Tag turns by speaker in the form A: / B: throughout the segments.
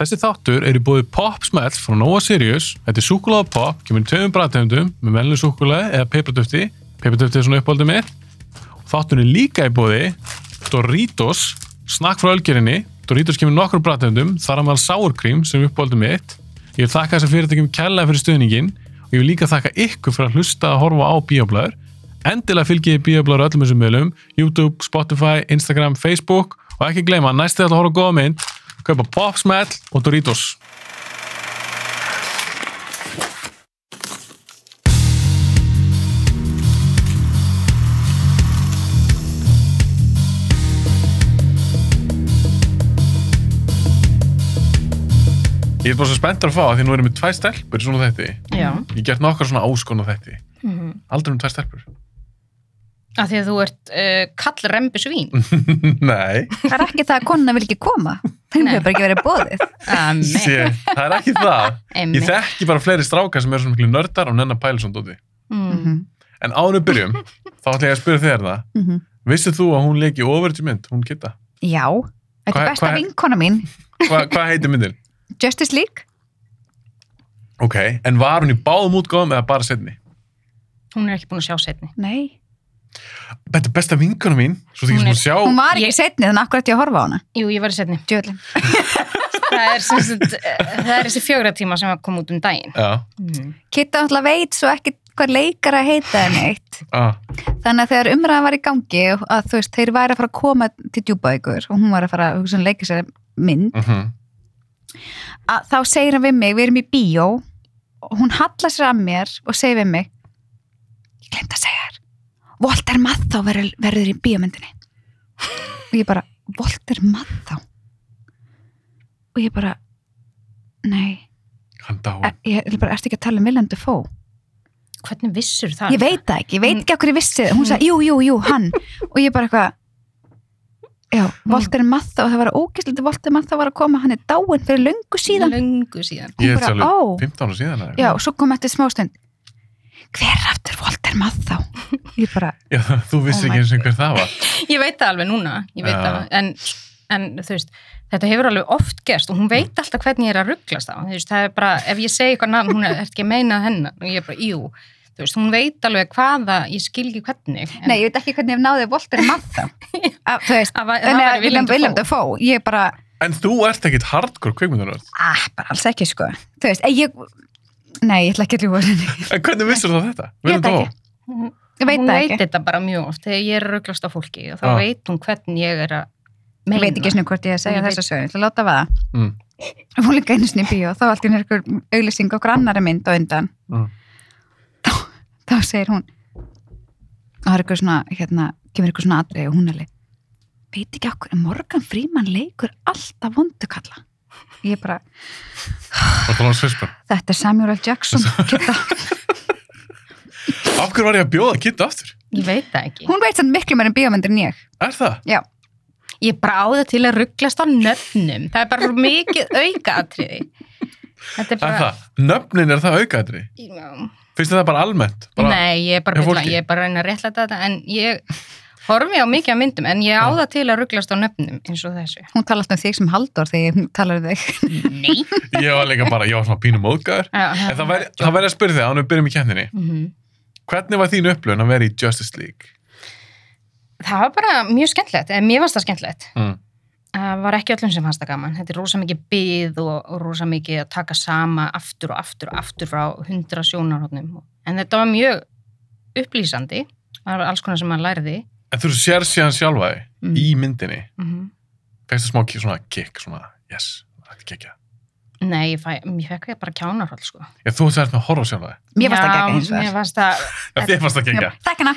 A: Þessi þáttur er í búið Popsmell frá Nova Sirius. Þetta er súkulega pop, kemur í tveimum bræðtegundum með melnum súkulega eða peipratöfti. Peipratöfti er svona uppáldið mitt. Þáttur er líka í búið Doritos, snakk frá ölgerinni. Doritos kemur í nokkrum bræðtegundum, þar að maður sárkrím sem er uppáldið mitt. Ég vil þakka þessar fyrirtækjum kærlega fyrir stuðningin og ég vil líka þakka ykkur fyrir að hlusta að horfa á bíoblæður. Endilega fylgjið bíoblæður öllum þessum meðlum, YouTube, Spotify, Instagram, Facebook og ekki gleyma, næstu þetta að horfa á góða mynd, kaupa Popsmell og Doritos. Ég er bara svo spenntur að fá að því nú erum við tvær stelpur í svona þetti.
B: Já,
C: Mhm.
A: Ég hef gert nokkar svona áskona þetti. Aldrei um tvær stelpur.
B: af því að þú ert uh, kallrembu svín.
C: Mm.
A: Nei,
C: Það er ekki það að konuna vil ekki koma. Þeim
B: Nei.
C: hefur bara ekki verið bóðið.
B: Amen.
A: sé, það er ekki það. Ég
B: Amen.
A: þekki bara fleiri strákar sem eru svona miklu nördar og nennar pæla svona dóti.
B: Mm.
C: Mhm.
A: En áður en við byrjum, þá ætla ég að spyrja þér það.
C: Mhm.
A: Vissið þú að hún leiki overage mynd, hún kitta?
C: Já, þetta
A: Hvað-
C: er besta
A: hvað-
C: vinkona mín.
A: Hva, hvað heitir myndin?
C: Justice League?
A: Ok, en var hún í báðum útgáðum eða bara setni?
B: Hún er ekki búin að sjá setni.
C: Nei.
A: Þetta er besta vinkona mín, svo þykist
B: Hún
A: hún
B: er-
A: að sjá...
C: Hún var ekki
B: Ég-
C: ég... setni þannig akkur ætti ég að horfa á hana.
B: Jú, ég var í setni.
C: Djöðlin.
B: Það er, sem sagt, eh, það er þessi fjögra tíma sem að koma út um daginn.
A: Já,
C: Mhm.
B: Mm.
C: Kitta alltaf veit svo ekki hvað leikara heita en eitt.
A: ah,
C: Þannig að þegar umræðan var í gangi að þú veist, þeir væri að fara að koma til djúpa ykkur og hún var að fara að hugsa um leika sér mynd,
A: mhm,
C: að þá segir hann við mig, við erum í bíó og hún hallar sér að mér og segir við mig, ég glemt að segja þér, Walter Matthau verður, verður í bíómyndinni. Og ég bara, Walter Matthau? Og ég bara, nei,
A: hann dáin.
C: er, ég er bara, ertu ekki að tala um Willem Dafoe?
B: Hvernig vissur það?
C: Ég veit það ekki, ég veit ekki okkur ég vissi það. Hún sagði, jú, jú, jú, hann. Og ég bara eitthvað, já, Walter Matthau, það var ógæslega Walter Matthau var að koma, hann er dáinn fyrir löngu síðan.
B: Lungu síðan.
A: Ég er
C: Hún bara,
A: alveg
C: ó.
A: 15 ára síðan. eða eitthvað.
C: Já, og svo kom eftir smástund Hver er aftur Walter Matthau? Ég bara,
A: Já, þú vissir
C: Oh
A: ekki
C: my
A: eins og hver það var.
B: Ég veit það alveg núna. Ég veit
A: Já.
B: það. En, en þú veist, þetta hefur alveg oft gerst og hún
C: Mm.
B: veit alltaf hvernig ég er að rugglast á. Þú veist, það er bara, ef ég segi eitthvað nafn, hún er er ekki að meina hennar. Og ég er bara, jú. Þú veist, hún veit alveg hvaða, ég skil ekki hvernig. en-
C: nei, ég veit ekki hvernig ég náði Walter Matthau Að, Þú veist,
B: Að va- það
C: þannig
B: væri
C: að Willem, Willem Dafoe Ég bara,
A: En þú ert ekkit hardcore kveikmyndanörð.
C: að, bara alls ekki sko Þú veist, eh, ég Nei, ég ætla ekki að ljúga henni
A: En hvernig vissir það þetta?
C: Ég veit
A: Willem Dafoe?
C: ekki.
B: Hún-
C: Ég veit
B: hún
C: það
B: veit
C: ekki,
B: þetta bara mjög oft þegar ég er að rugglast á fólki og þá
A: Já.
B: veit hún hvernig ég er að meina
C: ég veit ekki svona hvort ég að segja
B: Ég veit-
C: þessa sögur Ég ætla að láta vaða
A: Mm.
C: Ég fór líka einu sinni í bíó, þá var allt í einhver auglýsing okkur annari mynd á undan
A: Mm.
C: þá, þá segir hún það er eitthvað svona hérna, kemur eitthvað svona atrið og hún er leið veit ekki okkur, Morgan Freeman leikur alltaf vondukalla ég bara,
A: Var það Lawrence Fishburne?
C: þetta er Samuel L. Jackson Kitta.
A: Af hverju var ég að bjóða Kitta aftur?
B: ég veit það ekki
C: hún veit sann miklu mér um bíómyndir en ég
A: Er það?
B: ég bráði til að rugglast á nöfnum það er bara svo mikið aukaatriði þetta er
A: Er
B: bara
A: það? Nöfnin er það aukaðri?
B: Já.
A: Finnst þér það bara almennt? Bara,
B: nei, ég er bara
A: Hjá
B: að
A: fólki?
B: bulla, ég er bara að reyna að réttlæta þetta en ég horfi á mikið af myndum en ég áða til að rugglast á nöfnum eins og þessu
C: hún tala alltaf um þig sem Halldór þegar hún talar um þig
B: nei
A: Ég var líka bara, ég var svona pínum móðgæður. En það væri, það væri að spyrja þig, ánum við byrjum í kenninni.
B: Mhm.
A: Hvernig var þín upplöun að vera í Justice League?
B: það var bara mjög skemmtilegt eða mér varst það skemmtilegt
A: Mm.
B: Það Eh, var ekki öllum sem fannst það gaman. Þetta er rosa mikið byð og, og rosa mikið að taka sama aftur og aftur og aftur frá hundra sjónarhóttnum. En þetta var mjög upplýsandi. Það var alls konar sem maður lærði.
A: En þú sér síðan sjálfa þig
B: Mm.
A: í myndinni.
B: Mhm.
A: Fækst það smá ki- svona kick, svona yes, þetta kikja.
B: Nei, ég, fæ, ég fekk ég bara kjánarhótt, sko.
A: Ég þú ert að horfa á sjálfa þig.
C: mér fannst það gegga hins
B: vegar. Mér
C: vegar
B: fannst það,
A: En Þér fannst það kikja.
C: takk hana,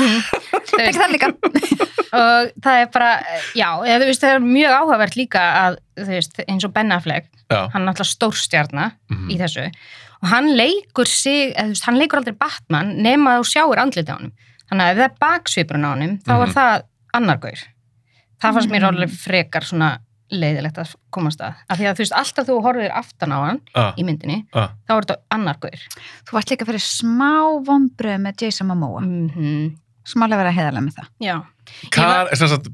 B: þú
C: takk
B: veist,
C: það líka
B: og það er bara, já, eða, þú veist, það er mjög áhugavert líka að, þú veist, eins og Ben Affleck,
A: Já.
B: hann er náttúrulega stórstjarnar
A: Mhm.
B: í þessu og hann leikur sig, eða, þú veist, hann leikur aldrei Batman nema þú sjáir andliti á honum þannig að ef það er baksvipurinn á honum þá er
A: Mhm. Mm.
B: það annargaur það fannst mér
C: Mhm.
B: alveg frekar svona leiðilegt að komast að af því að þú veist, alltaf þú horfir aftan á hann
A: Ah,
B: í myndinni,
A: ah.
B: þá er þetta annargaur
C: þú varst líka fyrir smá vombröð með Jason Momoa
B: mm
C: smálega vera heiðarlega með það
B: já, Ég
A: Hvar, sem sagt,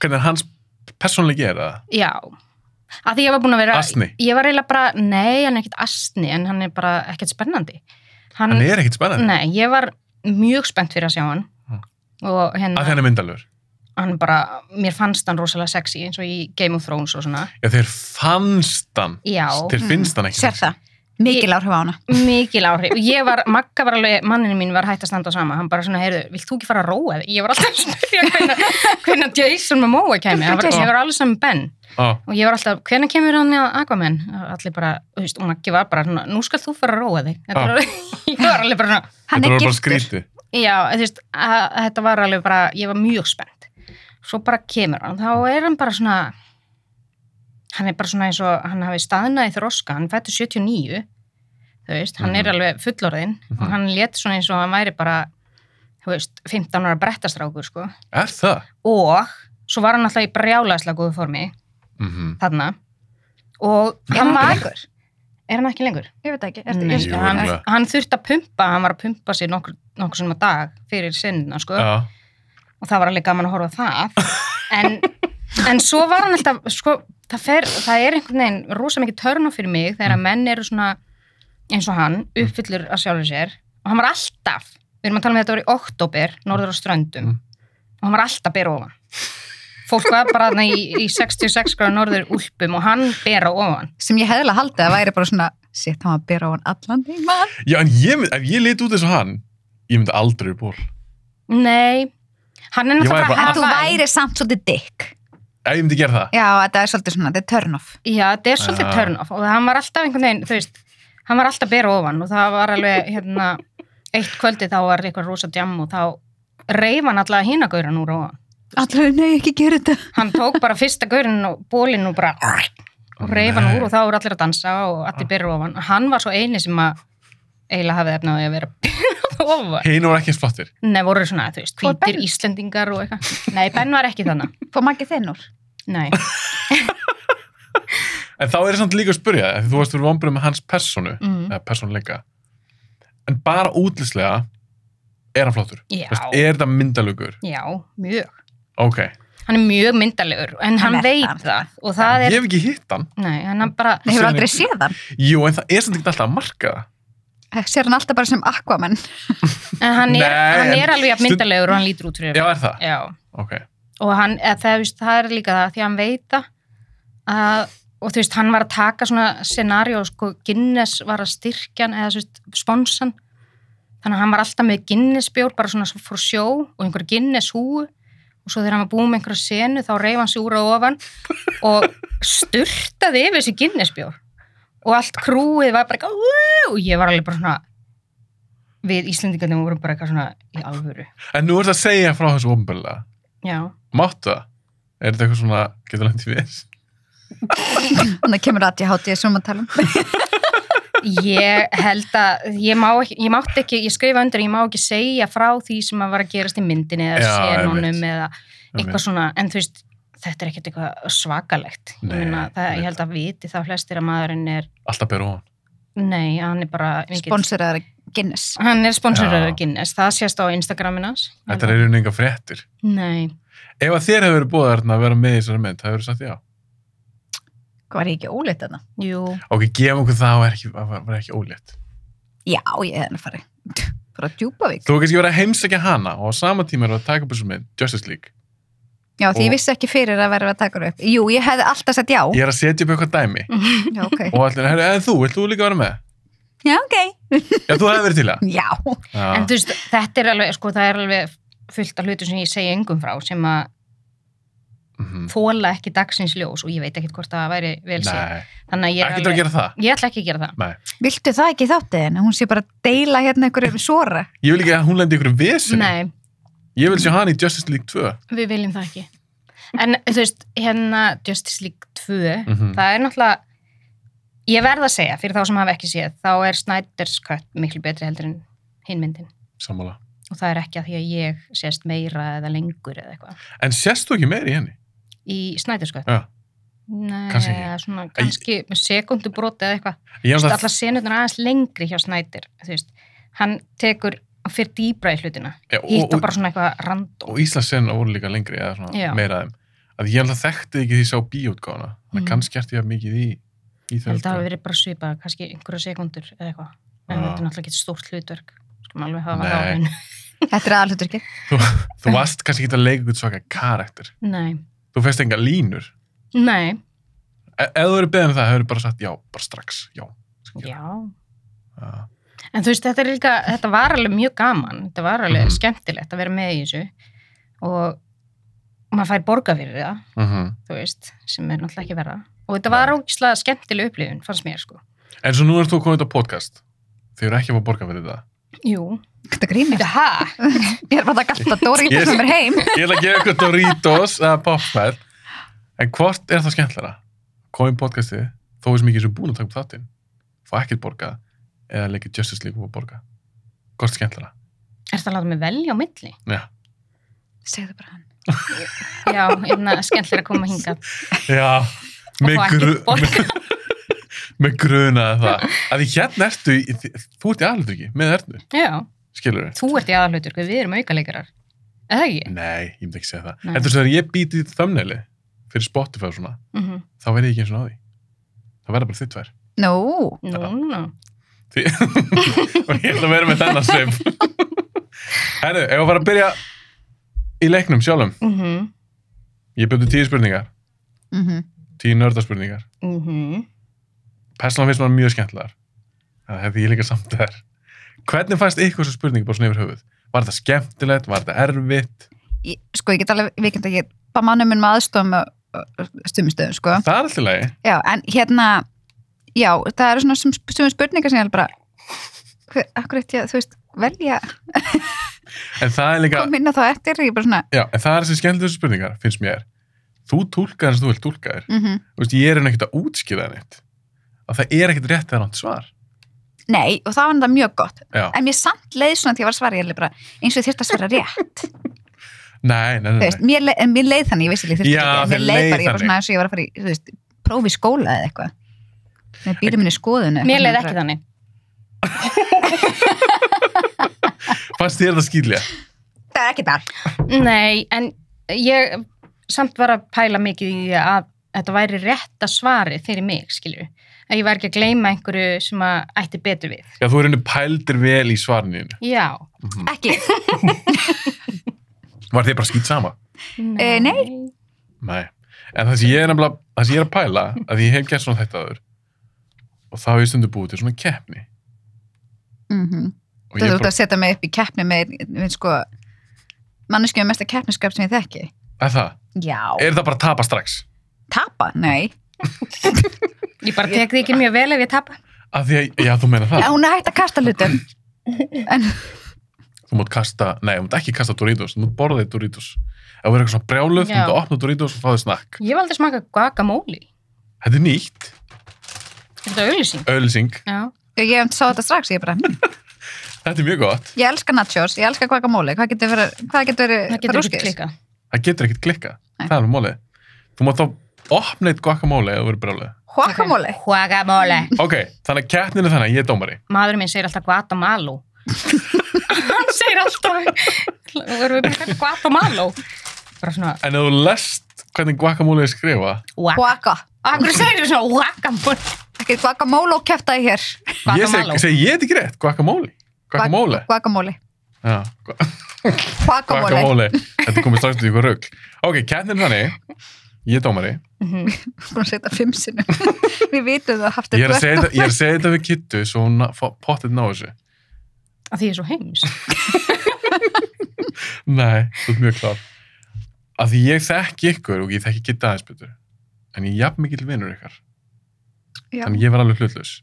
A: hvernig hans persónleiki er það?
B: já að því ég var búin að vera
A: Asni?
B: ég var eiginlega bara, nei, hann er ekkert asni en hann er bara ekkert spennandi hann,
A: Hann er ekkit spennandi.
B: nei, ég var mjög spennt fyrir að sjá hann
A: Mm.
B: og
A: Af
B: hérna,
A: því hann er myndalur.
B: hann bara mér fannst hann rosalega sexy eins og í Game of Thrones og svona
A: Já, þeir fannst hann.
B: já,
A: Þeir finnst hann ekki.
C: sér það, mikil áhrif á hana
B: mikil áhrif, ég var, Magga var alveg manninu mín var hægt að standa á sama, hann bara svona heyrðu, vilt þú ekki fara að róa þig? Ég var alltaf að spyrja hvernig, hvernig Jason Momoa kæmi, Hann var, ég var alveg saman Ben
A: Á,
B: og ég var alltaf, hvernig kemur hann að Aquaman? Allir bara, þú veist, og Maggi var bara, svona, nú skal þú fara að róa þig. Þetta
A: Ah.
B: var alveg, ég var alveg bara, svona,
C: hann
A: þetta
C: er
A: voru bara
C: giftur
A: skrítið.
B: já, þú veist, að, þetta var alveg bara, ég var mjög spennt. Svo bara kemur hann, þá er hann bara svona, hann er bara svona eins og, hann hafi staðnað í þroska, hann fættu 79, þú veist, hann
A: Mhm.
B: er alveg fullorðinn
A: Mhm.
B: og hann létt svona eins og hann væri bara, þú veist, 15 ára brettastrákur, sko.
A: Er það?
B: Og svo var hann alltaf í brjálæðslega góðu formi
A: Mhm.
B: þarna og
C: Er
B: hann
C: hann
B: var,
C: lengur?
B: er hann ekki lengur?
C: ég veit ekki, er,
B: Nei,
A: Jú,
B: hann,
A: örugglega.
B: hann þurfti að pumpa, hann var að pumpa sér nokkur, nokkur sem að dag fyrir sinnina sko.
A: Já.
B: og það var alveg gaman að horfa á það en, en svo var hann alltaf sko, það, fer, það er einhvern veginn rosa mikið törn á fyrir mig þegar að
A: Mm.
B: menn eru svona eins og hann, uppfyllur að sjálfur sér og hann var alltaf, við erum að tala um þetta voru í oktober, norður á ströndum
A: Mm.
B: og hann var alltaf bera ofan fólk var bara þarna í, í 66 gráð norður úlpum og hann bera ofan
C: sem ég hefðilega haldið að væri bara svona sitt, hann var að byrja á hann allan tíma
A: Já, en ég, mynd- ef ég lit út eins og hann, ég myndi aldrei í ból.
B: Nei, hann er
A: Ég
B: náttúrulega
A: væri bara
B: bara
C: en þú
B: Hawaii.
C: væri samt svolítið dick
A: Ef ég myndi gera það.
C: já, þetta er svolítið svona, þetta er turn off
B: Já, þetta er svolítið
A: Já.
B: turn off og hann var alltaf einhvern veginn, þú veist hann var alltaf bera ofan og það var alveg hérna, eitt kvöldi þá var eitthvað rosa djam og þá reif hann alltaf hinagauran úr ofan.
C: allavega, nei, ekki gera þetta
B: Hann tók bara fyrsta gaurin og bólinn og bara og reif hann
A: Nei.
B: úr og þá voru allir að dansa og allir bera ofan. Hann var svo eini sem að eiginlega hafði efnaði að vera bera ofan.
A: Hinn voru ekki eins flottir.
B: Nei, voru svona, þú veist,
C: Hvor
B: hvítir
C: Ben?
B: Íslendingar og eitthvað. Nei, Ben var ekki þannig.
C: fór magið þinn úr
B: Nei.
A: En þá er samt líka að spurja, af því þú varst fyrir vonbröð með hans personu,
B: Mm.
A: eða persónuleika. En bara útlýslega er hann flottur.
B: Já.
A: Þú Veist, e- er þetta myndalögur?
B: Já, mjög.
A: Ok.
B: hann er mjög myndalegur en
C: Hann
B: hann,
C: er
B: veit
C: það.
B: það, og það
A: Ég
B: er,
A: hef ekki hitt hann.
B: nei, en hann bara
C: Nei, hefur
A: Sér
C: aldrei
A: hann-
C: séð hann
A: Jú, en það er samt ekki alltaf að marka það.
C: Eh, sér hann alltaf bara sem Aquaman
B: en hann er,
A: Nei,
B: hann
A: en-
B: er alveg jafn
A: stund-
B: myndalegur og hann lítur út fyrir
A: Já, er það?
B: Já.
A: Ok.
B: og hann, eða, það, veist, það er líka það því að hann veit það að, og þú veist, hann var að taka svona scenarió, sko, Guinness var að styrkja hann eða þú veist, sponsan þannig að hann var alltaf með Guinness bjór bara svona svo fór sjó og einhver Guinness húu og svo þegar hann var búið með einhverja senu þá reyf hann sig úr að ofan og styrtaði yfir þessi Guinness bjór og allt krúið var bara eitthvað "Woo!" og ég var alveg bara svona við Íslendingarnir vorum bara eitthvað svona í alvöru,
A: En nú er þetta að segja frá þessu ofnbörlega.
B: já
A: Máttu það? Er þetta eitthvað svona, getur langt í við?
C: þannig kemur að ég hátti ég sem að tala um
B: Ég held að ég, má ekki, ég mátti ekki, ég skrifa undir að ég má ekki segja frá því sem að var að gerast í myndinni eða
A: Já,
B: senunum
A: einmitt.
B: eða eitthvað svona, en þú veist þetta er ekkert eitthvað svakalegt ég,
A: Nei,
B: meina, það,
A: einmitt.
B: ég held að viti þá flestir að maðurinn er
A: Alltaf beru ofan.
B: nei, hann er bara mikill-
C: sponsoraðar Guinness
B: hann er sponsoraður
A: Já.
B: Guinness, það sést á Instagraminas
A: Þetta eru nefnir fréttir.
B: Nei,
A: Ef að þér hefur verið búið að vera með í þessari mynd, það hefur sagt já.
C: hvað var ég ekki óleitt þarna?
B: jú,
A: Ok, gefum okkur það að var ekki, var, var ekki ólétt.
C: já, ég hefði hann að fara bara að djúpa vik
A: Þú hefur kannski verið að heimsækja hana og á sama tíma eru að taka upp þessu mynd, Justice League.
C: já, því
A: Og-
C: ég vissi ekki fyrir að vera að taka hann upp jú, ég hefði alltaf sett já,
A: Ég er að setja upp eitthvað dæmi
C: já, ok
A: og allir, herri, eða þú, vilt þú líka vera með?
C: já, ok,
A: Já, þú hefði verið til það.
C: já
A: Já,
B: en þú veist þetta er alveg, sko, það er alveg fullt af hlutum sem ég segja engum frá sem að
A: Mhm.
B: þóla ekki dagsins ljós og ég veit ekkert hvort það væri vel sér
A: Nei,
B: þannig að ég er
A: ekki til að
B: alveg,
A: gera það.
B: ég ætla ekki að gera það
A: Nei.
C: viltu það ekki í þáttiðin, hún sé bara að deila hérna einhverjum svora
A: Ég vil ekki að hún lendi ykkur vesin.
B: Nei,
A: Ég vil sjá hana í Justice League 2.
B: við viljum það ekki. En þú veist, hérna Justice League 2,
A: Mhm.
B: það er náttúrulega, ég verð að segja, fyrir þá sem hafa ekki séð, þá er Snyder's Cut miklu betri heldur en hinn myndin.
A: Sammála.
B: Og það er ekki að því að ég sést meira eða lengur eða eitthvað.
A: En sérst þú ekki meir í henni?
B: Í Snyder's Cut?
A: Já.
B: Nei,
A: Kannski ekki.
B: eða svona, kannski með sekundubróti eða eitthvað.
A: Ég
B: Þú
A: er
B: veist,
A: alltaf,
B: allar senurnar aðeins lengri hjá Snyder, þú veist. Hann tekur, hann fyrir dýbra í hlutina.
A: Já, og-
B: Hitt og
A: og-
B: bara svona eitthvað random.
A: og Íslands senna voru líka lengri eða svona
B: Já.
A: meira af þeim. að ég alltaf þekkti ekki því ég sá bíótgána þannig
B: Mm.
A: að kannski ert ég að mikið í, í
B: Ég held að það hafi
A: þau
B: verið bara svipað, kannski einhverja sekundur eða eitthvað.
A: Já.
B: En þetta er náttúrulega ekki stórt hlutverk. Skulum alveg hafa
A: Nei.
B: það á hennu.
C: Þetta er aðalhuturki.
A: þú varst kannski ekki að leika ykkur svaka karakter
B: Nei,
A: þú fæst enga línur
B: nei,
A: e ef þú eru beðin um það hefur bara sagt já, bara strax, já,
B: já.
A: já.
B: En þú veist, þetta, er líka, þetta var alveg mjög gaman. Þetta var alveg
A: Mhm.
B: skemmtilegt að vera með í þessu. Og maður fær borga fyrir það,
A: Mm
B: þú veist, sem er náttúrulega ekki verða. Og þetta var ógislega skemmtileg upplifun, fannst mér, sko.
A: en svo nú ert þú komin út á podcast þau eru ekki að fá borga fyrir það
B: Jú.
C: Þetta grínir.
B: Jaha.
C: Ég er bara að gasta Dóri
A: Ég-
C: yes. sem er heim.
A: ég ætla að gefa ykkur Doritos eða popmell en hvort er það skemmtlara? komið podcastið, þó er sem ekki sem búin að taka upp þáttinn, fá ekkert borgað eða leikið Justice League og fá borgað hvort er skemmtlara?
B: Er það að láta mig velja á milli?
A: Já.
C: Segðu bara hann.
B: Já, hérna, skemmtilega að koma hingað.
A: Já,
B: Og
A: með,
B: fá
A: gru,
B: ekkert borgað.
A: með grunaði það að því hérna ertu, í- þi- þú ert í aðlutur ekki með ernu,
B: Já,
A: skilur við
B: þú ert í aðalhutur, við erum aukaleikarar. Eða ekki?
A: nei, ég myndi ekki segja það
B: Nei.
A: þetta er svo þegar ég býti í thumbnaili fyrir Spotify og svona,
B: Mm
A: þá verði ég ekki eins og náði það verða bara þitt tvær
C: Nú,
B: Nú,
A: Já.
B: nú, nú.
A: Því- og ég ætla að vera með þennan svip Herru, ef við fara að byrja í leiknum sjálfum
B: Mhm,
A: ég byrju tíu spurningar,
C: mhm.
A: tíu nördarspurningar
B: mhm.
A: persónum finnst maður mjög skemmtilegar það hefði ég líka samt þær hvernig fannst ykkur svo spurningi bara svona yfir höfuð var þetta skemmtilegt, var þetta erfitt
C: Ég- sko ég get alveg viðkjönd að ég bara mannum minn maður aðstofum stumistöðum sko
A: það er alltaf lagi
C: já, en hérna já, það eru svona stum spurningar sem ég er bara hver, akkur eitt ég, þú veist, velja
A: en það er líka,
C: kom inn á þá eftir, ég er bara svona
A: já, en það er þessi skemmtilegustu spurningar finnst mér, þú túlkar eins og þú vilt túlka þér
C: mm
A: Þú veist, ég er henni ekkert að útskýða henni og það er ekkert rétt eða rátt svar
C: nei, og það var þetta mjög gott
A: já,
C: en mér samt leið svona þegar ég var að svara, ég er bara eins og ég þyrst að svara rétt
A: nei, nei, nei,
C: þú
A: nei.
C: veist, mér, leið, en mér leið þannig, ég vissi ég þyrst
A: Já,
C: ekki en
A: þér
C: mér leið
A: leið
C: bara, ég var
A: þannig.
C: svona eins og ég var að fara í þú veist, prófi í skóla eða eitthvað með býtum minni skoðun
B: Mér leið ekki þannig.
A: fannst þér það skýrlega
C: það er ekki þar
B: Nei, en ég samt var að pæla mikið í því að þetta væri rétta svarið fyrir mig, skilju. Að ég var ekki að gleyma einhverju sem að ætti betur við.
A: Já, þú er henni pældir vel í svarninu.
B: Já.
C: ekki,
A: Var þið bara skýt sama?
C: Eh, nei.
A: Nei. En það sem ég er, nefnilega, það sem ég er að pæla, að ég hef gert svona þetta aður og þá hef ég stundu búið til svona keppni.
C: mhm
A: Og
C: Þú
A: ég
C: ert
A: bara,
C: að setja mig upp í keppni með, með sko, manneskju með mesta keppniskap sem ég þekki.
A: að það,
C: Já.
A: er það bara að tapa strax?
C: Tapa? Nei.
B: Ég bara tek því ekki mjög vel ef ég tapa.
A: Af því að, já, þú meina það.
C: Já, hún er hægt að kasta hlutum.
A: Þú mútt kasta, nei, þú mútt ekki kasta Doritos, þú mútt borða þig Doritos. Ef þú er eitthvað svona brjáluð, þú
B: Já.
A: mútt að opna Doritos og fá þig snakk.
B: Ég var aldrei smaka guacamole.
A: Þetta er nýtt,
B: Er þetta auðlýsing?
A: ölsing,
B: Já.
C: Ég sá þetta strax, ég bara, hm,
A: þetta er mjög gott.
C: ég elska nachos, ég elska guacamole, hvað getur verið, hvað getur verið,
B: Það getur ekki klikkað.
A: Það getur ekkert klikkað,
C: Nei.
A: það er alveg mólið. Þú mátt þá opna eitt guacamole ef þú verður brjáluð.
C: Guacamole?
B: Guacamole.
A: Ok, þannig að keppnin er þannig, að ég er dómari.
B: Maðurinn minn segir alltaf guatamalo. Hann segir alltaf, vorum við bara kallt guatamalo? Bara svona,
A: En ef þú lest hvernig guacamole er skrifa,
B: guac.
C: Guaca.
B: Akkur segir þú svona guacamole?
C: Ekki guacamole og keftaði hér.
A: ég seg,
B: Guatamalo.
A: seg ég þetta ekki rétt, guacamole. Guacamole.
C: Guacamole.
A: Já, gu-
C: Guacamole.
A: guacamole. Þetta komið strax til ykkur rugg. Ok, keppnin er þannig, ég er dómari,
B: Mhm.
C: Búin að segja þetta fimm sinnum. Við vitum það haft
A: ég er að
C: þetta.
A: segja þetta, ég er að segja þetta við kittu svo hún na- fá- pottið ná þessu.
B: Af því ég er svo heims.
A: Nei, þú ert mjög klár. Af því ég þekki ykkur og ég þekki kitta aðeins betur. En ég er jafn mikill vinnur ykkar.
C: Já.
A: Þannig ég var alveg hlutlaus.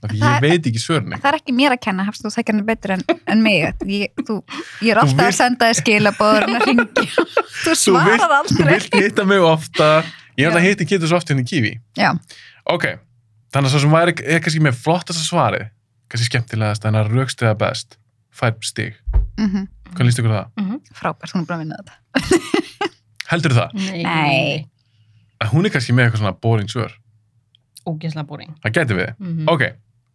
A: Af því
C: Það
A: ég
C: er-
A: veit ekki svörni.
C: Það er ekki mér að kenna, hafst þú þekkir henni betur en, en mig. Ég, þú, ég er
A: Þú
C: alltaf að
A: vilt-
C: senda þér skilabóður en að ringi. Þú
A: Þú vilt-
C: svarar
A: Þú
C: aldrei.
A: vilt hitta mig ofta. Ég ætla
C: Já.
A: að hitta kittu svo hérna ofta henni kífi.
C: Já,
A: Ok, þannig að svo sem væri er kannski með flottasta svarið, kannski skemmtilegast en að raukstiða best, fær stig.
C: mm
A: Hvað líst ykkur á það?
C: frábært, hún er bara að vinna þetta.
A: Heldur það?
B: Nei.
C: Nei.
A: Að hún er kannski með eitthvað svona boring svör.
B: Ógæslega búring.
A: Það geti við.
B: Mm
A: Ok,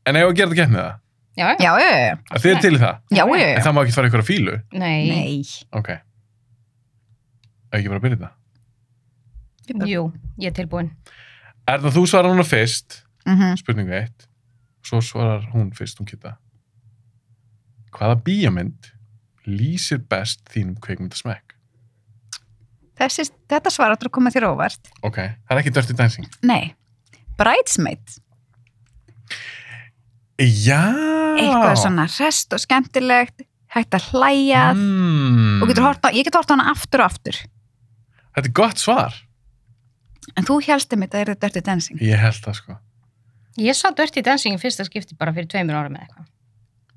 A: en ef að gera þetta gett með það,
B: Já, já.
C: Já, já, já,
A: að þið er til í það,
C: já, já,
A: en
C: já.
A: það má ekki fara ykkur að fílu.
B: Nei.
C: Nei.
A: Ok. Ef ekki bara að byrja þetta.
C: Vibba.
B: Jú, ég er tilbúin.
A: Erna, þú svarar núna fyrst,
C: Mm
A: spurningu eitt, svo svarar hún fyrst um kitta. Hvaða bíjamynd lýsir best þínum kveikmyndasmekk?
C: Þessi, þetta svar áttur að koma þér óvart.
A: Ok, það er ekki Dirty Dancing.
C: Nei, Bridesmaid,
A: Já!
C: eitthvað svona rest og skemmtilegt, hægt að hlæja
A: Mm.
C: og getur hort á, ég getur hort á hana aftur og aftur.
A: Þetta er gott svar.
C: En þú heldur mitt að það eru Dirty Dancing.
A: Ég held það sko.
B: Ég sá Dirty Dancing í fyrsta skipti bara fyrir tveimur árum eða eitthvað.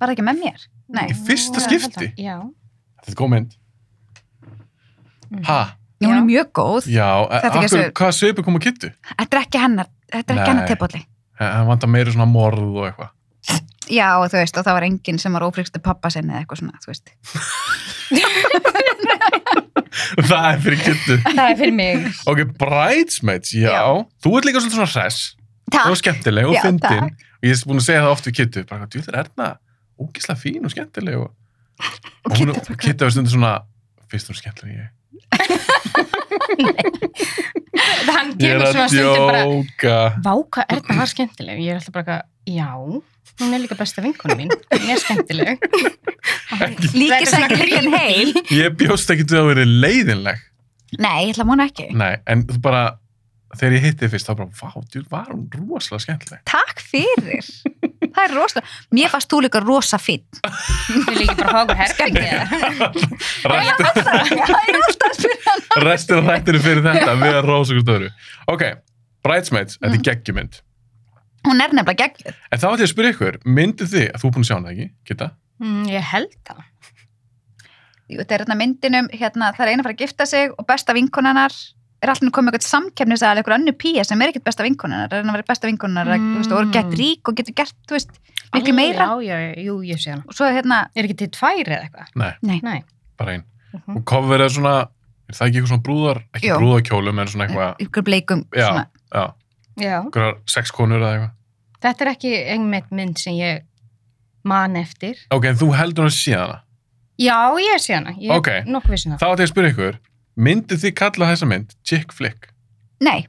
C: Var það ekki með mér? Nei.
A: Í fyrsta
B: Já,
A: skipti?
B: held að- Já.
A: Þetta er góð mynd.
B: Mm.
A: Ha?
C: Hún
B: Já.
C: er mjög góð.
A: Já,
C: Mhm.
A: eh,
C: Þetta er ekki
A: akkur,
C: þessu-
A: hvað sveipu kom að kittu?
C: Þetta er ekki hennar, þetta er
A: Nei.
C: ekki hennar tepolli.
A: Hann vantar meira svona morð og eitthvað.
C: Já, og þú veist, og það var enginn sem var ófríkstu pappa sinni eða eitthvað svona, þú veist.
A: það er fyrir kittu.
B: Það er fyrir mig.
A: Ok, Bridesmaids, já.
C: Já.
A: Þú ert líka svolítið svona hress
C: Takk.
A: og skemmtileg og
C: Já,
A: fyndin. Og ég er búin að segja það oft við kittu. Bara, hvað, djúður Erna, ógislega fín og skemmtileg. Og,
C: Og
A: og hún,
C: Kiddi bara-
A: kittu var stundum svona, fyrst hún er skemmtileg en ég.
B: Hann
A: Ég
B: kemur
A: er
B: svona
A: að
B: stundum bara,
A: djóka.
B: vá hvað er það var skemmtileg? Ég er alltaf bara, eitthvað, já, hún er líka besta vinkonu mín, hún er skemmtileg.
C: Líkir
B: Þetta er svona
C: sækir líka en heil.
A: Ég bjóst ekki til að vera leiðinleg.
C: Nei, ég ætla að múna ekki.
A: Nei, en þú bara, þegar ég hitti þig fyrst, þá bara, vá, djúður, var hún rosalega skemmtileg.
C: Takk fyrir. Það er rosa. Mér fannst þú líka rosa fín.
B: Við líka bara fá okkur herfingi eða.
A: Rættu.
C: Það er alltaf fyrir hann.
A: restin af þættinu fyrir þetta við að rósa ykkur stöðru ok, Bridesmaids,
C: Mm.
A: þetta er geggjumynd
C: Hún er nefnilega geggjur.
A: en þá ætlum ég að spyrja ykkur, myndið þið að þú er búin að sjá hana ekki, geta,
B: Mm, Ég held það.
C: Þetta er hérna myndinum, hérna, það er eina að fara að gifta sig og besta vinkonennar er alltaf komið eitthvað samkefnis að eitthvað annu píja sem er ekkert besta vinkonennar, er að vera besta vinkonennar mm.
B: Mm.
C: veist, og er gett rík og getur gert, þú veist, miklu meira.
B: Já, já, já, jú, ég sé hana.
C: Og svo hérna,
B: Er ekki til tvær eða eitthvað?
A: Nei.
C: Nei.
B: Nei.
A: bara einn
B: Mhm.
A: og coverið er svona, er það ekki eitthvað svona brúðar ekki
C: Jú. Mm.
A: brúðarkjólum, en svona eitthvað
C: ykkur bleikum,
A: Já.
C: svona,
A: já,
B: Já.
A: einhverjar sex konur eða eitthvað
B: Þetta er ekki einmitt mynd sem ég man eftir.
A: ok, en þú heldur hann síðana
B: Já, ég sé hana. Ég
A: Ókei.
B: er nokkuð vissin það.
A: þá ætlum ég að spyrja ykkur, myndið þið kalla þessa mynd chick flick,
C: nei,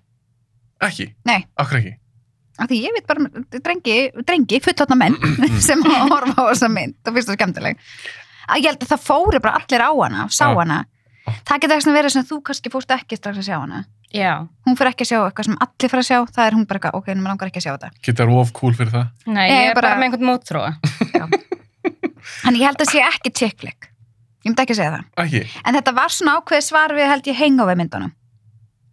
A: ekki
C: Nei.
A: akkur ekki,
C: af því ég veit bara, drengi, drengi, fullotna menn sem horfa á þessa mynd og finnst það skemmtileg. Að ég held að það fóru bara allir á hana, og sá
A: Já.
C: hana. Það getur ekki verið sem þú kannski fórst ekki strax að sjá hana.
B: Já.
C: Hún fyrir ekki að sjá eitthvað sem allir fara að sjá, það er hún bara eitthvað, ok, en maður langar ekki að sjá þetta.
A: geta rof cool fyrir það
B: Nei,
C: Nei,
B: ég er bara
C: bara
B: með einhvern mótþróa.
C: Þannig ég held að sé ekki tikklik. Ég myndi ekki að segja það.
A: ekki,
C: En þetta var svona ákveðið svar við held ég hengofi myndunum.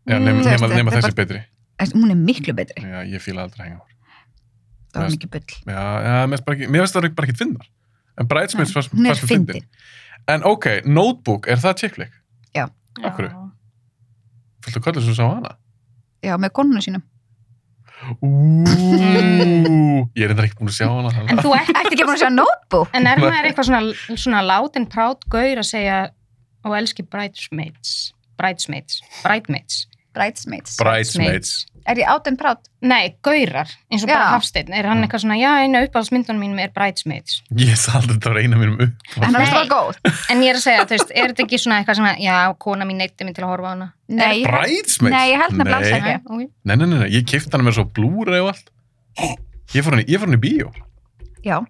A: já,
B: Mm.
A: nema,
C: Þú veist,
A: nema, nema
C: þetta er
A: þessi betri
C: En Hún er miklu betri.
A: já, ég fíla aldrei hengur
C: Það var
A: Mér
C: mikið bull.
A: Já, já, mér finnst bara ekki- mér finnst það bara ekki finnar. En Bridesmaids fannst
C: Ah, Hún er
A: fannst mér fyndin.
C: fyndin.
A: En ok, Notebook, er það chick flick? Af hverju?
B: Já.
A: Fylgtu kallur sem sá hana?
C: Já, með konunum sínum.
A: Úúúú, ég er reyndar ekki búin að sjá hana.
B: En
A: þannig að-
B: þú ert
C: Ertu ekki búin að sjá notebook?
B: En er maður eitthvað svona, svona látin prát gaur að segja og elski bridesmaids, bridesmaids, bridesmaids,
C: Bridesmaids.
A: Bridesmaids.
C: Er ég átinn prátt?
B: Nei, gaurar, eins og bara
C: Já.
B: Hafsteinn, er hann
A: Mm.
B: eitthvað svona, já, eina uppáhaldsmyndunum mínum er bridesmaids.
A: Ég sá aldrei þetta var eina mínum upp.
C: En það
B: Nei.
C: var svo góð.
B: En ég er að segja, þú veist, er þetta ekki svona eitthvað svona, já, kona mín neytti mig til að horfa á hana.
C: Nei, ég-
A: Bridesmaids?
C: Nei, ég held nefnilega alls
A: Nei.
C: ekki.
B: Nei, ok.
A: Nei, nei, nei, nei, ég kipti hana með svo blúra og allt. Ég fór hann í, ég fór hann í bíó.
C: já.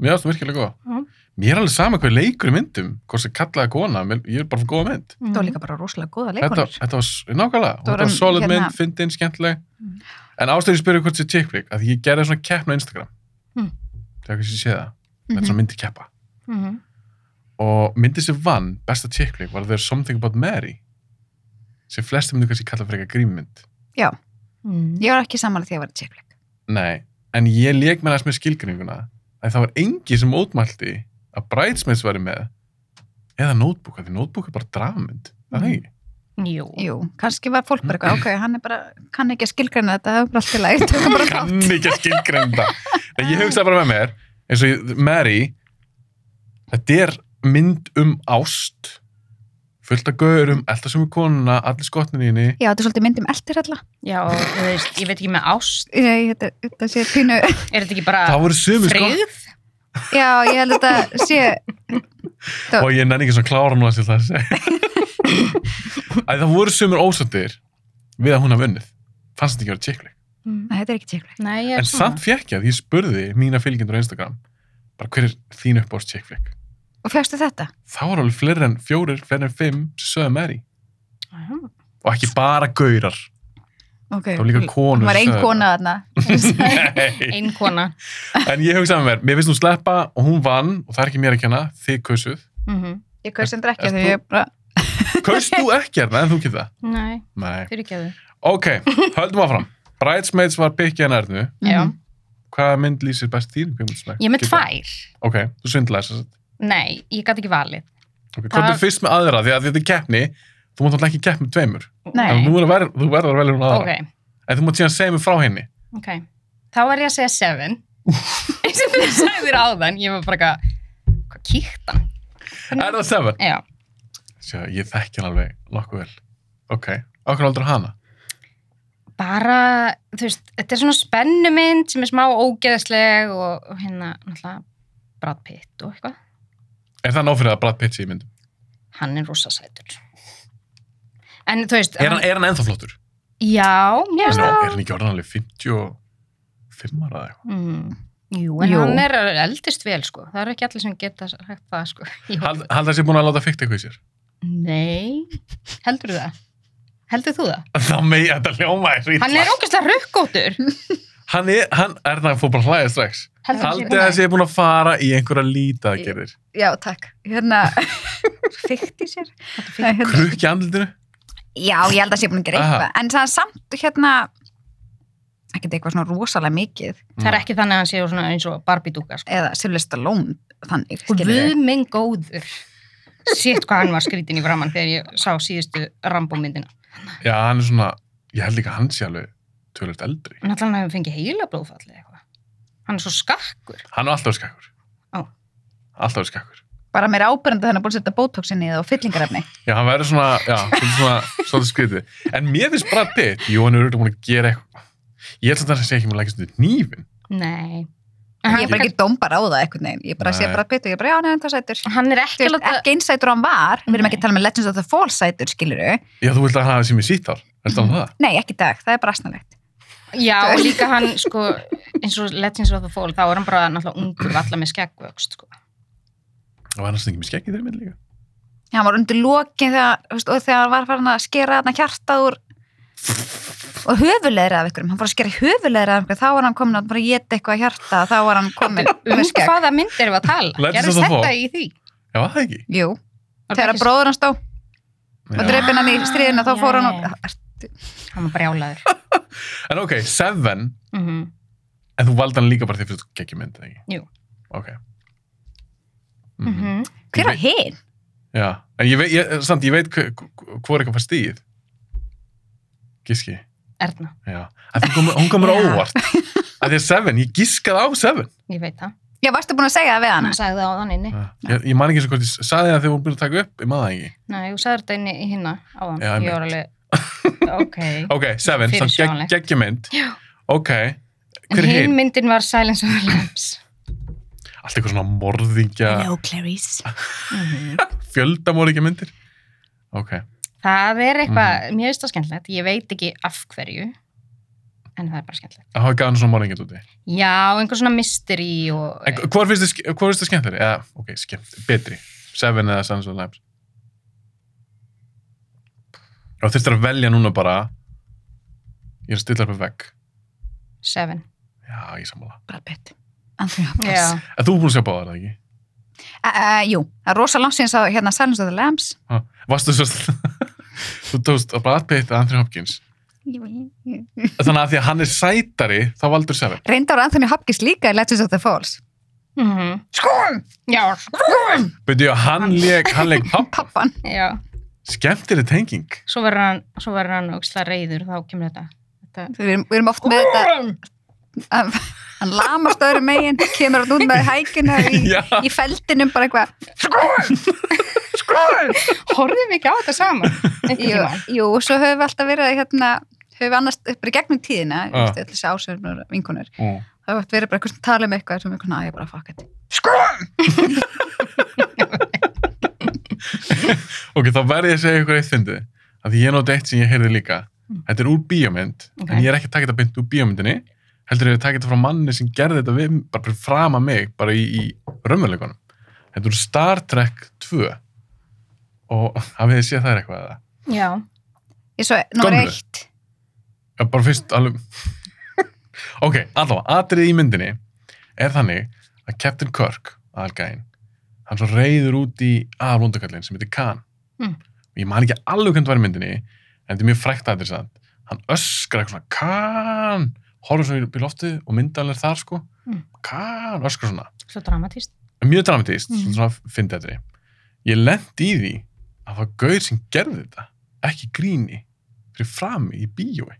A: Mér finnst það virkilega góða.
B: Mm.
A: Mér er alveg sama hvað leikur í myndum, hvort sem kallaði kona, mér- ég er bara fyrir góða mynd.
B: Mhm.
C: Það var líka bara rosalega góða
A: Mhm. þetta,
C: leikonur.
A: þetta var s- nákvæmlega,
C: var
A: þetta var
C: um,
A: solid
C: hérna-
A: mynd, fyndin, skemmtileg
C: Mm.
A: en ástæður spyrir hvort sér tikkvík að ég gerði svona keppn á Instagram
B: Mm.
A: þegar kannski sé það, þetta er
C: Mhm.
A: svona myndi keppa
B: Mhm.
A: og myndi sem vann besta tikkvík var There's Something About Mary sem flesti myndu kannski kalla fyrir eitthvað grímmynd
B: Mm.
C: Ég var ekki samanlega því að ég var tikklik.
A: nei, en ég leik með þess með skilgreininguna að það var engi sem ótmælti að Bridesmaids væri með eða Notebook, af því Notebook er bara drafmynd það er
B: Mhm.
A: ekki,
B: Jú.
C: Jú, kannski var fólk bara
A: Mhm.
C: eitthvað, ok, hann er bara, kann ekki að skilgræna þetta, það er bara allt í lagi, tökum bara þátt.
A: kann ekki að skilgreinda en ég hugsaði bara með mér eins og ég- Mary þetta er mynd um ást fullt af gaurum alltaf sem er konuna, allir skotninni inni
C: Já, þetta er svolítið um myndum eldir alla.
B: Já, og þú veist, ég veit ekki með ást,
C: Nei, þetta, þetta sé pínu,
B: er þetta ekki bara
A: það sko. voru sömu skot
B: frið?
C: já, ég held að þetta sé,
A: og ég nenni ekki svona klára nú að sér það að segja Æ, það voru sömur ósöndir við að hún hafa unnið fannst þetta ekki að vera tjekkleik
B: Mm.
C: Nei, þetta er ekki tjekkflik.
B: Nei, ég er
A: en samt
B: svona.
A: fekk ég að því ég spurði mína fylgjendur á Instagram bara hver er þín uppbóst tjekkleik
C: Og fegstu þetta?
A: þá var alveg fleiri en fjórir, fleiri en fimm sem sögðu Mary
B: Já.
A: og ekki bara gaurar,
C: Ok.
A: það var líka konur
C: Það var
A: sem
C: ein
A: sögðu
C: kona þarna.
A: þetta. Nei.
B: Ein kona.
A: En ég hugsaði með mér, mér finnst hún sleppa og hún vann og það er ekki mér að kenna, þið kausuð.
B: Mm
C: Ég kaus hendur ekki
A: Ert
C: þegar ég bara...
A: Kaust þú ekki hérna en þú getur það?
B: Nei,
A: Nei.
B: fyrir ekki að
A: Ok, höldum áfram. Bridesmaids var byggja en erðnu.
B: Já.
C: Mhm.
A: Hvaða mynd lýsir best þín? kvikmyndsmekk?
B: Ég er með
A: Getur-
B: tvær.
A: Ok, þú svindlaði þess að.
B: Nei, ég gæti ekki valið.
A: Okay.
B: Það-
A: Hvað er fyrst með aðra? Því að þetta er keppni, þú mátt alltaf ekki kepp með tveimur. En
C: Nei.
A: þú verður að ver- þú verður að velja hún aðra.
B: Ok,
A: En þú mátt síðan segja mig frá henni.
B: ok. Þá var ég að segja seven. Eins og þú sagðir áðan, ég var bara eitthvað, hvað kýrt hann?
A: Er það seven?
B: Já,
A: Sjá, ég þekki hann alveg nokkuð vel. Ok, okkur aldrei hana.
B: bara, þú veist, þetta er svona spennumynd sem er smá ógeðsleg og, og hérna, náttúrulega, Brad Pitt og eitthvað.
A: Er það nófrið að Brad Pitt sé í myndum?
B: Hann er rosa sætur. En þú veist,
A: Er hann, er hann ennþá flottur?
B: já, mér
A: Hann er,
B: finnst það.
A: er hann ekki orðan alveg 55 ára eða eitthvað?
B: Mm. Jú, en
C: Jú.
B: hann er eldist vel, sko. Það eru ekki allir sem geta hægt það, sko. Jú.
A: Hald, hald að sé búin að láta fykta eitthvað í sér?
B: Nei, heldur þú það? Heldur þú það?
A: Þá megi þetta hljóma er ítla.
B: Hann er ógæslega rökkóttur.
A: Hann er, hann er það að fór bara að hlæja strax. Haldið að sé búin að fara í einhverja lítadagerðir.
C: Já, takk. Hérna, fyrkt í sér. Nei, hérna-
A: Krukk í andlutinu?
C: Já, ég held að sé búin að gera
A: Aha.
C: eitthvað. En það er samt, hérna, ekkert eitthvað svona rosalega mikið.
B: Það
A: Mm.
B: er ekki þannig að hann séu svona eins og barbidúka, sko.
C: Eða Silvestar Lón, þannig.
B: Og
C: skilurðu.
B: við minn góður. Sitt hvað hann var skrítin í framann þegar ég sá síðustu Rambo-myndina.
A: Já, hann er svona, ég held líka að hann sé alveg tölvöld eldri.
B: En allan hefur fengið heila blóðfalli eitthvað. Hann er svo skakkur.
A: Hann er alltaf skakkur.
B: Á.
A: Alltaf skakkur.
C: Bara mér ábyrjandi þannig að búin að setja bótóksinni eða fyllingarefni.
A: Já, hann verður svona, já, svolítið svona, svolítið skrítið. En mér finnst Brad Pitt, jú, hann er auðvitað búin að gera eitthvað. Ég held samt að hann sé ekki með lækist undir nýfin.
B: Nei.
C: Ég er
B: Hann,
C: bara ekki dómbar á það eitthvað neginn. Ég bara sé
A: Nei.
C: bara að pita, ég bara, já, neðan það sætur.
B: hann er ekki að
C: Þú veist,
B: láta...
C: ekki eins sætur og hann var. Við erum
B: Nei.
C: ekki að tala með Legends of the Fall sætur, skiluru.
A: Já, þú vilt að hann hafi sem ég sítt ár. Erstu
B: Mhm.
A: hann það?
C: Nei, ekki í dag, það er bara asnalegt.
B: eh, Já, og líka hann, sko, eins og Legends of the Fall, þá er hann bara náttúrulega ungur, allar með skeggvöxt, sko.
A: Og hann er svona ekki með skeggið þeirri mynd líka.
C: Hann var undir lokin þegar, þú veist, og þegar hann var farin að skera hann hjartað úr og höfulegra af ykkurum, hann fór að skera höfulegra af ykkurum, þá var hann komin að bara geta eitthvað hjarta, þá var hann komin
B: Um
C: með skegg.
B: hvaða mynd erum við að tala?
A: Legends of
B: Gerðist
A: the Fall.
B: þetta í því?
A: Já, var það ekki?
C: Jú,
B: Var
C: þegar
B: þetta ekki-
C: bróður hans dó og
A: Já.
C: dreipin hann í stríðinu, þá
B: Ah,
C: fór
B: já,
C: hann
B: já.
C: og...
B: Hann var brjálaður.
A: En ok, Seven,
B: Mm
A: en þú valdi hann líka bara því fyrir þú geggjum mynd, eða ekki?
B: Jú.
A: Ok. Mm
B: -hmm.
C: Hver var hinn?
A: Já, en ég veit, ég, samt, ég veit hver- hvor eitthvað fær stíð. Giski,
B: Erna,
A: já. Að því hún kom- hún komur
C: Já.
A: óvart. Að því að Seven, ég giskaði á Seven.
B: ég veit það.
C: Já, varstu búin að segja það við hana?
B: Hann sagði það á þann inni.
A: Já. Ég, ég man ekki eins og hvort ég saði það þegar hún byrjaði að taka upp, ég maður það ekki.
B: Nei, þú sagði þetta inni í hinna á þann.
A: Já,
B: ég var alveg, ok.
A: Ok, Seven, samt gegg,
B: Fyrirsjáanleg.
A: geggjum mynd.
B: Já.
A: Ok,
B: En
A: hver er hinn?
B: hinn myndin var Silence of the Lambs.
A: Allt eitthvað svona morðingja,
C: No, Clarice.
B: Mhm.
A: fjöldamorðingja myndir. Ok,
B: Það er eitthvað,
A: Mm.
B: mér finnst það skemmtilegt. Ég veit ekki af hverju, en það er bara skemmtilegt.
A: það hafa gæðan svona morðingja úti.
B: Já, einhver svona mystery og...
A: En hvað finnst þið hvað finnst þér skemmtilegri? Eða, ok, skemmt, betri. Seven eða Sons of the Lambs. Og þurftir að velja núna bara ég er að stilla upp með vegg.
B: Seven.
A: Já, ég sammála.
C: Brad Pitt. Anthony Hopkins.
B: Já.
A: En þú er búin að sjá báðar, eða ekki?
C: Uh, jú, það er rosa langt síðan sá hérna Silence of the Lambs.
A: Ha, Varstu svo þú tókst að Brad Pitt að Anthony Hopkins. Þannig að því að hann er sætari, þá valdur Seven.
C: Reyndar Anthony Hopkins líka í Legends of the Falls.
B: Mm
A: Sko!
C: Skoðum!
B: Já,
A: Beidu, hann leik, hann leik papp.
C: Pappan.
B: já.
A: Skemmtileg tenging.
B: Svo verður hann, svo verður hann ógislega reyður, þá kemur þetta. þetta...
C: Við erum, við erum oft
A: Sko!
C: með þetta, að- hann lamast öðru megin, kemur hann út með hækina í,
A: Já.
C: í feldinum bara eitthvað. Skoðum! Skoðum!
B: Horfum við ekki á þetta saman? Einhvern
C: Jú,
B: tímann?
C: jú, og svo höfum við alltaf verið hérna, höfum við annars bara í gegnum tíðina,
A: Já.
C: uh. þessi ásöfnur vinkunur,
A: Mm.
C: þá höfum við verið bara eitthvað sem tala um eitthvað sem eitthvað, að ég bara fuck it.
A: Sko! Ok, þá verð ég að segja ykkur eitt fyndið. Af Því ég er nátt eitt sem ég heyrði líka.
B: Mm.
A: þetta er úr bíómynd
B: Ok.
A: en ég er ekki að taka þetta beint úr bíómyndinni heldur ég að taka þetta frá manni sem gerði þetta við, bara fyrir frama mig, bara í, í raunveruleikunum. Þetta er úr Star Trek 2 og hafið þið séð það eitthvað eða?
B: Já.
C: Ég svo, nummer
A: Gömlu.
C: eitt.
A: Já, bara fyrst alveg ok, allavega, atrið í myndinni er þannig að Captain Kirk aðalgæðin, hann svo reyður út í aðalvondakallin sem heitir Khan
B: Mm.
A: og ég man ekki alveg hvernig það var í myndinni en þetta er mjög frækt atrið sann hann öskrar eitthvað svona Khan horfður svo í- upp í loftið og myndanlega þar sko
B: Mm.
A: Khan, öskrar svona
B: Svo dramatíst.
A: mjög dramatíst,
B: Mhm.
A: svona fyndi þetta ég lendi í því að það var gauð sem gerði þetta, ekki gríni fyrir frami í bíói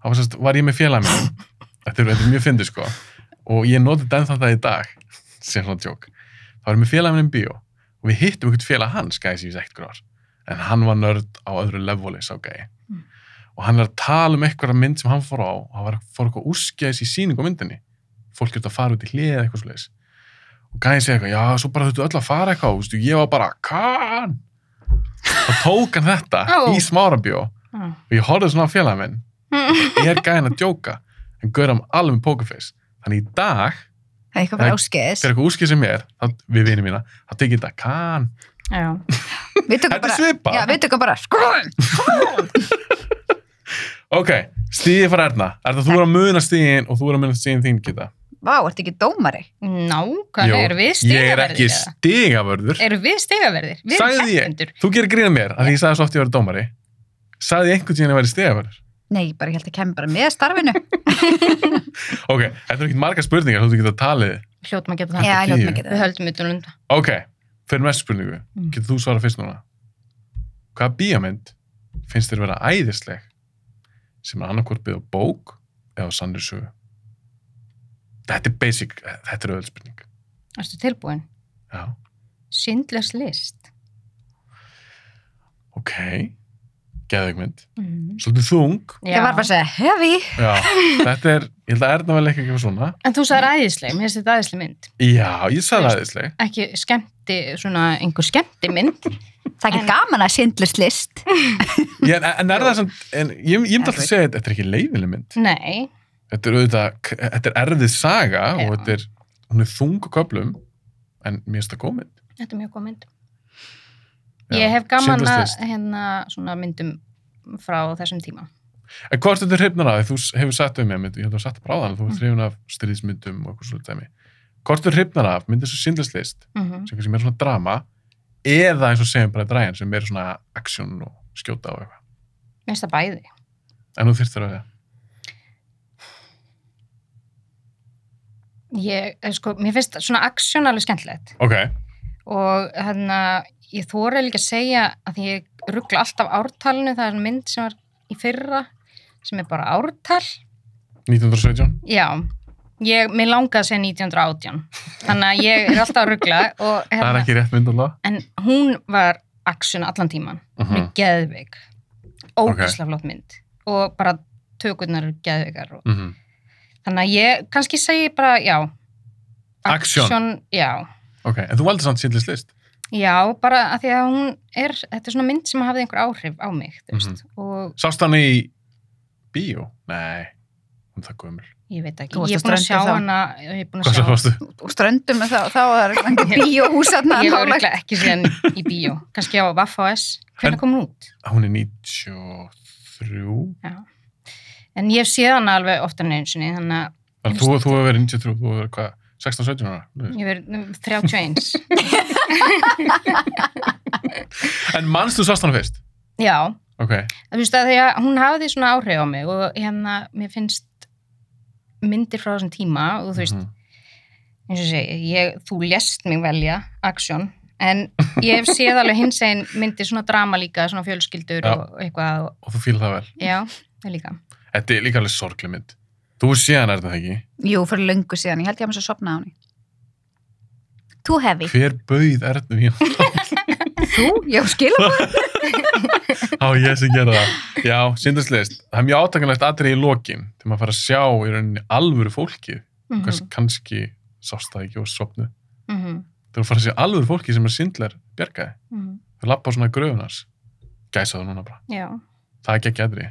A: þá var, sérst, var ég með félag minn þetta er, þetta er mjög fyndi sko og ég noti þetta ennþá það í dag sem svona tjók, þá var ég með félag minn í bíó og við hittum einhvern félag hans gæði sem ég segt gróðar, en hann var nörd á öðru levoli sá gæði
B: Mm.
A: og hann er að tala um eitthvað mynd sem hann fór á og hann var, fór eitthvað úskjæðis í sýningu á myndinni fólk er að fara út í hlið eða eitthvað svoleiðis og gæðin segja eitthvað, já, svo bara þurftu öll að fara eitthvað, og, veistu, ég var bara, kann þá tók hann þetta
B: Ó.
A: í smárabjó
B: Já.
A: og ég horfði svona á félag minn ég er gæðin að djóka en gauður hann alveg með pokerface þannig í dag,
C: Það er eitthvað bara
A: Það-
C: áskeiðis.
A: þegar eitthvað úskið sem ég er þá, við vinið mína, þá tekið þetta kann
B: Já.
C: Við tökum
A: þetta er
C: bara,
A: svipa
C: já, við tökum bara, sko,
A: ok, stíði fyrir Erna Erna, þú er að muna stíðin og þú er að muna stíðin þín geta
C: vá, ertu ekki dómari?
B: Nákvæmlega, erum við
A: ég er ekki
B: stigaverðir? eða? Eh.
A: stígavörður
B: Erum við stigaverðir? Við
A: Sagði
B: erum
A: ég.
B: keppendur.
A: þú gerir gríða mér, af því ég sagði svo oft ég verið dómari sagði ég einhvern tíðan að verið stígavörður
C: Nei, ég bara, ég held að kemur bara með starfinu.
A: ok, þetta eru ekkert margar spurningar þú getur að talið
B: Hljótum að geta það.
C: já,
A: tíu.
C: ég ljótt mikið
B: Við
C: það.
B: höldum um út og lunda.
A: ok, fyrir mest spurningu
B: Mm.
A: getur þú svarað fyrst núna hvaða bíamynd finnst þér vera æðisleg sem er annarkvort byggð á bók eða á sannri sögu þetta er basic þetta er öðvöld spurning
B: Erstu tilbúin?
A: já,
B: Sindlers list.
A: ok geðugmynd,
B: Mm.
A: svolítið þung
C: Ég var bara að segja, hefi,
A: já, þetta er, ég held að Erna vel ekki eitthvað svona
B: En þú sagði æðisleg, mér finnst þetta æðisleg mynd.
A: já, ég sagði æðisleg
B: Ekki skemmti, svona einhver skemmti mynd.
C: það er
B: En-
C: ekki gaman að sindlist list.
A: ég, en, en er það sem, en ég, ég myndi alltaf að
C: Erfið.
A: segja þetta er ekki leiðileg mynd
B: Nei,
A: þetta er auðvitað, þetta er erfið saga og
B: Já.
A: þetta er, hún er þung á köflum en mér finnst það góð mynd
B: þetta er mjög góð mynd.
A: Já,
B: Ég hef gaman
A: Schindler's
B: að
A: List.
B: hérna svona myndum frá þessum tíma.
A: En hvort þetta hrifnar af, því? þú hefur sagt um mig, mynd, ég hef það sagt bara á þannig, þú
B: Mm.
A: hefur hrifnar af stríðismyndum og eitthvað svolítið dæmi. Hvort þú hrifnar af, myndir svo síndlæslist,
B: Mm
A: sem kannski meira svona drama, eða eins og segjum bara dræjan, sem meira svona aksjón og skjóta og eitthvað.
B: Mér finnst það bæði.
A: En þú þyrst þér að það.
B: Ég, eh, sko, mér finnst svona aksjón alveg skemmtilegt
A: Ok,
B: og hérna, ég þóra líka að segja að ég ruggla alltaf ártalinu, það er mynd sem var í fyrra sem er bara ártal
A: 1917.
B: Já, ég, mér langaði að segja 1918 þannig að ég er alltaf að ruggla og
A: Það er
B: hérna,
A: ekki rétt mynd alveg.
B: en hún var aksjón allan tíman,
A: Uh
B: hún er geðveik ógæslega flott mynd og bara tökurnar eru geðveikar og,
A: mhm.
B: þannig að ég kannski segi bara, já
A: Action.
B: action, já,
A: Ok, en þú valdi samt síndlæslist.
B: já, bara að því að hún er, þetta er svona mynd sem hafði einhver áhrif á mig, þú veist
C: Mhm.
B: og
A: Sást hann í bíó? Nei, hún er það gömul.
B: ég veit ekki,
C: Þú varst
B: ég
C: á
B: er búin að sjá
C: ströndinni þá.
B: hana ég er búin að
A: Hvað
B: sjá
A: sér fórstu?
C: Og ströndum með þá, þá er ekki bíóhúsarna.
B: Ég hef
C: nálægt.
B: örgulega ekki séð hann í bíó. Kannski á Vaff S.
A: En-
B: Hvernig kom hún út?
A: Ah, Hún er 93.
B: En ég hef séð hann alveg oftar en einu sinni, þannig að
A: Þannig að þú- þú hefur verið 93, þú hefur verið hvað, 16-17
C: Mm.
A: ára?
B: ég um verið 31.
A: En manst þú sást hann fyrst?
B: Já,
A: Ok,
B: þú veist að því að hún hafði svona áhrif á mig og hérna, mér finnst myndir frá þessum tíma og þú veist,
A: Mhm.
B: eins og ég segi, ég, þú lest mig velja aksjón, en ég hef séð alveg hins einn myndir svona drama líka, svona fjölskyldur
A: Já.
B: og eitthvað og,
A: og þú fýlar það vel.
B: já, það líka.
A: Þetta er líka alveg sorgleg mynd. Þú sé hann er þetta ekki.
C: Jú, fyrir löngu síðan, ég held ég að maður svo sopna á henni. Þú hefi.
A: Hver bauð er þetta mér?
C: Þú? Já, skilum.
A: Á, ég sem gera það. Já, síndarslegist. Það er mjög átakanlegt atrið í lokin til maður fara að sjá í rauninni alvöru fólkið.
B: Mm
A: Kans, kannski sást það ekki og sopnu.
B: Mm -hmm.
A: Þegar maður fara að sjá alvöru fólkið sem er síndlar bjargaði.
B: Mm -hmm.
A: Þau lappa á svona gröfunars. Gæsa það núna bara.
B: Já,
A: það er ekki ekki aðri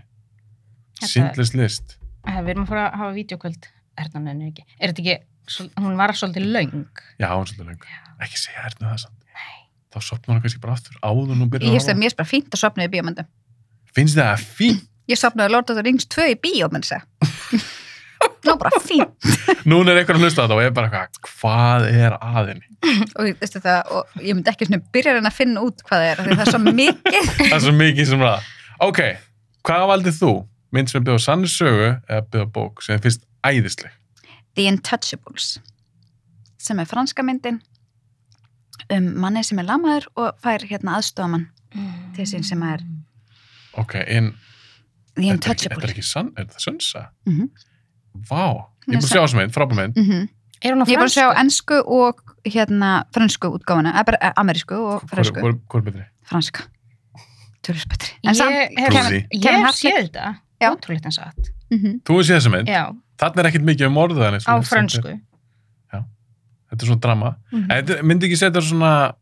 B: Þetta-
A: sindlist list
B: Eh, Við erum að fara að hafa vídeokvöld. Er þetta nefnir ekki? Er þetta ekki, svol- hún var svolítið löng.
A: já, hún er svolítið löng, ekki segja ernu það samt þá sopnar hún kannski bara aftur áður en hún byrjar
C: Ég
A: að
C: veist að
A: horfa.
C: mér er bara fínt að sopna í bíómyndum.
A: finnst þið það fínt
C: Ég sopnaði Lord of the Rings 2 í bíómynd, segja. Nó bara fínt.
A: núna er einhver að hlusta á þetta og er bara eitthvað hvað er aðinni,
C: Og, ég- veistu, það, og ég myndi ekki svona byrja að reyna að finna út hvað það er. af því Það er svo mikið.
A: það er svo mikið sem ræða ok, hvað valdið þú mynd sem byrða sannir sögu eða byrða bók sem þið finnst æðisleg
C: The Untouchables, sem er franska myndin um manni sem er lamaður og fær hérna aðstofamann. Til sín sem er-
A: ok, en þetta er ekki,
C: The
A: þetta er
C: Untouchables.
A: ekki sann, er þetta sönsa?
C: Mhm.
A: Vá, ég
C: Hún
A: er
C: er
A: búin að sjá þessu mynd, frábæð mynd
C: Mm
B: Er hún á
C: Ég er bara að sjá
B: fransku?
C: ennsku og hérna fransku útgáfuna, eða bara eh, amerísku og
A: Hvor-
C: fransku,
A: hvor hvor er betri?
C: franska. Tölvist betri. En samt,
B: Ég hef
A: Trúði.
B: ég
C: Kevin
B: hef
C: Hartnett.
B: séð þetta.
C: Já.
B: Ótrúlegt en satt.
C: mm -hmm.
A: Þú hefur séð þessu mynd,
B: Já,
A: þarna er ekkert mikið um orðuðan
B: á fransku.
A: Þetta er svona drama,
B: Mhm.
A: En þetta myndi ekki setja svona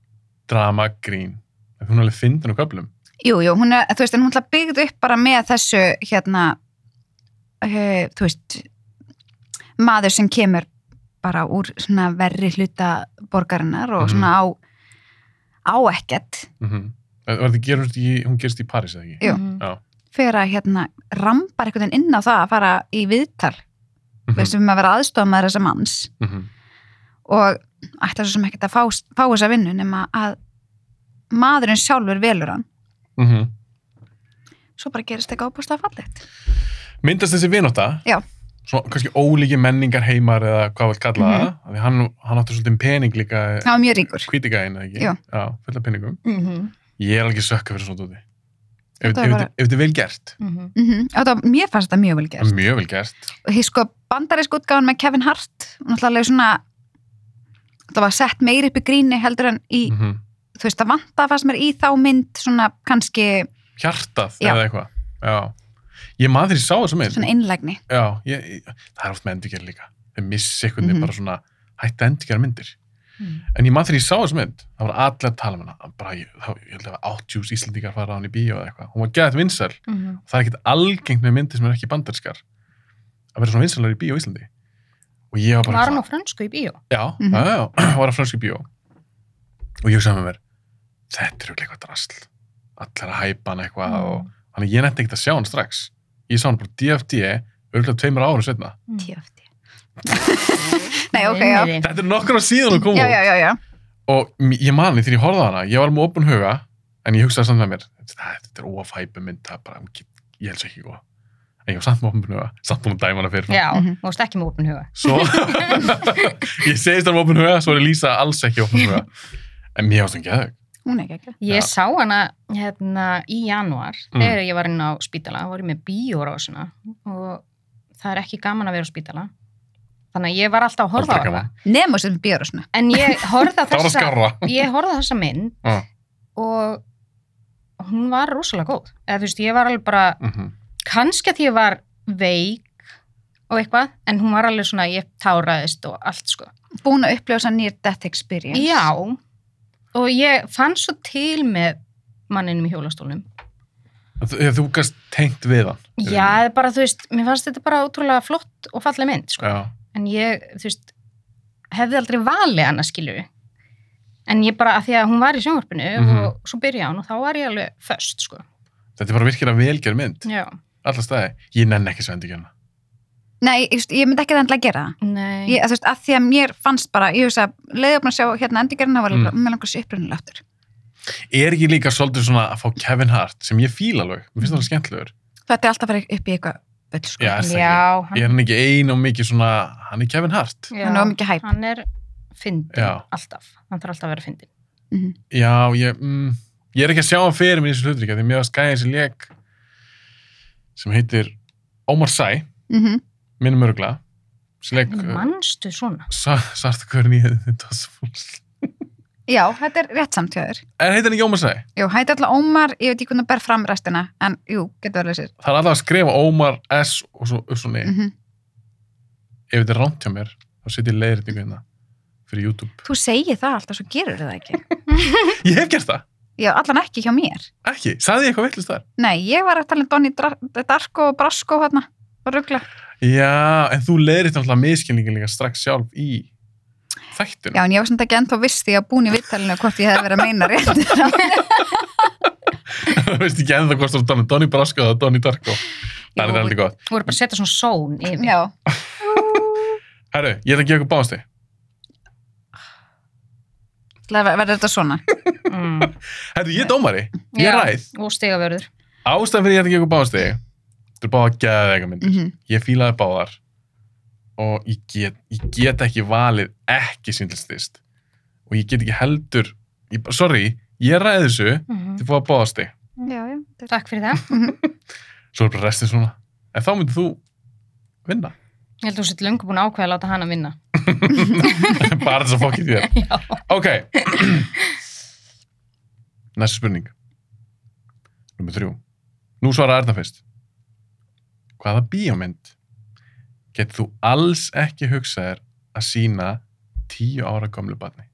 A: drama grín Ef hún er alveg fyndin á köflum
C: Jú, jú, hún er, þú veist, en hún ætla byggð upp bara með þessu, hérna, uh, þú veist, maður sem kemur bara úr svona verri hluta borgarinnar og
A: Mhm.
C: svona á, á ekkert,
A: mm -hmm. Þetta gerur í, hún gerist í París eða ekki
C: Jú.
B: Mhm.
C: fyrir að hérna rambar einhvern veginn inn á það að fara í viðtal, þú
A: Mhm,
C: veist, um að vera aðstofamaður þessa manns.
A: mhm.
C: og ætla svo sem ekkert að fá, fá þessa vinnu nema að maðurinn sjálfur velur hann
A: Mhm.
C: svo bara gerist eitthvað ábústlega fallegt
A: Myndast þessi vinóta
C: Já.
A: Svona kannski ólíki menningar heimar eða hvað við
C: Mhm.
A: kalla það mm -hmm. hann, hann átti svolítið um pening líka
C: það var mjög ríkur
A: kvítigæðin eða ekki
C: Jú.
A: Já, fulla peningum
B: Mhm.
A: Ég er alveg sökka fyrir svona dóti Ef ef
C: Þetta er
A: þetta
C: bara-
A: ef þetta er vel gert
B: Mhm.
C: mm -hmm. mér fannst þetta mjög vel
A: Það er
C: gert
A: Mjög vel gert
C: og því sko bandarísk útgáðan með Kevin Hart náttúrulega svona það var sett meiri upp í gríni heldur en í
A: mm
C: þú veist það vanta fannst mér í þá mynd svona kannski
A: Hjartað
C: Já.
A: eða eitthvað Já Ég maður þegar ég sá þessu mynd
C: svona innlægni
A: Já, ég, ég- það er oft með endurgerð líka. Þau missi einhvern veginn
C: Mhm.
A: bara svona hætti að endurgerða myndir.
B: Mhm.
A: En ég maður þegar ég sá þessu mynd, það var allir að tala um hana. Bara, ég, þá, ég held að 80 íslendingar fara á hann í bíó eða eitthvað. Hún var geðað vinsæl.
B: Mhm.
A: Það er ekkert algengt með myndir sem er ekki bandarskar. Að vera svona vinsælar í bíó í Íslandi. Og ég var bara...
B: Var hún á
A: eitthvað-
B: fransku í bíó?
A: Já,
C: Mhm.
A: já, já, já, var að fransku bíó og ég hugsaði með mér þetta er auðvitað eitthvað drasl allar að hæpa hann eitthvað
B: Mhm.
A: og þannig að ég nætti ekkert að sjá hann strax ég sá hann bara DFD auðvitað tveimur árum setna
B: Mhm.
C: TFT nei ok já
B: Nei, nei.
A: þetta er nokkur á síðan að koma
C: já já já, já.
A: og m- ég mani þegar ég horfði á hana ég var með opun huga en ég hugsaði samt með mér þetta þetta er óafæpu mynd það er bara, hún get- ég helst ekki góð en ég var samt með opun huga samt búin að dæma hana fyrir
B: Já,
C: Mhm.
B: þú varst ekki með opin huga.
A: svo ég segist hann með opun huga svo er Lisa alls ekki opun huga en mér ást hann geðug
C: hún er ekki ekki
A: Já.
B: Ég sá hana hérna í janúar
A: Mm.
B: þegar ég var inn á spítala, þá var ég með bíórásina og það er ekki gaman að vera á spítala. Þannig að ég var alltaf að horfa á
A: Aldrei
B: hana.
A: gaman.
C: nema sem bíóra svona
B: En ég horfði að
A: það var að
B: þessa,
A: skarra
B: ég horfði að þessa mynd
A: Já.
B: og hún var rosalega góð. Eða þú veist, ég var alveg bara,
A: Mhm.
B: kannski að ég var veik og eitthvað, en hún var alveg svona, ég táraðist og allt sko.
C: búin að uppljósa nýr death experience
B: Já, og ég fann svo til með manninum í hjólastólnum
A: En Þú, þú gast tengt við hann. í
B: Já,
A: rauninni.
B: það er bara, þú veist, mér fannst þetta bara ótrúlega flott og falleg mynd, sko.
A: Já.
B: En ég, þú veist, hefði aldrei valið hana, skilju. En ég bara, að því að hún var í sjónvarpinu
A: Mhm.
B: og svo byrja hún og þá var ég alveg föst, sko.
A: Þetta er bara virkilega velgerð mynd.
B: Já.
A: Alla staði. Ég nenn ekki svendi ekki hana.
C: Nei, ég, ég myndi ekki það endilega gera það.
B: Nei.
C: Ég, að þú veist, að því að mér fannst bara, ég veist að leiði upp að sjá hérna endurgerðina var
A: Mm.
C: mm. með langar sér upprunnið aftur.
A: Er ekki líka svolítið svona að fá Kevin Hart sem ég fíla alveg. Mér finnst það alveg skemmtilegur.
C: Þetta er alltaf að fara upp í eitthvað bull, sko.
A: Já, er það ekki?
B: Já, hann,
A: Er hann ekki ein og mikið svona, hann er Kevin Hart?
B: já,
C: Hann er of mikið hæp.
B: hann er fyndin,
A: Já.
B: alltaf. Hann þarf alltaf að vera fyndin.
C: Mhm.
A: Já, ég, mm, ég er ekki að sjá hann fyrir mér í þessu hlutríkja því mér var skæðið þessi leik sem heitir Omar Sæ,
C: Mhm.
A: minnum örgla. Þessi leik,
B: En Manstu
A: uh,
B: svona?
A: sartakurinn í þetta svúls.
C: Já, þetta er rétt samt hjá þér.
A: En heitir hann ekki Omar Sæ?
C: Jú, hætti alltaf Ómar, ég veit ekki hvernig að ber fram restina, en jú, getur verið sér.
A: Það er alltaf að skrifa Omar S og svo, og svo niður.
C: Mm
A: ef þetta er rámt hjá mér þá setjum ég leiðréttingu hérna fyrir YouTube
C: Þú segir það alltaf, svo gerur það ekki.
A: ég hef gert það
C: já, allan ekki hjá mér
A: Ekki, sagði ég eitthvað veitlust þar?
C: nei, ég var að tala um Donnie Dra- Darko og Brasco hérna og ruggla
A: Já, en þú leiðir þetta alltaf miskilningin líka strax sjálf í þættinu.
C: já, en ég var samt ekki ennþá viss því að búin í vittalinu hvort ég hefði verið að meina rétt
A: Þú veist ekki ennþá hvort þú ert Donny, Donny Brasco eða Donny Darko. Það er
B: Jú.
A: þetta aldrei gott.
B: Þú voru bara að setja svona són yfir.
C: já,
A: Herru, ég ætla að gefa ykkur báðasti.
C: ætla að ver- verður þetta svona
B: Mm.
A: Herru, ég er dómari. Ég
B: Já,
A: ræð.
B: Og stigavörður.
A: Ástæðan fyrir ég ætla að gefa ykkur báðasti. Þú er báða að geða þegar myndir.
C: mm
A: Ég fílaði báðar. Og ég get, ég get ekki valið ekki síndlistist. Og ég get ekki heldur... Ég, bara- sorry, ég ræði þessu
B: Mhm.
A: til að fá báðasti.
C: já, já, þetta
B: Takk fyrir það.
A: Svo er bara restin svona. En þá myndir þú vinna.
B: Ég held að þú sett löngu búin að ákveða að láta hana vinna.
A: bara þess að fokkið þér
B: Já.
A: ok næsta spurning nummer þrjú nú svara Arna fyrst hvaða bíómynd getur þú alls ekki hugsað þér að sína tíu ára gömlu barni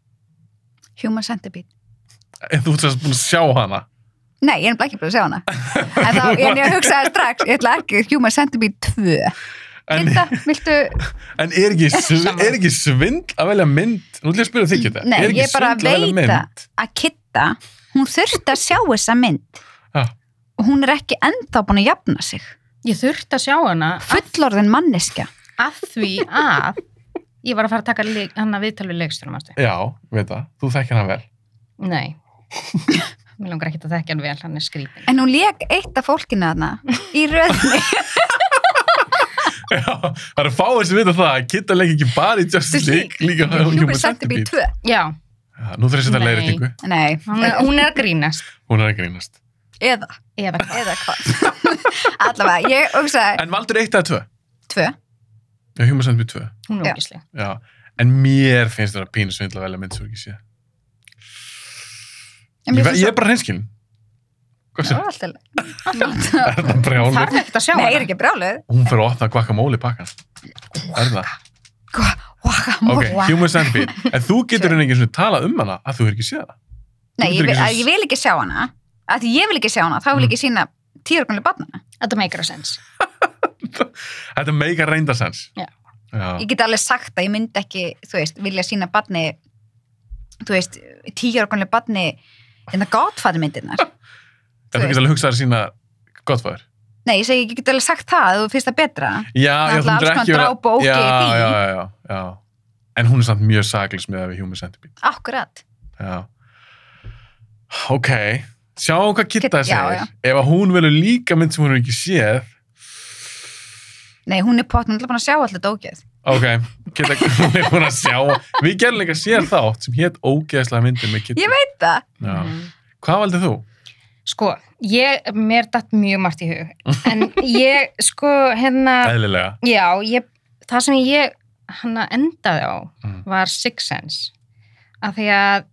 C: human centipede
A: en þú ert sérst búin að sjá hana
C: Nei, ég er nefnilega ekki bara að segja hana. En þá, en ég hugsaði strax, ég ætla ekki Human Centipede 2.
A: en,
C: Linda, viltu,
A: en er, ekki, sv-
B: Sammála.
A: er ekki svindl að velja mynd nú ætlum ég að spyrja þig þetta
C: Nei,
A: er ekki
C: ég
A: svindl
C: bara
A: að velja
C: veit að-
A: mynd
C: að Kitta, hún þurfti að sjá þessa mynd.
A: Já.
C: Og hún er ekki ennþá búin að jafna sig.
B: Ég þurfti að sjá hana
C: Fullorðin manneskja.
B: að því að ég var að fara að taka leik, hann að viðtal við leikstjórum ástu.
A: já, ég veit það, þú þekkir hann vel
B: Nei. Mér langar ekki að þekka hann vel, hann er skrítin.
C: En hún lék eitt af fólkinu þarna í röðni.
A: Já, það eru fáið sem vita það að Kidda leik ekki bara í Justice League, líka
C: Human Centipede 2.
B: Já,
A: Já, nú þurfum við að setja
B: Nei.
A: leiðréttingu,
C: Nei,
B: hún er, hún er að grínast.
A: hún er að grínast.
C: eða,
B: Eða hvað?
C: eða hvað. Allavega, ég hugsaði
A: En valdur eitt eða tvö?
C: 2.
A: Já, Human Centipede 2.
B: Hún
C: Já.
B: er ógísleg.
A: Já, en mér finnst þetta pínu svindla velja mynd sem ég ekki sé. Ég, ve- ég er bara hreinskilin. Hvað sem?
C: Alltaf.
A: Er það
B: Þarf
A: brjálur?
B: ekki að sjá
C: Nei, ég er
B: hana.
C: ekki brjáluð.
A: Hún fyrir að opna guacamole pakkan. Er það?
C: Hvað?
A: Ok,
C: Guacamole.
A: Human Centipede. En þú getur henni ekki svona talað um hana að þú er ekki séð það.
C: Nei,
A: Þú
C: ég
A: getur
C: vil,
A: ekki
C: að,
A: svo-
C: ég vil ekki sjá hana af því ég vil ekki sjá hana, þá
A: Mm.
C: vil ég ekki sína týrgunlega barnana.
B: Þetta meikar að sens.
A: Þetta meikar reyndasens.
B: Já.
A: Já.
C: Ég get alveg sagt að ég myndi ekki, þú veist, vilja sína barni þú veist, týrgunlega barni en það gottfæði myndirnar.
A: En þú getur alveg hugsað að sína gottfæður.
C: Nei, ég segi, ég get alveg sagt það, ef þú finnst það betra.
A: Já, já, þú
C: Náttúrulega
A: myndir
C: alls konar
A: ekki vera...
C: dráp og ógeð í
A: Já,
C: því.
A: já, já, já, já. En hún er samt mjög saklis með að við Human Centipede.
C: Akkurat.
A: Já. Ok, sjáum hvað Kitta
C: Kidda, já,
A: segir. Ef að hún velur líka mynd sem hún er ekki séð,
C: Nei, hún er pott, hún er búin að sjá allir dókið.
A: ok, Kitta, hún er búin að sjá. Við gerum líka séð þátt sem hétt ógeðslega myndir með Kitta.
C: Ég veit það.
A: Já.
B: Mhm.
A: Hvað valdið þú?
B: Sko, ég, mér datt mjög margt í hug. En ég, sko, hérna...
A: Eðlilega.
B: Já, ég, það sem ég hana endaði á
A: Mm.
B: var Six Sense af því að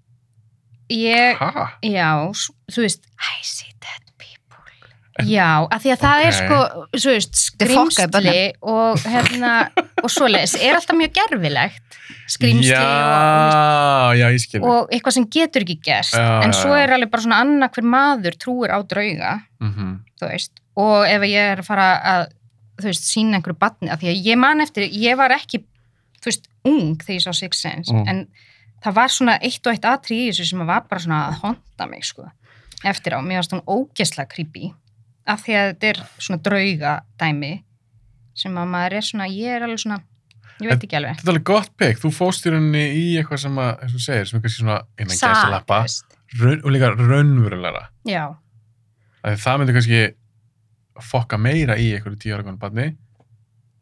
B: ég,
A: Hæ?
B: já, s- þú veist
C: I see dead people.
B: já, af því að það er
A: Ok.
B: sko þú veist,
C: er fokkað í
B: skrýmsli og hérna, og svoleiðis er alltaf mjög gerfilegt skrýmsli og,
A: Já, já, ég skil.
B: og eitthvað sem getur ekki gerst
A: Já,
B: en
A: já,
B: svo
A: já.
B: er alveg bara svona annað hver maður trúir á drauga
A: Mhm.
B: þú veist, og ef ég er að fara að, þú veist, sína einhverju batni, af því að ég man eftir, ég var ekki þú veist, ung þegar ég sá Six Sense
A: Mm.
B: en það var svona eitt og eitt atri í þessu sem var bara svona að honda mig sko, eftir á, mér varst hún ógesla creepy, af því að þetta er svona drauga dæmi sem að maður er svona, ég er alveg svona ég veit ekki alveg
A: Þetta er alveg gott pekk. Þú fóst í rauninni í eitthvað sem að, eins og þú segir, sem er kannski svona innan gæsalappa
B: Sadist.
A: raun- og líka raunverulegra.
B: já,
A: að það myndi kannski fokka meira í einhverju tíu ára konu barni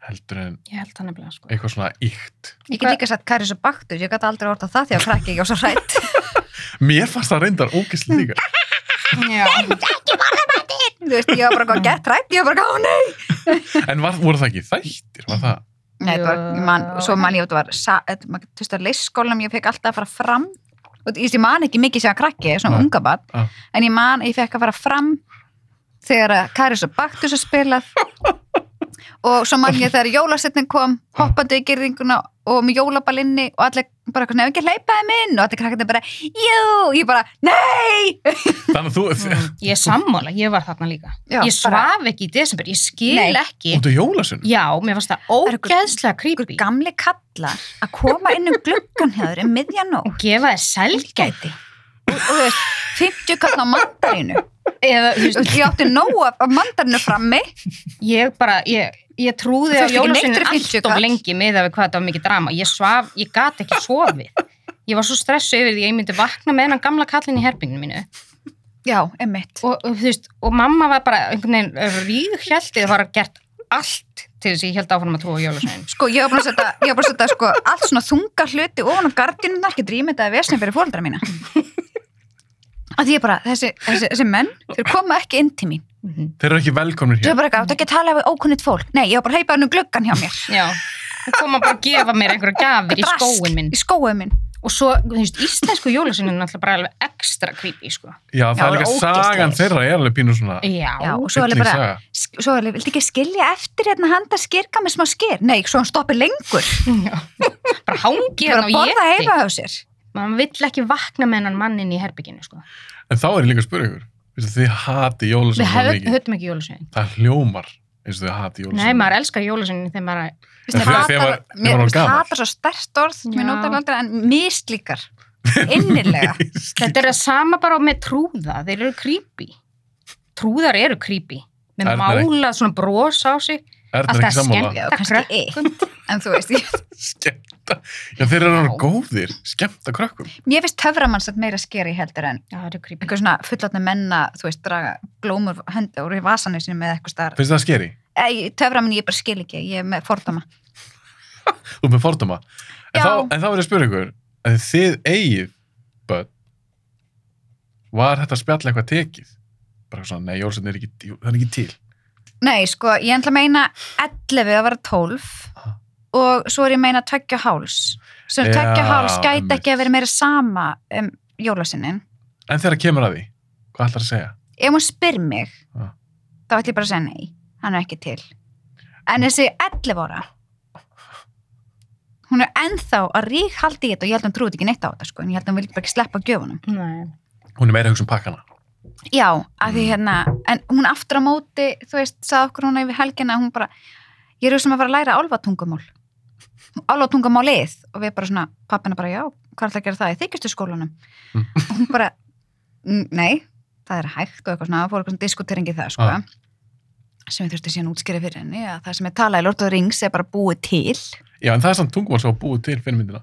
A: heldur en
B: ég held það nefnilega sko
A: eitthvað svona ykt
C: Ég get líka sagt Karis og Baktus, ég gat aldrei orðað það því að krakki ekki á svo hrætt.
A: mér fannst það reyndar ógæslega líka
B: já,
C: þú veist, ég var bara góð gett hrætt, ég var bara "Oh, góð, nei.
A: en var, voru það ekki þættir var það,
C: Nei, þetta var, ég man,
B: Já.
C: svo man ég að þetta var, sa- þetta- maður- þú veist, að leysskólanum, ég fekk alltaf að fara fram, og þú veist, ég man ekki mikið sem að krakki, svona
A: Nei.
C: unga bad,
A: Já.
C: en ég man, að ég fekk að fara fram þegar að Karis og Baktus að spilað og svo mann ég þegar jólasetnin kom hoppandi í gerðinguna og með jólaballinni og allir bara eitthvað, nefn ekki hleypaði minn og allir krakkandi bara, jú, ég bara nei,
A: Þannig að þú,
B: Mm, ég er sammála, ég var þarna líka
C: Já,
B: ég svaf
C: bara-
B: ekki í desember, ég skil
C: Nei.
B: ekki
A: út af jólasun.
B: já, mér fannst það
C: er ykkur-
B: ógeðslega
C: ykkur
B: creepy
C: gamli kallar að koma inn um gluggan hjá þér um miðjanótt
B: og gefa þér selgæti
C: og þú veist, 50 kall á mandarínu
B: eða, þú
C: Þú
B: veist,
C: veist, ég átti nóg af, af mandarínu frammi
B: ég bara, ég, ég trúði á
C: Þú fékkst ekki neitt
B: jólasveinin
C: fyrir 50
B: alltof
C: kall.
B: lengi með að við hvað þetta var mikið drama ég svaf, ég gat ekki sofið ég var svo stressu yfir því að ég myndi vakna með hennan gamla kallin í herpinginu mínu
C: já, emmitt
B: og, og, þú veist, og mamma var bara einhvern veginn eh, ríghjaldið að fara gert allt til þess að ég held áfram að trúa á jólasveinin
C: sko, ég var búin að setja, ég var búin að setja sko, allt svona þunga hluti ofan á gardinu ekki drýmið þetta að vesna fyrir fóreldra mína að ég bara, þessi, þessi, þessi menn þeir koma ekki inn til mín
B: mm
A: Þeir eru ekki velkomnir
C: Þú
A: hér.
C: er bara eitthvað, þú ekki að tala við ókunnit fólk. Nei, ég var bara að heipa hann um gluggan hjá mér.
B: já, og koma bara að gefa mér einhverja gafir í
C: Drask,
B: skóin minn
C: Í skóin minn.
B: og svo, þú veist, íslensku jólasveinin er náttúrulega bara alveg ekstra creepy, sko
A: Já, það
C: Já,
A: er líka
C: ógeðslegir.
A: sagan þeirra er alveg pínu svona.
B: já,
C: Já, og svo er alveg
A: hrylling
C: bara,
A: saga.
C: sk- svo er alveg, viltu ekki skilja eftir hérna handa skirka með smá skir? Nei, svo hann stoppi lengur.
B: bara hangi
C: Ég
B: hérna
C: er að
B: og
C: borða
B: ég
C: heima hjá sér.
B: maður vill ekki vakna með hennan mannin í herbygginu sko.
A: En þá er ég líka að spura ykkur. Veistu, Þið hati jólasun
B: við
A: svo
B: höf-
A: mikið.
B: höfum ekki jólasveinin
A: Það hljómar eins og þið hati jólasun.
B: nei, maður elskar jólasveinin þegar maður
A: En þegar- þegar var- þegar var
C: Mér
A: hún
C: finnst
A: gamall?
C: hatar svo stert orð, mér
B: Já.
C: notar aldrei, en mislíkar. Innilega.
B: þetta er það sama bara með trúða þeir eru creepy trúðar eru creepy með
A: Erna er ekki-
B: málað svona bros á sig
A: Er
B: Allt
A: það ekki
B: það
A: sammála?
B: skemmja.
C: Já, kannski eitt. En þú veist, ég,
A: Skemmta. Já, þeir eru alveg góðir. Skemmta krökkum.
C: mér finnst töframann satt meira skeri heldur en
B: já, það eru creepy
C: einhver svona fullotna menna, þú veist, draga glómur hendi úr í vasanir sinni með eitthvað starf.
A: Finnst það skeri?
C: Ei, töframann ég bara skil ekki, ég er með fordama.
A: Þú ert með fordama. En
C: Já.
A: þá, en þá er ég að spura ykkur. Að þið eigið börn. Var þetta spjall eitthvað tekið? Bara svona, nei, jólasun er ekki, það er ekki til.
C: Nei, sko, ég ætla að meina 11 að vera 12
A: Ha.
C: og svo er ég að meina tökja háls sem
A: Já,
C: tökja háls gæti
A: einmitt.
C: ekki að vera meira sama um jólasinnin.
A: En þegar kemur að því, hvað ætlar að segja?
C: Ef hún spyr mig
A: Ha.
C: þá ætla ég bara að segja nei, hann er ekki til en þessi 11 ára hún er ennþá að rík haldi í þetta og ég held að hún trúið ekki neitt á þetta sko, en ég held að hún vilja bara ekki sleppa gjöfunum.
B: Nei.
A: Hún er meira að hugsa um pakkana.
C: Já, að því
A: Mm.
C: hérna, en hún aftur á móti, þú veist, sagði okkur hún yfir helgina, hún bara, ég er sem að fara að læra álfatungumál, álfatungumálið og við bara svona, pappina bara, já, hvað er það að gera það í þykistu skólanum?
A: Mm.
C: Og hún bara, "Mm, nei, það er hægt og eitthvað svona, það fór eitthvað svona diskuteringi það, sko,
A: Ah.
C: sem ég þurfti síðan að útskýra fyrir henni, að það sem er talað í Lord of the Rings er bara búið til,
A: Já, en það er samt tungumál sem var búið til fyrir myndina.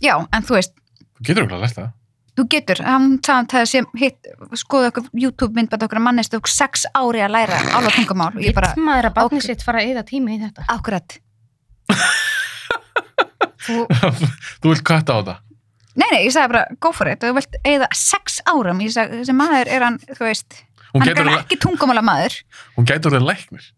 C: já, en þú veist,
A: Þú getur okkur að læsta það.
C: þú getur, hann sagði hann það sem hitt, skoðu okkur YouTube myndbætt okkur að mannist okkur sex ári að læra álfatungumál og ég bara,
B: Vill maður að barnið
C: Ok.
B: sitt fara að eyða tími í þetta
C: Akkurat.
A: þú vilt kvætta á það.
C: Nei, nei, ég sagði bara, go for it. Þú vilt eigða sex árum. Ég sagði, þessi maður er hann, þú veist,
A: Hún
C: hann er
A: getur,
C: gæmlega
A: orðið-
C: ekki tungumála maður.
A: hún getur orðið læknir.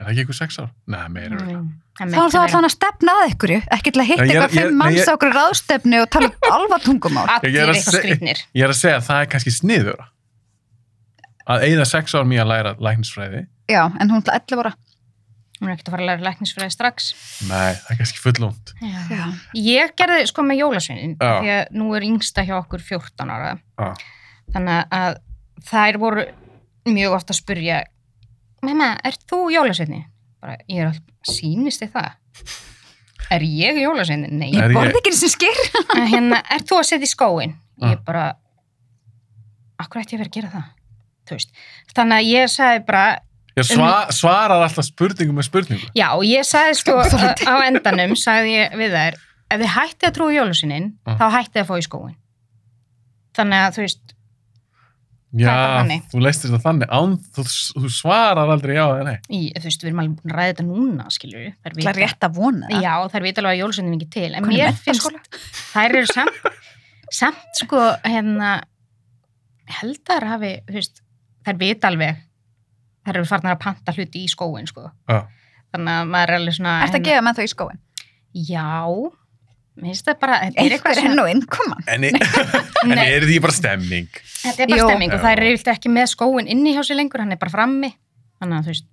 A: Er það ekki eitthvað sex ár? Nei, meira. Mm.
B: Mm. En
C: Þá er
B: mikið
C: það
B: meira.
C: allan að stefna að ykkur, ekki til að
A: Já,
C: hitta
A: ég er-
C: eitthvað
A: ég-
C: fimm
A: nei, ég-
C: manns á okkur ráðstefnu og tala um alva tungumál.
A: Ég er
B: allir
A: að
B: eitthvað
A: seg-
B: skrýtnir
A: Ég er að segja að það er kannski sniður. Að eigða sex ár mér að læra læknisfræði.
C: Já, en hún ætla 11 ára.
B: hún er ekkert að fara að læra læknisfræði strax
A: Nei, það er kannski fullónt.
B: já.
C: Já.
B: ég gerði sko með jólasveinin
A: Já.
B: því að nú er yngsta hjá okkur 14 ára
A: Já.
B: þannig að þær voru mjög ofta að spurja mamma, ert þú jólasveini? bara, ég er alltaf, sýnist þið það? er ég jólasveini? nei,
A: Er
C: Ég
A: ég-
C: borði ekki þessi skýr.
B: En hérna, ert þú að setja í skóin?
A: Já.
B: Ég bara, akkur ætti ég verið að gera það? Þú veist, þannig að ég sagði bara,
A: Ég sva, svarar alltaf spurningum með spurningu.
B: já, ég sagði sko að- á endanum, sagði ég við þær, ef þið hættið að trúa jólusininn,
A: Já.
B: þá hættið að fá í skóin. Þannig að, þú veist, bara
A: Já,
B: þannig.
A: þú leistir þetta þannig. Án, þú, þú svarar aldrei já eða nei.
B: í, þú veist, við erum alveg búin að ræða þetta núna, skilur við. Þær
C: Það er rétt að vona það.
B: Já, þær vita alveg að jólusinnin er ekki til. En
C: Hún er
B: mér finnst,
C: menntaskóla.
B: þær eru samt, samt sko, hérna, heldar hafi, þú veist, þær vita alveg, þær eru farnar að panta hluti í skóin, sko.
A: Já.
B: þannig að maður er alveg svona
C: Ertu að
B: hérna,
C: gefa með þau í skóin?
B: já, mér finnst það bara þetta er eitthvað
C: Einhver enn
B: svona,
C: og inn, koma.
A: En, en er því bara stemming?
B: þetta er bara
C: Jú.
B: stemming og
A: Já.
B: það er reyfilt ekki með skóin inni hjá sér lengur, hann er bara frammi þannig að þú veist,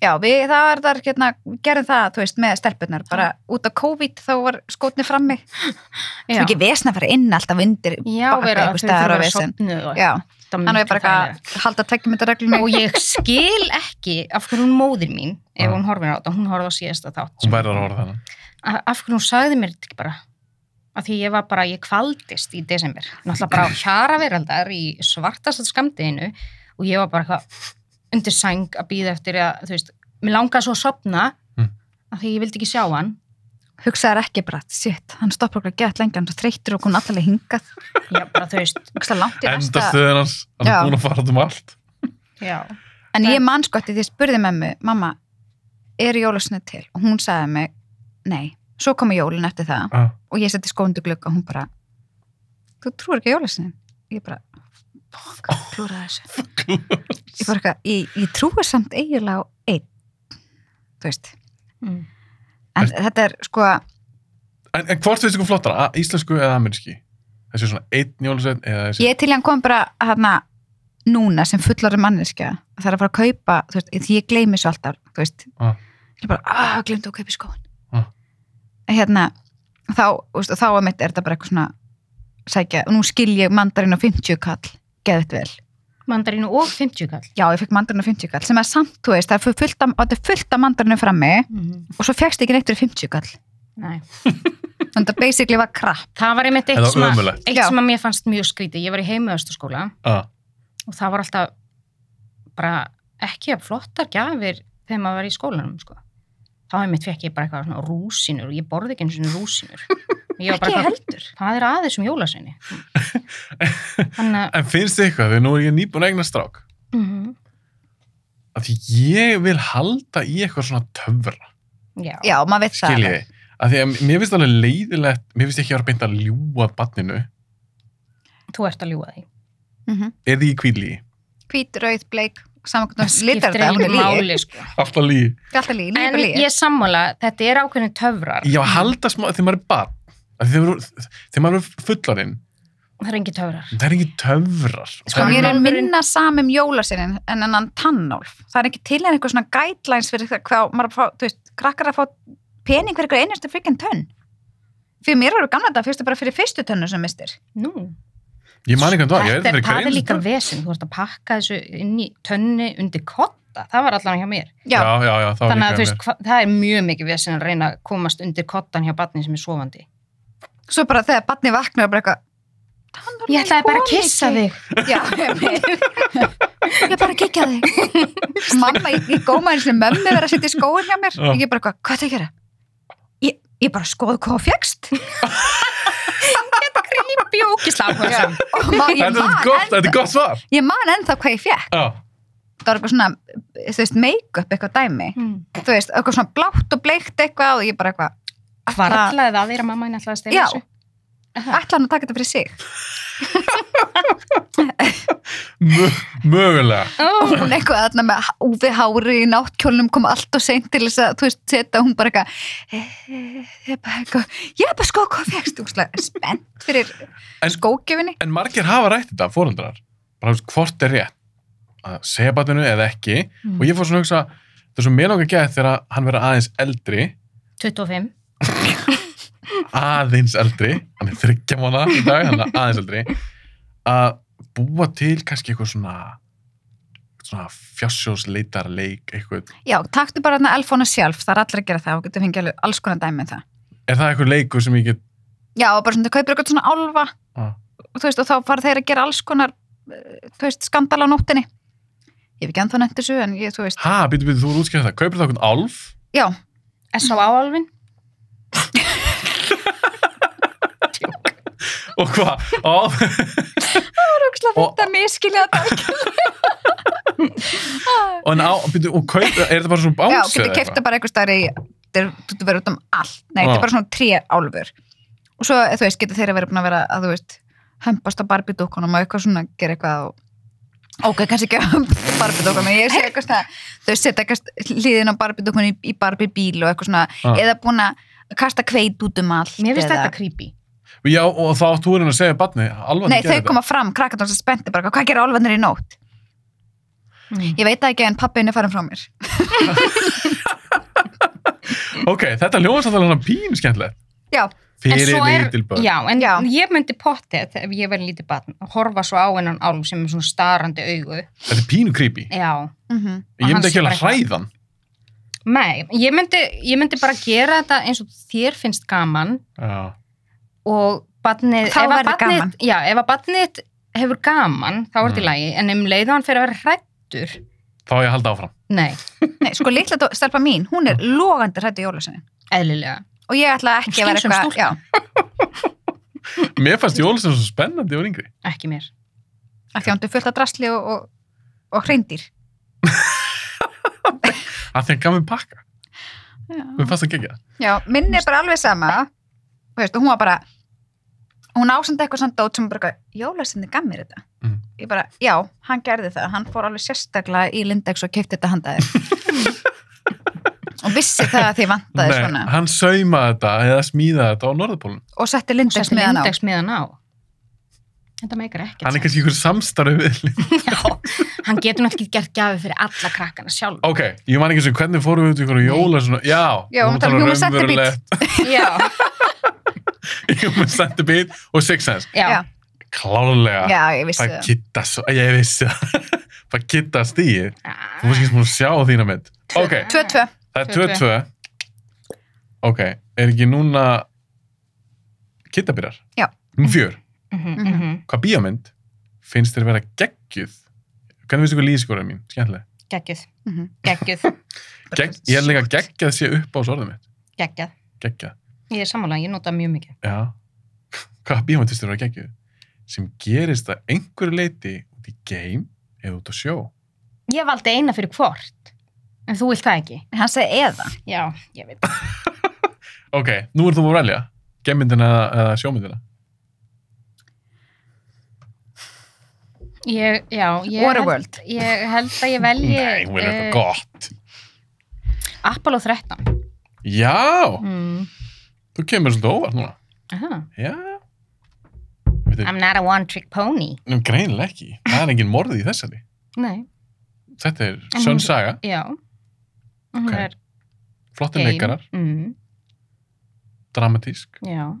C: Já, við, það var þar, hérna, við gerðum það, þú veist, með stelpunar, bara út á COVID þá var skotni frammi. Svo
B: Já.
C: ekki vesna að fara inn alltaf undir
B: Já,
C: baka
B: vera,
C: einhvers
B: þau
C: staðar
B: þurfa
C: og
B: að
C: vesen.
B: sofnuð og
C: Já,
B: Það er
C: hann
B: miklu
C: Mm, er bara
B: þægilegra.
C: eitthvað að halda tvekkjumindarreglunni.
B: og ég skil ekki af hverju hún móðir mín ef hún horfir á þetta, hún horfði á síðasta þátt
A: Hún verður að horfa þannig.
B: A- af hverju hún sagði mér þetta ekki bara af því ég var bara, ég kvaldist í desember náttúrulega bara á hjara veraldar í svartast skamdeginu og ég var bara eitthvað undir sæng að býða eftir að, þú veist, mér langaði svo að sopna
A: Mm.
B: af því ég vildi ekki sjá hann
C: Hugsaðar ekki bara, shit, hann stoppar okkur að geta lengi, hann er svo þreyttur og komin allalega hingað.
B: ég bara, þú veist,
C: Hugsaðar langt í
A: Enda
C: næsta.
A: stöðin hans, hann
C: Já.
A: er búin að fara út um allt.
B: já
C: En ég man sko eftir því ég spurði mömmu, mamma, er jólasnið til? Og hún sagði mig, nei. Svo komu jólin eftir það.
A: Ah.
C: og ég setti skóndu glugga og hún bara þú trúir ekki jólasinin ég bara, fokk, klúra Oh. þessu ég bara eitthvað, ég, ég trúi samt eiginlega á einn þú veist,
B: mm.
C: en þetta er sko
A: En, en hvort finnst ykkur flottar, a- íslensku eða ameríski? Þessi svona einn jólasveinn eða þessi?
C: ég er til í að hann kom bara hana, núna sem fullorðin manneskja það er að fara að kaupa, þú veist, því ég gleymi svo alltaf, þú veist
A: Ah.
C: ég bara, að, gleymdu að kaupa skóin
A: Ah.
C: hérna, þá þú veist, og þá er mitt, er þetta bara eitthvað svona sækja, og nú skil ég mandarinn á 50 kall, geðið vel
B: mandarínu og 50 kall
C: já, ég fekk mandarinu 50 kall sem er samt, þú veist, það er fullt af, þetta er fullt af mandarinu frammi
B: mm.
C: og svo fekkst ekki neitt fyrir 50 kall þannig að það basically var krapp
B: það var einmitt eitt,
A: Þetta var
B: sem að,
A: ömurlegt.
B: eitt
C: Já.
B: sem að mér fannst mjög skrítið ég var í heimauðastaskóla
A: Ah.
B: og það var alltaf bara ekki að flottar gjafir þegar maður var í skólanum sko. þá einmitt fekk ég bara eitthvað svona rúsinur og ég borði ekki einu svona rúsinur ég var bara
C: Ekki
B: heldur hvað er aðeins um jólasveini þannig að
A: En finnst þið eitthvað, þegar nú er ég nýbúin að egna strák,
B: mhm,
A: að því ég vil halda í eitthvað svona töfra,
B: já,
C: já, maður veit það
A: skil ég. Að því að mér finnst alveg leiðilegt, mér finnst ekki að vera beint að ljúa barninu,
B: þú ert að ljúga því
C: mm -hmm.
A: er því í kvíli,
C: hvít, rauð, bleik, samankvæmt
B: Skiptir
C: litar þetta, hún er
B: engu
C: líi,
B: máli, sko.
A: alltaf líi.
C: alltaf líi, líi,
B: en
C: líi
B: ég er sammála, þetta er ákveðin töfrar
A: Ég var að halda smá, þegar maður er barn, að því þegar maður er- þegar maður er fullarinn,
B: það er engin töfrar
A: það er ekki töfrar. Og
C: Sko,
A: það er
C: mér
A: ekki-
C: er minna samum jólasinin en enn tannálf. Það er ekki til en eitthvað svona guidelines fyrir það hvað maður að fá, þú veist, krakkar að fá pening fyrir eitthvað einustu frikinn tönn. Fyrir mér voru gamla þetta, fyrstu bara fyrir fyrstu tönnu sem mistir.
B: Nú,
A: Ég man ekki um dag, ég er
B: þetta
A: þetta
B: er,
A: fyrir
B: það er
A: hverjum.
B: líka vesen þú ert að pakka þessu inn í tönni undir kotta, það var allan hjá mér
A: Já, já, já, það var líka
B: þannig að
A: hjá mér.
B: þú veist, hva, það er mjög mikið vesen að reyna að komast undir kottan hjá batni sem er sofandi
C: Svo bara þegar barni vaknar er bara eitthvað "Tannálfin
B: ég ætlaði bara að
C: kom
B: kissa
C: ekki."
B: þig
C: Já, ég ég bara kikja þig. Mamma, ég, ég góma eins og mömmu verið að setja í skóin hjá mér.
A: Já.
C: Ég bara eitthvað, hvað það að gera? Ég, ég bara skoðu hvað fjækst.
B: grípi og ógisla áhuga
C: Já. Og ma- ég
A: Þetta
C: man
A: er gott,
C: enn-
A: þetta er gott svar.
C: Ég man ennþá hvað ég fjekk.
A: Já,
C: Það var eitthvað svona, þú veist, make-up eitthvað dæmi.
B: saman
C: Þú veist, eitthvað svona blátt og bleikt eitthvað og ég bara eitthvað,
B: hvarlaði það þér að mamma henni ætlaði að stela
C: Já.
B: þessu
C: ætla hann að taka þetta fyrir sig.
A: Mö- mögulega.
B: oh,
C: Hún eitthvað þarna með úfi hári í náttkjólnum kom allt og seint til þess að, þú veist, setja hún bara eitthvað, eh, ég er bara eitthvað, ég er bara sko hvað fjækst, þú veist, spennt fyrir
A: En-
C: skókjöfinni.
A: En margir hafa rætt þetta, fórundrar. Bara þú veist, hvort er rétt að segja batinu eða ekki. Og ég fór svona að hugsa, það er svo mér langar að geta þegar hann verður aðeins eldri,
B: 25
A: aðeins eldri, hann er þryggja mánu í dag, hann er aðeins eldri, að búa til kannski eitthvað svona, svona fjársjóðsleitarleik, eitthvað.
C: Já, taktu bara þarna elfónu sjálf, það er allir að gera það og getur fengið alveg alls konar dæmi um það.
A: Er það eitthvað leikur sem ég get...
C: Já, og bara svona, þú kaupir eitthvað svona álfa
A: Ah.
C: og, þú veist, og þá fara þeir að gera alls konar eh, þú veist, skandala á nóttinni ég hef ekki ennþá nefnt þessu en ég, þú veist,
A: Ha, býtu, býtu, þú er útskjöfð það. Kaupir það eitthvað álf?
C: já,
B: S.O.A.-alvin
A: Og hvað? Og, Og-
C: þetta miskilja þetta
A: og, en á, býtu, og kaup, er þetta bara svona bánsi?
C: já, getur keifta bara eitthvað starri þú getur verið út um allt, nei, þetta
A: Ah.
C: er bara svona tré álfur og svo, eh, þú veist, getur þeir að vera búin að vera að, þú veist, hömpast á barbidókunum og eitthvað svona, gera eitthvað og... ok, kannski ekki að hömpast á barbidókunum ég sé eitthvað svona, þau setja eitthvað hliðin á barbidókunum í, í barbibíl og eitthvað svona,
A: Ah.
C: eða búin að kasta kveit út um allt
B: mér finnst
C: eða-
B: þetta creepy
A: Já, og þá átt þú er hann að segja barni, alveg
C: Nei, þau koma fram, krakkarnar sem spennti bara, hvað gera álfarnir í nótt? Ég veit það ekki en pappin er farin frá mér.
A: Ok, þetta ljóðast að það er hann pínu skemmtilegt.
C: Já,
B: En
A: Fyrir
B: svo er-
A: lítil börn.
B: Já, en
C: Já.
B: ég myndi pottið ef ég verið lítið barn að horfa svo á hennan álum sem er svona starandi augu.
A: Þetta er pínu creepy.
B: Já.
C: mm
A: Ég
B: hans
A: myndi ekki
B: er
A: alveg
B: bara eitthvað-
A: hræðan.
B: Nei, ég myndi, ég myndi bara gera þetta eins og þér finnst gaman
A: Já.
B: og barnið,
C: Þá
B: ef að
C: verður
B: barnið-
C: gaman.
B: Já, ef að barnið hefur gaman, þá er þetta í
A: Mm.
B: lagi, en um leiðu hann fyrir að vera hrættur,
A: Þá á ég að halda áfram.
B: nei,
C: Nei, sko litla dó- stelpa mín, hún er logandi hrættu jólasennin.
B: eðlilega.
C: Og ég ætla ekki að vera
B: Skynsöm
C: eitthvað,
B: stúlka.
C: já,
A: Mér fannst Jólasson svo spennandi og yngri.
B: Ekki mér.
C: af því að hún er fullt af drasli og, og, og hreindir.
A: Af því hann gaf mér pakka.
C: Já.
A: Mér fannst það gegja.
C: Já, minn er bara alveg sama Þú veist, og hún var bara hún ásandi eitthvað samt dót sem bara Jólasenni gaf mér þetta
A: Mm.
C: ég bara, já, hann gerði það, hann fór alveg sérstaklega í Lindex og keipti þetta handaði og vissi það að því vantaði svona
A: hann saumaði þetta eða smíðaði þetta á norðupólunum.
C: og setti Lindex
B: Settu
C: með hann á
B: index meðan á. Þetta meikar ekkert.
A: Hann er kannski ykkur samstarfið við Linda.
B: Já, hann getur náttúrulega ekki gert gafi fyrir alla krakkana sjálf.
A: Ok, ég man ekki sem hvernig fórum við út í ykkur Jólasson. Já,
C: Já, hún talar um Human Centipede.
B: Já,
A: Human Centipede og Six Sense.
B: já.
C: Já.
A: Klárlega.
C: já, ég vissi
A: Það
C: það
A: kitta svo, ég vissi það. Það kitta stíð.
B: Ah.
A: Þú veist ekki sem hún sjá þína mynd. Ok,
C: tvö, tvö,
A: það
B: Tvö,
A: er 2-2. Ok, er ekki núna kitta byrjar?
C: Já.
A: Hún fjör.
B: Mhm,
C: Mhm.
B: mhm.
A: Hvað bíómynd finnst þér vera geggjuð? Hvernig finnst ykkur lýsingurinn mín? Skemmtileg.
B: Geggjuð,
C: mm -hmm.
B: geggjuð,
A: Gegg, ég er líka geggjað sé upp á sorðum mitt.
B: geggjað.
A: Geggjað.
B: Ég er sammála, ég nota mjög mikið.
A: Já. Hvað bíómynd finnst þér vera geggjuð? Sem gerist að einhverju leiti út í game eða út á sjó.
B: Ég valdi eina fyrir hvort, en þú vilt það ekki.
C: hann segi eða
B: Já, ég veit.
A: Ok, nú er þú að velja. Gemmyndina eða, eða sjómyndina.
B: Ég, já, ég
C: Waterworld.
B: held, ég held að ég velji eh,
A: Nei, hún vil eitthvað gott.
B: Apollo 13
A: Já,
B: mm.
A: þú kemur svolítið óvart núna.
B: Aha.
A: Já. Við
B: I'm not a one trick pony
A: erum greinilega ekki. Það er engin morði í þessari.
B: Nei,
A: Þetta er
B: hún-
A: sönn saga,
B: já Hún
A: Ok.
B: er
A: flottir
B: game
A: leikarar,
B: mm,
A: dramatísk.
B: Já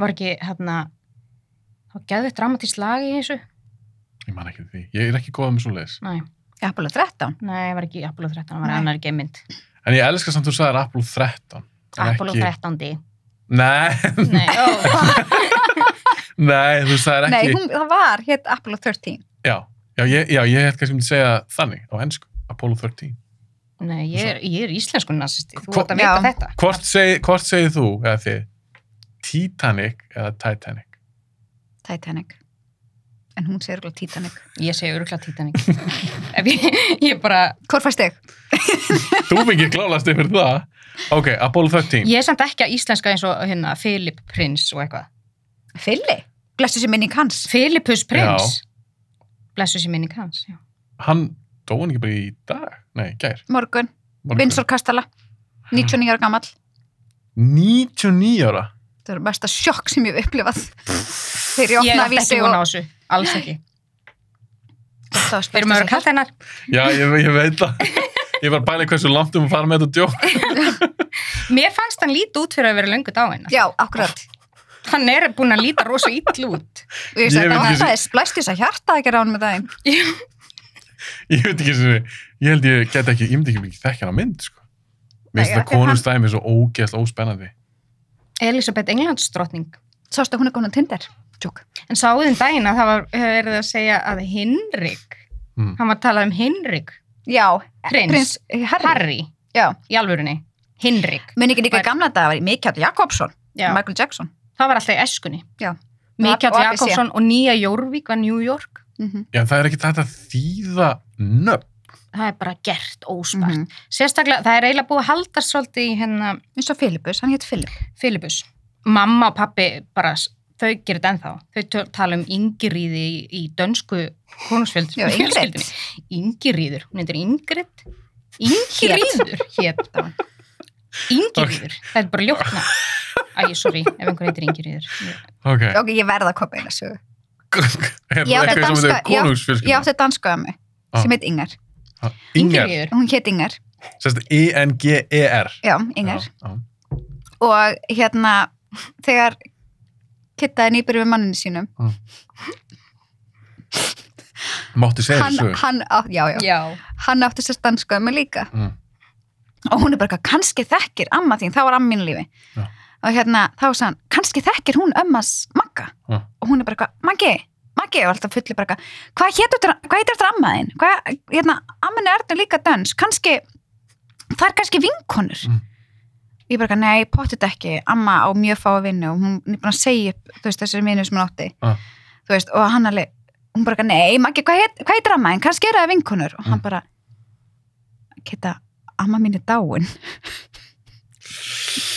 B: Var ekki hérna þá geðið dramatísk lag í þessu
A: Ég man ekki því. Ég er ekki góð um með svo leiðis.
B: Nei,
C: ég hafði alveg 13
B: nei, var ekki Apollo 13 var
C: Nei.
B: annar gemmynd
A: En ég elska samt þú sagðir Apollo 13. en
B: Apollo
A: ekki...
B: 13
A: Nei,
B: Nei, ó,
A: nei, þú sagðir
C: Nei,
A: ekki.
C: hún, það var hétt Apollo 13
A: Já, já, ég, já, ég hef kannski myndi segja þannig á ennsku. Apollo 13.
B: nei ég, er, ég er íslensku nazisti Þú
A: Hvo-
B: átt að vita
C: Já.
B: þetta
A: Hvort, seg, hvort segir þú, eða þið, Titanic eða Titanic?
C: Titanic en hún segir alveg Titanic
B: Ég segi örugla Titanic Ef ég, ég bara
C: hvort fæst þig?
A: Þú fengið klálast yfir það. Ok, Apollo 13.
B: Ég er samt ekki að íslenska eins og hérna Philip Prince og eitthvað.
C: Fili, blessu sér minning hans
B: Philipus Prince. Blessu sér minning hans, já.
A: Hann dó hann ekki bara í dag? Nei, gær.
C: morgun
A: morgun.
C: Vinsor Kastala, 99 ára gammal.
A: 99 ára.
C: Það er mesta sjokk sem ég hef upplifað. Þegar ég
B: Ég
C: opnaði
B: átti ekki
C: vísi
B: vona á
C: og...
B: þessu, alls ekki.
C: Það var
B: Við erum að vera kallt hennar.
A: Já, ég, ég veit það. Ég var bælið hversu langt um að fara með þetta djók.
B: Mér fannst hann líta út fyrir að vera löngu dáinn.
C: Já, akkurat.
B: Hann er búinn að líta rosa ill út.
C: Og ég
A: Ég
C: sagði,
A: veit
C: það
A: ekki-
C: er splæst þess að hjarta ekki rán með það.
A: Ég veit ekki sem ég, ég held ég get ekki, ég myndi ekki mikið þekkja hann á mynd, sko. Mér
C: Nei,
A: finnst það
C: af því að hann-
A: konustæmi svo ógeðslega óspennandi.
B: Elisabeth Englandsdrottning.
C: Sástu að hún er komin á Tinder. Tjók.
B: En sáðin daginn að það var eh, verið að segja að Hinrik,
A: Mm.
B: hann var að tala um Hinrik,
C: Já,
B: Prins.
C: prins Harry.
B: Harry,
C: Já.
B: í alvörinni, Hinrik.
C: Minn ekki líka
B: Var-
C: í gamla dag var Mikael Jakobsson,
B: Já.
C: Michael Jackson.
B: Það var alltaf í eskunni.
C: Já.
B: Mikael
C: Og ABC.
B: Jakobsson og Nýja Jórvík var New York.
C: Mhm.
A: Já, það er ekki þetta þýða nöpp. það
B: Það er bara gert óspart.
C: Mhm.
B: Sérstaklega, það er eiginlega búið að halda svolítið í hérna
C: Eins og Filipus, hann hétt Filip.
B: Filipus. Mamma og pappi bara, s- þau gerir þetta ennþá. Þau töl- tala um yngirýði í, í dönsku konungsfjöld.
C: Já, Ingrid.
B: Yngirýður, hún heitir Ingrid. Yngirýður hétt. Yngirýður, það er bara ljókna. Æ, sorry, ef einhver heitir Yngirýður.
A: Ok.
C: Ok, ég verða að koma eina sögu.
A: er
C: Ég
A: það
C: átti
A: eitthvað sem
C: danska-
A: þetta er
C: ég átti
A: konungsfjölskylda?
C: danskaða mig.
A: Ah.
C: sem heit Ingar,
A: Inger,
B: Ingeríður.
C: hún hétt Ingar
A: sérst E I-N-G-E-R
C: já, Ingar
A: Já, já.
C: og hérna þegar kittaði nýbyrði við manninu sínum
A: Mátti segja
C: hann,
A: þessu
C: hann, á, já, já,
B: Já,
C: hann átti sér danskoðum líka
A: Mm.
C: og hún er bara eitthvað, kannski þekkir amma þín, þá var amma mínu lífi
A: Já.
C: og hérna, þá sagði hann, kannski þekkir hún ömmas Magga
A: Já.
C: og hún er bara eitthvað, Maggi, Maggi og alltaf fulli bara eitthvað, hvað heitir hvað heitir eftir amma þín hvað, hérna, amminu er nú líka dans kannski, það er kannski vinkonur
A: Mm.
C: ég bara eitthvað, nei, pottit ekki amma á mjög fáa vinnu og hún er búin að segja upp, þú veist, þessari vinnu sem hún átti
A: Já.
C: þú veist, og hann alveg hún bara, eitthvað, nei, Maggi, hvað heit, hvað heitir amma þín kannski eru það vinkonur, og hann
A: Mm.
C: bara geta, amma mín er dáin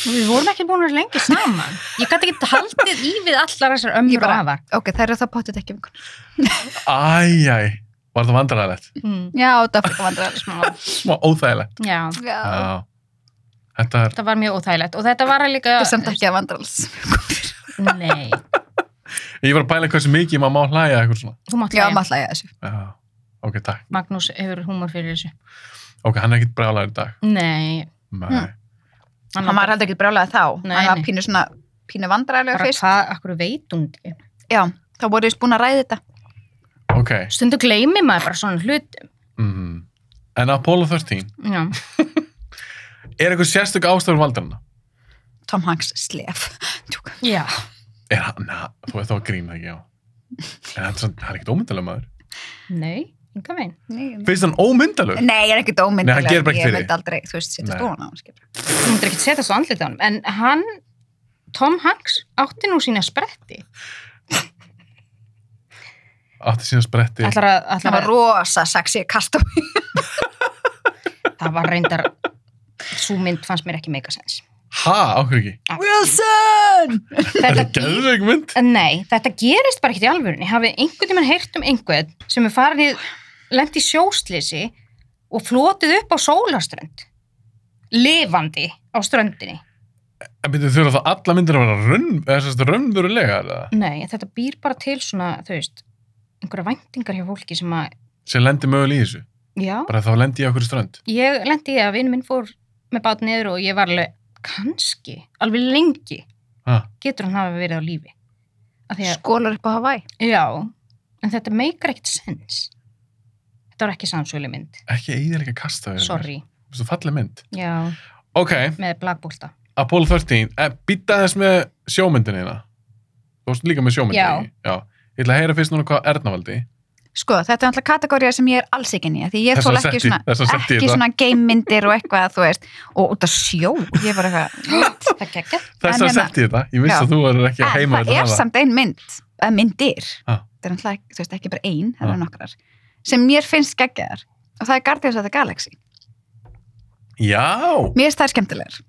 B: við vorum ekki búin að vera lengi saman. Ég gæti ekki haldið í við allar þessar
C: Ég
B: ömmur og
C: bara-
B: afa.
C: ok, það eru það pottit ekki um vinkonur
A: Æjæ, var það vandræðilegt
B: Mm.
C: já, það fyrir ekki vandrar
B: Smá.
A: Smá óþægilegt
B: Já,
C: já,
A: Já. Þetta er,
B: þetta var mjög óþægilegt og þetta var líka...
C: það er samt ekki að vandrals
B: Nei,
A: ég var að bæla hversu mikið maður má hlæja eitthvað svona
B: þú mátt
C: já,
B: hlæja.
C: maður hlæja að þessu
A: Já, ok, takk
B: Magnús hefur húmor fyrir þessu.
A: Ok, hann er ekkert brálaður í dag
B: Nei,
A: Nei,
C: Mm. hann var heldur ekki brjálega þá,
B: Nei,
C: hann var
B: nei.
C: pínu svona pínu vandrarlega
B: bara
C: fyrst
B: hvað, akkur veit hún ekki.
C: já, þá voru við búin að ræða þetta
A: ok
B: Stundu gleymi maður bara svona hlutum.
A: mm. En Apollo 13,
B: Já,
A: er eitthvað sérstök ástæður valdarna?
C: Tom Hanks slef Tjúk.
B: já.
A: Er hann, na, þú veist þá að grína ekki á En hann er, samt- hann er ekkert ómyndalega maður
B: nei, enga veginn.
C: nei,
A: Finnst hann ómyndalur?
C: nei, ég er ekkert ómyndilega
A: Nei, hann gerir bara ekkert
C: ég
A: fyrir
C: myndi aldrei, þú veist, setja
A: Nei.
C: stofan á hann skilur.
B: Þú myndir ekki setja svo andlitið á hann. En hann, Tom Hanks, átti nú sína spretti.
A: Átti síðan spretti
B: Ætlar að,
C: það
B: ætlar
C: var
B: að,
C: rosa sexy kast
B: það var reyndar, svo mynd fannst mér ekki megasens.
A: Ha, ákveð ekki
C: Wilson
A: Er
B: Þetta
A: það geðveik mynd?
B: Nei, þetta gerist bara ekkert í alvörunni. Hafið einhvern tímann heyrt um einhvern sem er farin í, lent í sjóslisi og flotið upp á sólaströnd. Lifandi á ströndinni.
A: En byrjuðu þurfa þá alla myndir að vera raun, eða sérst raunverulega eða?
B: Nei, þetta býr bara til svona, þú veist, einhverja væntingar hjá fólki sem að,
A: sem lendir mögulega í þessu
B: já,
A: bara þá lendir ég okkur strönd
B: ég lendi í að vinn minn fór með bát niður og ég var alveg, kannski, alveg lengi,
A: ha.
B: getur hann hafa verið á lífi. Af því að,
C: skólar upp á Hawaii
B: já, en þetta meikar ekkert sens. Þetta var ekki sannsölu mynd,
A: ekki eiginlega kasta við
B: sorry.
A: svo falleg mynd
B: Já,
A: ok,
B: með blagbólta.
A: Apollo 13, eh, býta þess með sjómyndinina þú varst líka með sjómyndinina Já. ég ætla að heyra fyrst núna hvað Erna valdi
C: Sko, þetta er alltaf kategórið sem ég er alls ekki nýja því ég
A: Þess
C: þól
A: vegna
C: ekki
A: setti-
C: svona,
A: þess vegna setti ég
C: ekki
A: það.
C: svona game-myndir og eitthvað þú veist, og út af sjó ég er bara eitthvað,
B: Það gekkja.
A: þess
C: En
A: að
C: hérna-
A: setti ég það, ég vissi
C: Já.
A: að þú verður ekki að
C: en
A: heima hérna, Ah.
C: það er
A: þetta
C: samt ein mynd að myndir,
A: Ha.
C: það er alltaf þú veist, ekki bara ein, það
A: Ha.
C: eru nokkrar sem mér finnst geggjaðar og það er Guardians of the Galaxy
A: já,
C: mér finnst það er skemmtilegar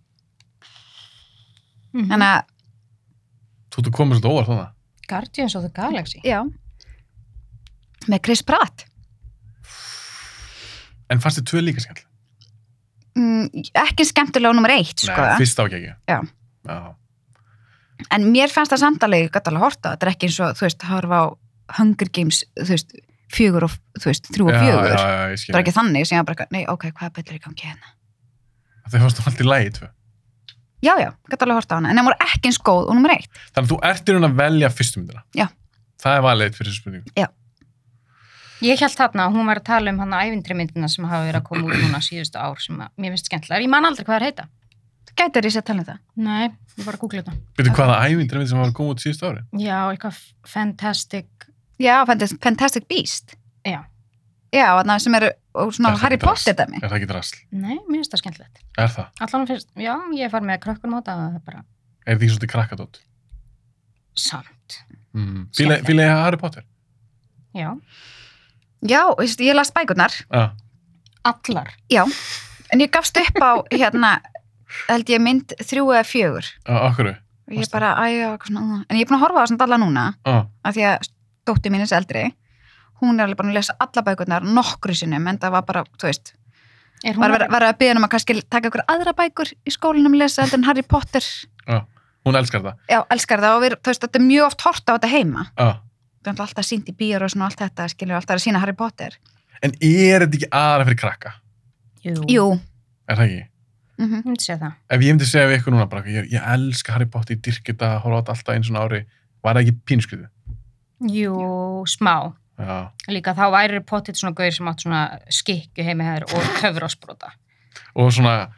B: Mhm.
C: þannig að,
A: þú þú komið svolítið óvart þannig
B: Guardians of the Galaxy.
C: já með Chris Pratt
A: en fannst þið tvö líka skall
C: mm, ekki skemmtilega nummer eitt sko.
A: Nei, fyrst á ekki ekki
C: Já.
A: Já.
C: en mér fannst það samtalið, ég gæti alveg að horta þetta er ekki eins og, þú veist, horfa á Hunger Games, þú veist, fjögur og, þú veist, þrjú og
A: Já,
C: fjögur
A: já, já, ég
C: það var
A: skil
C: ekki þannig sem ég var bara, eitthvað, nei, ok, hvað er betur í gangi hérna
A: þau fannst þú alltaf í lagi tvö
C: já, já, gæti alveg að horta á hana, en það voru ekki eins góð og nummer eitt,
A: þannig að þú ert í raun að velja fyrstu myndina
C: Já.
A: það er valið fyrir þessu spurningu
B: Ég held þarna að hún var að tala um hann að ævindrimyndina sem hafa verið að koma út núna síðustu ár sem að mér finnst skemmtilegar. Ég man aldrei hvað það heita.
C: það gæti verið sér að tala um það
B: Nei, ég var að googla þetta.
A: Veitu hvaða ævindir sem var að koma út síðust ári?
B: Já, eitthvað fantastic.
C: já, Fantas- Fantastic Beast
B: Já.
C: já, þarna sem eru, og svona
A: Það er
C: Harry
A: ekki drasl.
C: Potter dæmi
A: Er það ekki drasl?
B: Nei, mér finnst það skemmtilegt.
A: Er það?
B: Allan fyrst, já, ég far með krökkunum á þetta það er bara
A: Er því svolítið krakkadótt?
B: samt.
A: Mm.
B: Skemmtilegt.
A: Fýla ég Harry Potter?
B: Já,
C: já, og veist, ég las bækurnar,
A: Ah.
B: allar.
C: en ég gafst upp á hérna, held ég mynd þrjú eða fjögur,
A: Ah, okkur?
C: og ég
A: Varstu?
C: bara, æ, já, eitthvað svona, uh. en ég er búin að horfa á þessum dalla núna
A: Ah.
C: af því að dóttir mín er þessi eldri hún er alveg búin að lesa alla bækurnar nokkru sinnum en það var bara, þú veist
B: Er hún
C: var, var, var að byggja um að kannski taka ykkur aðra bækur í skólinum lesa heldur en Harry Potter
A: Hún elskar það?
C: já, elskar það og við, þú veist, þetta er mjög oft horta á þetta heima
A: Ah.
C: það er alltaf sínt í bíjar og svona allt þetta skilur alltaf að sína Harry Potter
A: En er þetta ekki aðra fyrir krakka?
B: Jú,
C: Jú,
A: Er það ekki?
C: mm
B: ég myndi segja það.
A: Ef ég myndi segja við ykkur núna bara, ég, ég elska Harry Potter, ég dyrk þetta, horfa á þetta alltaf einu svona ári, var það ekki pínskriðu?
B: Jú, smá.
A: Já.
B: Líka þá væri potið svona gauðir sem átt svona skikju heimi hér og köfrásbrota.
A: Og svona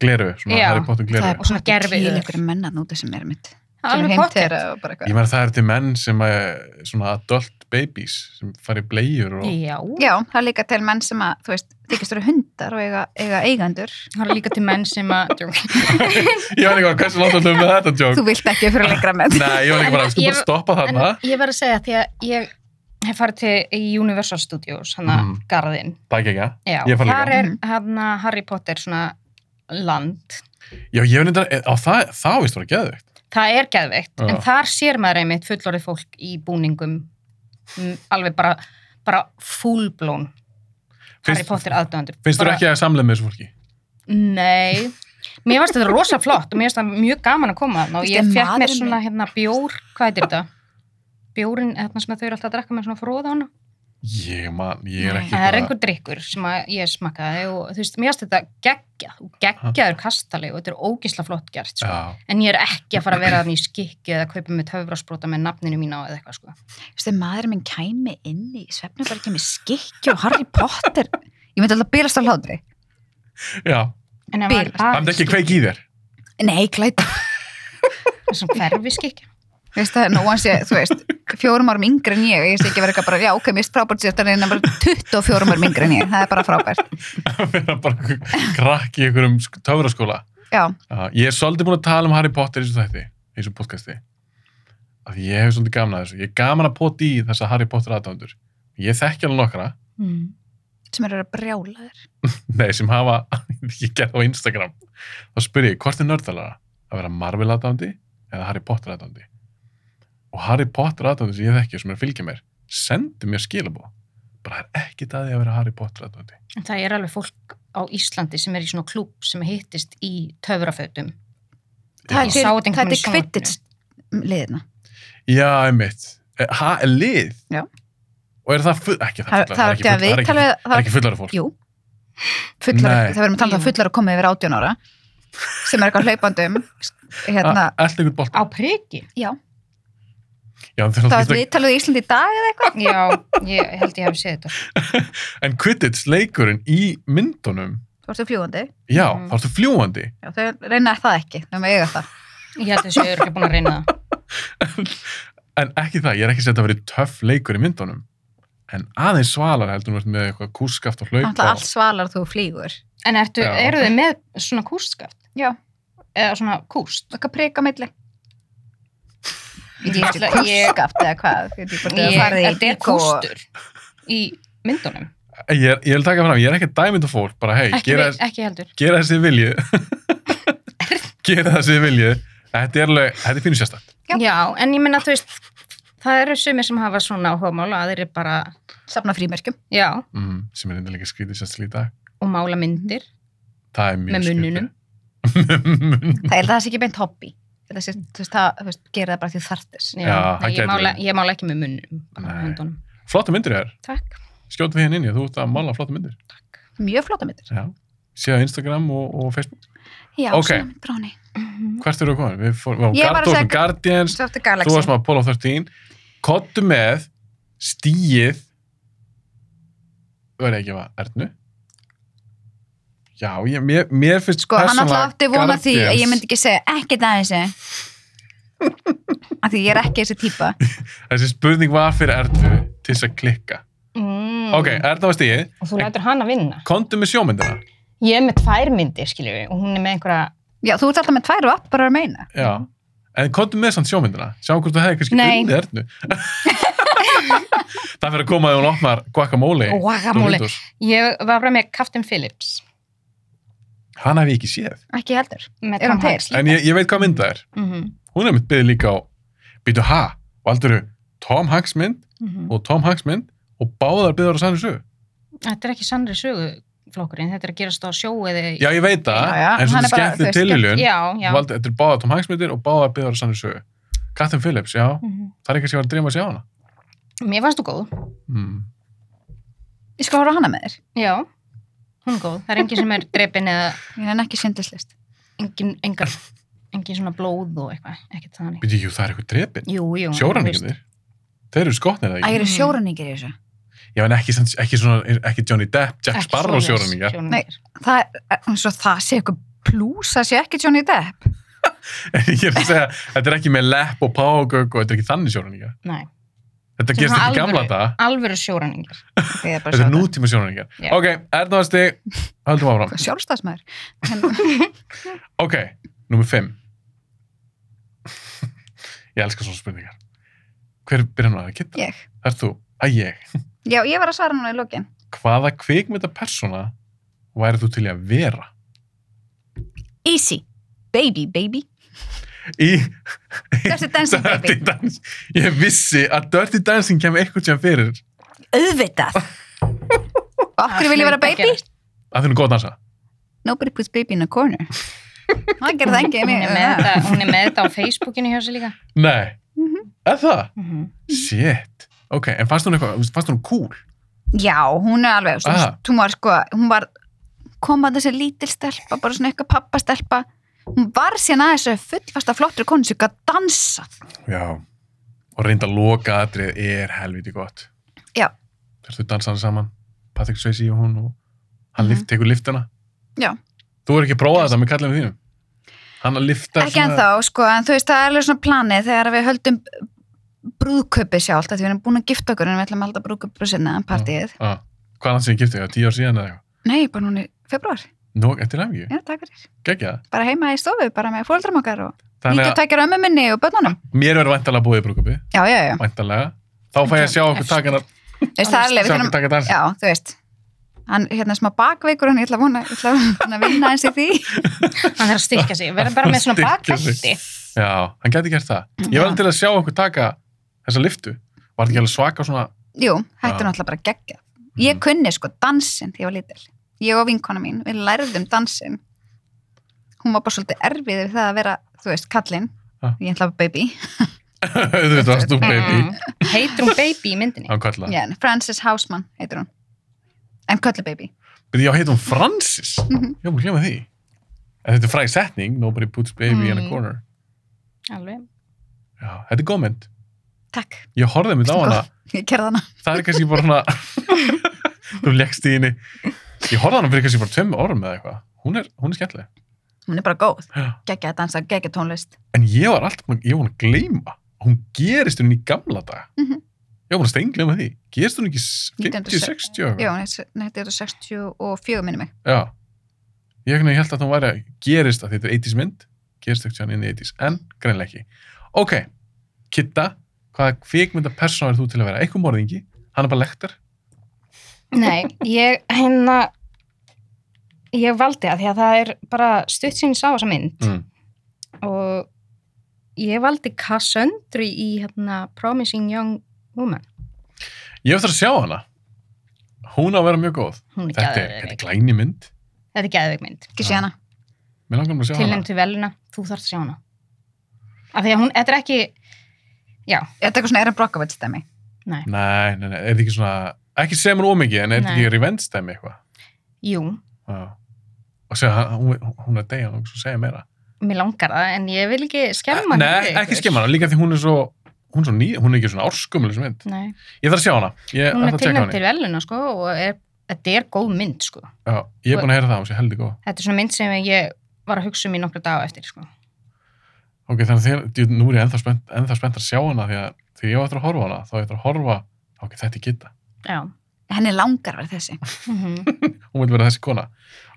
A: gleru, svona
B: Já,
A: Harry Potter
C: það
A: gleru.
C: er bara svona
B: gervi-
C: gerfið einhverju menna út sem er mitt
B: Alveg
A: Ég
B: potið.
C: pottet
A: meina það er til menn sem er svona adult babies sem fari blegjur og...
B: Já,
C: Já, það er líka til menn sem að, þú veist, þykist eru hundar og eiga, eiga eigendur
B: það er líka til menn sem að... Djók.
A: Ég var líka, hversu langt ætlum við með þetta
C: Þú
A: joke?
C: vilt ekki fyrir lengra með
A: Nei, ég var líka bara,
B: En
A: sko bara
B: ég-
A: stoppa
B: En
A: þarna.
B: ég verð að segja því að ég hef farið til í Universal Studios, hann að
A: Mhm.
B: garðinn.
A: Það ekki ekki.
B: Já,
A: Ég hef farið
B: þar
C: líka.
B: er
C: Mhm.
B: hann að Harry Potter svona land.
A: Já, ég hef nefndar, á það, það vist voru geðveikt.
B: Það er geðveikt,
A: Já.
B: en þar sér maður einmitt fullorðið fólk í búningum mm, alveg bara, bara fullblón Harry
A: Finnst-
B: Potter aðdöðandur.
A: Finnst þú ekki að samlega með þessu fólki?
B: Nei, mér varst þetta rosa flott og mér varst það mjög gaman að koma þarna og
C: Þetta
B: ég
C: er
B: fekk mér
C: maðurinn
B: svona hérna bjór, hvað heitir þetta? Bjórin, hérna sem þau eru alltaf að drekka með svona fróða hana.
A: Ég, man, ég er
C: Nei.
A: ekki
B: Það er
A: bara-
B: einhver drikkur sem að ég smakkaði og þú veist, mér finnst þetta geggjað og geggjaður kastalegu og þetta er ógisla flott gert sko.
A: Já,
B: en ég er ekki að fara að vera þannig í skikki eða kaupa með töfrasbróta með nafninu mína eða eitthvað sko.
C: Þú veist, ef maður minn kæmi inn í svefnubargi með skikki og Harry Potter Ég myndi alltaf bílast á hlátri
A: já.
B: en ef maður
C: Bilast.
A: Það er ekki kveik í þér.
C: Nei, glæta
B: þessum hverfi skikki
C: Þú veist, það er nóg hans ég, þú veist, fjórum árum yngri en ég Ég sé ekki verið eitthvað bara, já, ok, mér er frábært sér Þannig að vera 24 árum yngri en ég Það er bara frábært
A: Að vera bara einhver krakki í einhverjum sk- töfraskóla.
C: Já,
A: Já, Ég er svolítið búin að tala um Harry Potter í þessu þætti, í þessu podcasti. Af því ég hef svolítið gaman að þessu. Ég er gaman að poti í þessa Harry Potter aðdándur. Ég þekki alveg nokkra,
B: mm.
C: sem eru að brjála þér
A: nei, sem hafa, ég gerði á Instagram. Þá spyr ég, hvort er nördalara? Að vera Marvel aðdándi eða Harry Potter aðdándi? Og Harry Potter aðdándi sem ég þekki og sem er að fylgja mér, sendi mér skilabóð. Bara það er ekkit að því að vera Harry Potter aðdándi.
B: en það er alveg fólk á Íslandi sem er í svona klúb sem hittist í töfrafötum Ég
C: Það er
B: sá þetta
C: til,
B: einhvern
C: það er
B: veginn í sjónvarpinu.
C: kvittits liðina
A: Já, einmitt. Eh, Ha, lið?
C: Já.
A: Og er það full... Ekki það,
C: Það það var
A: ekki
C: ekki
A: full-
C: að
A: það er
C: við
A: ekki,
C: tala
A: það er ekki fullara fólk.
C: Jú, fullar,
A: Nei.
C: það verðum að tala um það
B: Jú.
C: fullar að koma yfir 18 ára sem er eitthvað hlaupandi um hérna,
A: Allt ykkur
B: á
A: Ah, bolta.
B: priki
C: já,
A: Já, en þeir
C: það
A: eru
C: var
A: alltaf-
C: viðtalið í Íslandi í dag eða eitthvað
B: já, ég held ég hef séð þetta
A: En Quidditch leikurinn í myndunum,
C: þú varstu fljúandi,
A: já,
B: Mhm.
A: þá ertu fljúandi.
C: já, þau reyna það ekki þau með eiga það,
B: ég held þessi örgja búin að reyna það
A: En ekki það, ég er ekki sett að vera töff leikur í myndunum. En aðeins svalar heldur þú ert með eitthvað kúskaft og hlaup.
C: náttúrulega
A: og-
C: allt svalar þú flýgur
B: en ertu,
A: Já.
B: eru þið með svona kústskaft?
C: já,
B: eða svona kúst?
C: eitthvað prika á milli ég
B: ætla-
C: er
B: ég-
C: kurskaft eða hvað ég,
B: Ég, þetta er
C: íkó og-
B: kústur í myndunum
A: Ég, er- ég vil taka fram, ég er ekki dæmynd af fólk, bara hei,
B: ekki,
A: gera,
B: við, ekki heldur
A: gera þessi vilju. gera þessi vilju. Þetta er alveg, þetta er pínu sérstætt.
C: Já.
B: Já. en ég minna, þú veist, það eru sumir sem hafa svona áhugamál og aðrir bara,
C: safna frímerkjum
B: já,
A: Mm, sem er eitthvað líka skrítið sérstil í dag.
B: og mála myndir.
A: Það er mjög
B: Með munninum.
A: munninum.
C: það er það sé ekki beint hobby Þetta sé- þú veist, það, þú veist, gera það bara því þú þartist
B: Já,
A: Já, það
B: nei, ég,
A: gæti
B: mála,
A: verið.
B: ég mála ekki með munnum, bara
A: Nei.
B: höndunum.
A: flotta myndir þér.
B: Takk,
A: Skjóta við hérna inn í, þú ert að mála flotta myndir.
B: takk.
C: mjög flóta myndir
A: Já. Sér á Instagram og, og Facebook.
C: já,
A: Ok.
C: svona mynd bráni
A: Hvert eru þú komin? Við fórum, við
C: Ég
A: varum
C: var
A: Guard- þú
C: að segja-
A: varst með Guardians,
C: Svartu
A: þú
C: Galaxy
A: varst með Apollo 13. Kottu með stíið verði ekki að gefa Ernu? Já, ég, mér, mér finnst
C: Sko, hann
A: persónulega
C: alltaf átti vona því að ég
A: Guardians-
C: myndi ekki segja ekki það þessu af því ég er ekki þessi típa
A: Þessi spurning var fyrir Ernu til þess að klikka.
B: Mm.
A: Ok, Erna var stíið.
B: Og þú lætur hana vinna.
A: Kontu með sjómyndina.
B: Ég er með tvær myndir, skiljum við, og hún er með einhverja...
C: Já, þú ert alltaf með tvær vapp bara að meina
A: Já. En komdu með samt sjómyndina, sjáum hvort þú hefði kannski
B: Nei.
A: unnið ernu. það fyrir að koma að hún opnar guacamole.
B: Guacamole.
A: Doritos.
B: Ég var bara með Captain Phillips.
A: Hana hef ég ekki séð.
C: Ekki heldur
B: Með
C: Er
B: Tom
C: hún til?
B: Hanks
A: En
B: líka.
A: ég, ég veit hvað mynda er.
B: Mhm,
A: Hún er mitt byggð líka á, býtu ha, og aldrei Tom Hanks mynd
B: mhm.
A: og Tom Hanks mynd og báðar byggðar á sannu sögu.
B: Þetta er ekki sannri söguflokkurinn, þetta er að gerast á sjó eða...
A: Já, ég veit það,
C: Já, já,
A: en
C: hann
A: svona
C: er bara, þú
A: skemmtið
C: veist,
A: tilhjulun.
B: já. já.
A: Þetta er báðar Tom Hanks myndir og báðar byggðar á sannu sögu. Captain Phillips, já,
B: Mhm.
A: það er kannski að vera að dreyma að sjá hana.
B: Mér fannst þú góð.
A: Mm.
C: ég skal horfa á hana með þér
B: Já, hún er góð. Það er engin sem er drepin eða
C: ég er ekki syndislist
B: engin, engar, engin svona blóð og eitthvað, ekkert þannig.
A: Býtu, jú, það er eitthvað drepin.
B: Jú, jú. þú veist.
A: Sjóræningarnir. Þeir eru skotnir, eða
C: að ég
A: ekki?
C: er sjórunningur í þessu
A: Já, en ekki, samt- ekki, svona, ekki Johnny Depp, Jack
B: Ekki
A: Sparrow
B: svoleiðis
A: sjóræningar.
B: sjóræningjar.
C: það er, er- eins og það sé eitthvað plús það sé ekki Johnny Depp
A: ég er að segja, þetta er ekki með lepp og págögg og þetta er ekki þannig sjóræningar.
B: Nei,
A: Þetta
B: Þetta er
A: gerst
B: svona
A: ekki í gamla
B: alvöru.
A: þetta.
B: alvöru sjóræningar.
C: Ég er bara að
A: Þetta
C: sjá
A: er nútíma sjóræningar.
B: Já.
A: Ok, erðnáðasti, höldum áfram.
C: Hvað, sjálfstæðsmaður En-
A: Ok, nummer 5. ég elskar svona spurningar. Hver byrjar nú að það? Kitta?
C: ég
A: Það er þú. Að ég.
C: já ég var að svara núna í lokin
A: Hvaða kvikmynda persóna væri þú til í að vera?
C: easy baby baby
A: Í
C: Dirty Dancing
A: Dirty
C: baby
A: Dancing. Ég vissi að Dirty Dancing kemur eitthvað sem fyrir.
C: auðvitað og af hverju vil ég vera
B: Það hlaut að
C: baby
B: gerast.
A: Það finnum góð að dansa.
C: nobody puts baby in a corner það gerði það engið
B: Hún
C: mig
B: er með þetta, hún er með þetta á Facebookinu hjá sér líka.
A: Nei. Mm
C: Mhm.
A: Er það?
B: Mhm.
A: Shit. Ok, en fannst hún eitthvað, fannst hún cool?
C: já hún er alveg svo,
A: Ah.
C: hún var sko hún var kom að þessi lítil stelpa bara svona eitthvað pappa stelpa hún var síðan aðeins fullfasta flottri konu sem gæti dansað
A: Já. Og reynda að loka aðrið er helviti gott.
C: Já.
A: Þegar þau dansa hann saman, Patrick Swayze og hún og hann lift, tekur liftana.
C: Mhm. Já.
A: Þú er ekki að prófa þetta með kallinu þínum. Hann að lifta
C: ekki ennþá, sko, en þú veist, það er alveg svona planið þegar við höldum brúðkaupi sjálft, að við erum búin að gifta okkur en við ætlum að halda brúðkaupi sinna, partíið
A: Á, Ah, hvað er hann sem giftið? Tíu ár síðan eða eitthvað?
C: Nei, bara núna í februar,
A: Nóg eftir hefngi?
C: já, takk fyrir
A: Gekja það?
C: bara heima í stofu, bara með fóreldrum okkar og
A: Þannig að
C: vítjótækjar ömmu minni og börnunum
A: mér verður væntalega búið í brúkupi.
C: Já, já, já,
A: Væntalega. Þá fæ ég að sjá okkur taka hennar,
C: þú veist, það er alveg
A: sjá okkur
C: við þurfum,
A: taka dansa.
C: já, þú veist hann, hérna, smá bakveikur, hann, ég ætla að vona ég ætla að vona að vinna eins í því
B: Hann þarf að styrkja sig, verða bara með svona
A: Styrkja sig.
B: bakveldi.
A: Já, hann gæti gert það. Ég var
C: Já.
A: til að sjá okkur taka þessa liftu. Var þetta ekki alveg svaka svona...
C: Jú, þetta er
A: Já. Mhm.
C: náttúrulega bara geggja Ég kunni sko dansinn þegar ég var lítil Ég og vinkona mín, við lærðum dansinn Hún var bara svolítið erfið við það að vera, þú veist, kallinn
A: Ha.
C: Ég ætla að baby
A: Auðvitað varst þú baby.
B: Mm. Heitir hún baby í
C: Mm.
B: myndinni?
A: Hann kalla.
C: yeah, Frances Hausman heitir hún En köllu baby
A: Byrði, já, heitir hún Francis.
C: Mhm.
A: Ég var búin að glemja því. En þetta er fræg setning, nobody puts baby in a
B: Mm.
A: corner.
B: Alveg.
A: Já, þetta er góð mynd.
C: Takk,
A: Ég horfði mynd á hana.
C: ég gerði hana
A: Það er kannski bara svona... þú leggst í henni. Ég horfði á hana fyrir kannski bara tveim orðum eða eitthvað. Hún er, hún er skemmtileg.
C: Hún er bara góð,
A: Já.
C: geggja að dansa, geggja tónlist
A: En ég var alltaf búin, ég var búin að gleyma. Hún gerist hún í gamla dag.
C: Mhm.
A: Ég var búin að steinglema því. Gerist hún ekki
C: 1960
A: 50-60 eitthvað?
C: Jú, hún er- hún heitir 64 minni mig
A: Já. Ég einhvern veginn held að hún væri að gerist að þetta er 80s mynd, gerist ekki hann inn í 80s, en greinlega ekki. Ok, Kitta, hvaða kvikmynda persóna er þú til að vera? Eitthvað morðingi, hann er bara lektar.
B: Nei, ég hérna ég valdi að því að það er bara stutt sín sá þessa mynd
A: Mm.
B: og ég valdi Cassandra í hérna Promising Young Woman
A: Ég hef eftir að sjá hana. Hún á að vera mjög góð.
B: hún er
A: Þetta er, þetta er
B: geðveik
A: glæni mynd.
B: þetta er geðveik mynd,
C: Ekki
A: Já.
C: sé hana
A: Mér langar mér að sjá
B: tilnæmt til veluna þú þarfst að sjá hana af því að hún, þetta er ekki
C: Þetta er eitthvað svona Erin Brockovich stemmi
B: nei,
A: hana. Nei, nei, nei, er þetta ekki svona, ekki segja mér ómikið, en er þetta
B: Nei.
A: ekki revenge dæmi eitthvað?
B: jú,
A: Já. Og segja, hann- hún, hún er að deyja, hún segja meira.
B: mér langar það en ég vil ekki skemma
A: Nei, ekki skemma hana, líka því hún er svo, hún er svo ný, hún er ekki svona árskumlega sem mynd.
B: Nei,
A: Ég þarf að sjá hana. Ég
B: hún
A: ætla að
B: er
A: tjekka
B: tilnæmt
A: hana.
B: til veluna sko og er, þetta er góð mynd sko
A: Já, ég er búin að heyra það, hún sé heldur góð.
B: þetta er svona mynd sem ég var að hugsa um í nokkra daga eftir sko
A: Ok, þannig að þér, djú, nú er ég ennþá spennt, ennþá spennt að sjá hana því að þegar ég var eftir að horfa á hana, þá á ég eftir að horfa, ok, þetta er gitta.
B: já
C: Henni langar að vera þessi
B: mm
A: Hún vil vera þessi kona.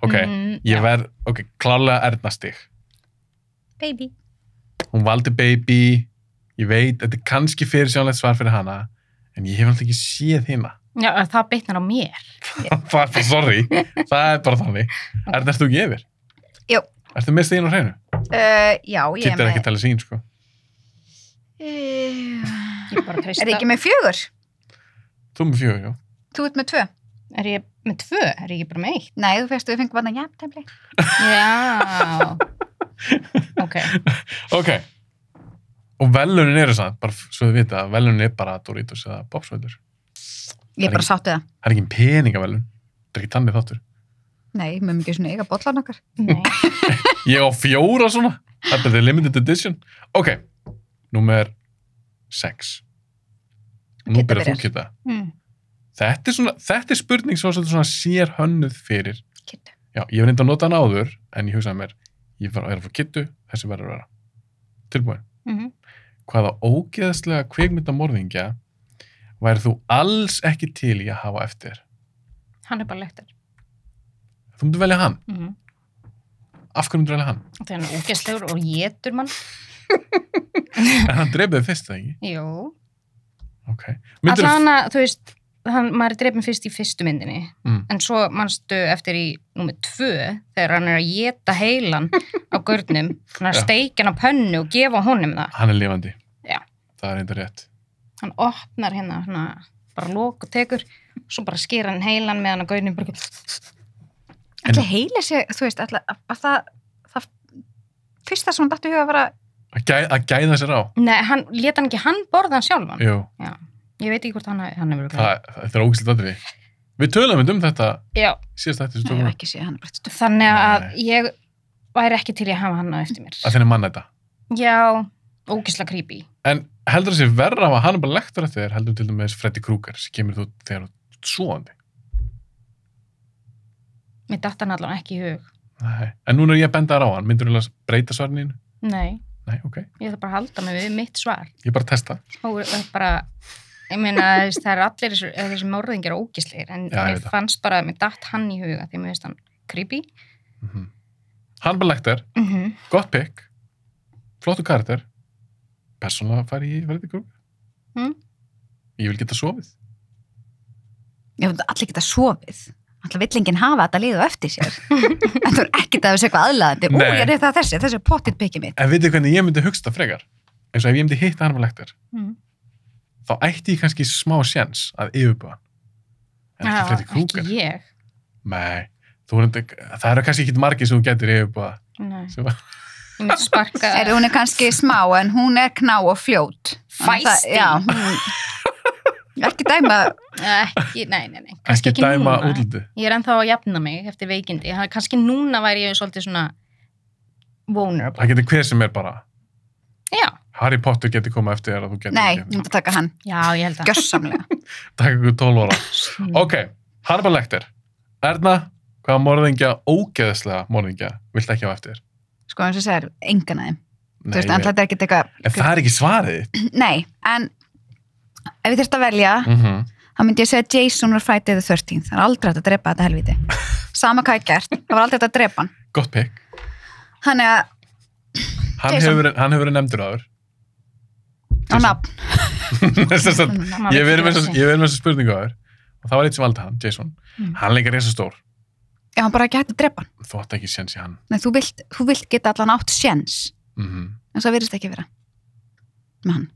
A: Ok,
B: Mm, já.
A: ég verð, ok, klálega erðnastig.
B: Baby.
A: Hún valdi baby, ég veit, þetta er kannski fyrir sjánlegt svar fyrir hana, en ég hef alltaf ekki séð hina.
B: Já, að það beitnar á mér.
A: það er bara, sorry, það er bara þannig. Erðn, ertu ekki yfir?
C: Jú.
A: Ertu með stegin á hreinu?
C: uh, Já, ég
A: Kitt er ekki talið sín, sko.
C: Eh,
B: Ég bara treysta.
C: Er ég ekki með fjögur?
A: Þú ert með fjögur, já.
C: Þú ert með tvö?
B: Er ég með tvö? Er ég ekki bara með eitt?
C: Nei, þú fyrst, við fengum bara jafntefli.
B: Já. ok.
A: Ok. Og velunin eru samt, bara f- svo þið vita, velunin er bara Doritos eða Bobsvöldur.
C: ég er bara sáttu það
A: Það er ekki peningavelun. Það er ekki tannig þáttur.
C: nei, við mögum ekki svona eiga bollan okkar
B: Nei.
A: Ég á fjóra svona. Þetta er limited edition. Ok, númer 6. Nú
C: Kidda
A: byrjar þú
C: byrjar.
A: kitta.
B: Mm.
A: Þetta er, svona, þetta er spurning sem var svolítið svona sér hönnuð fyrir.
C: Kiddu.
A: Já, ég var reynda að nota hann áður, en ég hugsaði mér, ég var er að fá kittu, þessi verður að vera. Tilbúin.
B: Mhm.
A: Hvaða ógeðslega kvikmyndamorðingja væri þú alls ekki til í að hafa eftir?
B: Hann er bara lektar.
A: Þú myndir velja hann.
B: Mm.
A: Af hverju myndir velja hann?
B: Þegar hann er ógæstlegur og getur mann.
A: En hann dreipið þið fyrst, eða ekki?
B: Jú.
A: Ok.
B: Alla
A: Myndirðu-
B: hana, þú veist, hann, maður er drefn fyrst í fyrstu myndinni.
A: Mm.
B: En svo mannstu eftir í númið tvö, þegar hann er að geta heilan á gurnum. Hann er að
A: Já.
B: steikja hann á pönnu og gefa honum það.
A: Hann er lifandi.
B: Já.
A: Það er eitthvað rétt.
B: Hann opnar hérna, hérna bara lók og tekur, svo bara skýr hann heilan með hann á gurnum. Bara...
A: En-
C: alltaf heila sig, þú veist, alltaf að það, það fyrsta sem hún dættu huga að vera
A: Að, gæ, að gæða sér á.
B: Nei, hann, leta hann ekki hann borða hann sjálfan?
A: Jú,
B: Ég veit ekki hvort hann, hann hefur
A: það, það, þetta er ógeðslega aðri. Við töluðum einmitt um þetta
B: Já,
A: síðast þetta sem
C: Nei, ég
A: tökum
C: hef
A: við.
C: ekki séð hann bara stuð
B: þannig að
A: Nei.
B: ég væri ekki til í að hafa hann á eftir mér.
A: Að þenni manna þetta.
B: Já, ógisla creepy.
A: En heldur það sé verra að hann er bara lektur eftir þér, heldur til dæmis Freddy Krueger sem kemur þú þegar þú ert svoandi.
B: Mér datt hann allan ekki í hug.
A: Nei. En núna er ég að benda þér á hann, myndur þú að breyta svarninu?
B: Nei.
A: Nei, ok.
B: Ég ætla bara að halda mig við mitt svar.
A: Ég er bara að testa.
B: Og það er bara, ég meina, þú veist, það er allir þessi, þessi morðingir ógisleir, en
A: Já, ég veit
B: ég
A: það.
B: fannst bara að mér datt hann í huga því mér veist hann creepy.
A: Mm Hann er bara lektur,
B: Mm
A: gott pick, flottu karakter, persónlega fari ég í Freddy Krueger.
B: Mm.
A: Ég vil geta sofið.
C: ég veit allir geta sofið alltaf vill enginn hafa þetta liðu eftir sér þetta er ekkert að þessu eitthvað aðlaðandi ú,
A: Nei.
C: ég er það þessi, þessi er pottitt byggið mitt
A: En veitir hvernig ég myndi hugsta frekar? Eins og ef ég myndi hitta hann var lektur,
B: Mm.
A: þá ætti ég kannski smá sjens að yfirbúa hann. En ekki Freddy Krueger.
B: Ekki ég.
A: Nei, þú er enda, það eru kannski ekki margir sem þú getur yfirbúa.
B: Nei.
A: Sem að-
B: Ég myndi sparka
C: er, hún er kannski smá en hún er kná og fljót Þannig að
B: Feisty.
C: það- já, hún, ekki dæma
B: ekki, nei, nei, nei.
A: Ekki
B: Kannski ekki
A: dæma
B: núna.
A: útlitið.
B: Ég er ennþá að jafna mig eftir veikindi. Það er kannski núna væri ég svolítið svona vulnerable.
A: Það getur hver sem er bara.
B: Já,
A: Harry Potter getur koma eftir þér að þú getur
C: nei, ég
A: ekki.
C: myndi taka hann
B: já, ég held að.
C: gjörsamlega
A: Takk ykkur 12 ára.
C: Mm.
A: Ok, hann er bara lektir. Erna, hvaða morðingja, ógeðslega morðingja, vilt ekki hafa eftir þér?
C: sko eins og segir, engan að þeim
A: Nei,
C: Þú veist, en
A: ég-
C: þetta er ekkert eitthvað
A: en það er ekki svarið.
C: nei, en ef ég þurft að velja
A: Mm
C: þá myndi ég segja Jason var Friday the 13th það er aldrei hægt að drepa þetta helviti sama hvað ég gert, það var aldrei hægt að drepa hann
A: Gott pick.
C: þannig að,
A: Hann
C: Jason.
A: hefur, verið- hann hefur verið nefndur áður.
C: á nafn
A: Þess að
B: Maður
A: ég verið
B: veit ekki
A: með
B: hvað
A: þessa-
B: sé.
A: ég verið með þessu spurningu aður og það var eitt sem valdi hann, Jason
B: Mm.
A: hann leikar reysa stór,
C: já, hann bara ekki hægt að drepa hann
A: þú átt ekki séns í hann
C: Nei, þú, vilt, þú vilt geta allan átt sjens
A: mm
C: en það virðist ekki vera með hann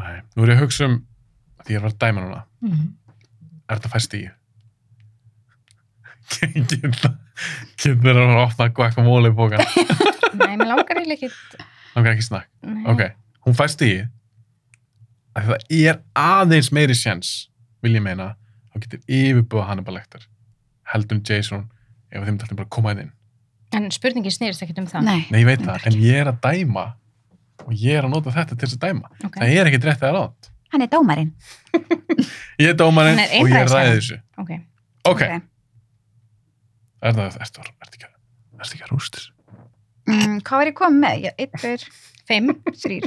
A: Nei. nú er ég að hugsa um því ég er að fara að dæma núna,
B: Mhm.
A: er þetta fæst í kynnir að fara að opna guacamole bókan,
B: Nei, mér langar eiginlega ekki.
A: hann er ekki snakk
B: Nei.
A: ok, hún fæst í að það er aðeins meiri séns, vil ég meina þá getur yfirbúið hann bara lektar heldur en Jason ef þeim taltum bara að koma inn inn
B: En spurningin snýrist ekkert um það.
C: nei,
A: Nei, ég veit það,
C: Reyndar
A: en ég er að dæma og ég er að nota þetta til þess að dæma.
B: Ok.
A: Það er ekkit rétt eða rátt.
C: hann er dómarinn
A: Ég er dómarinn
B: Hann er
A: og ég
B: einræðisherra.
A: ræði þessu.
B: Ok.
A: Ok, er það, er það, er það ekki, er það ekki að rústis?
C: Mm, hvað var ég komið með? Já, einn, tveir,
B: Fimm
C: þrýr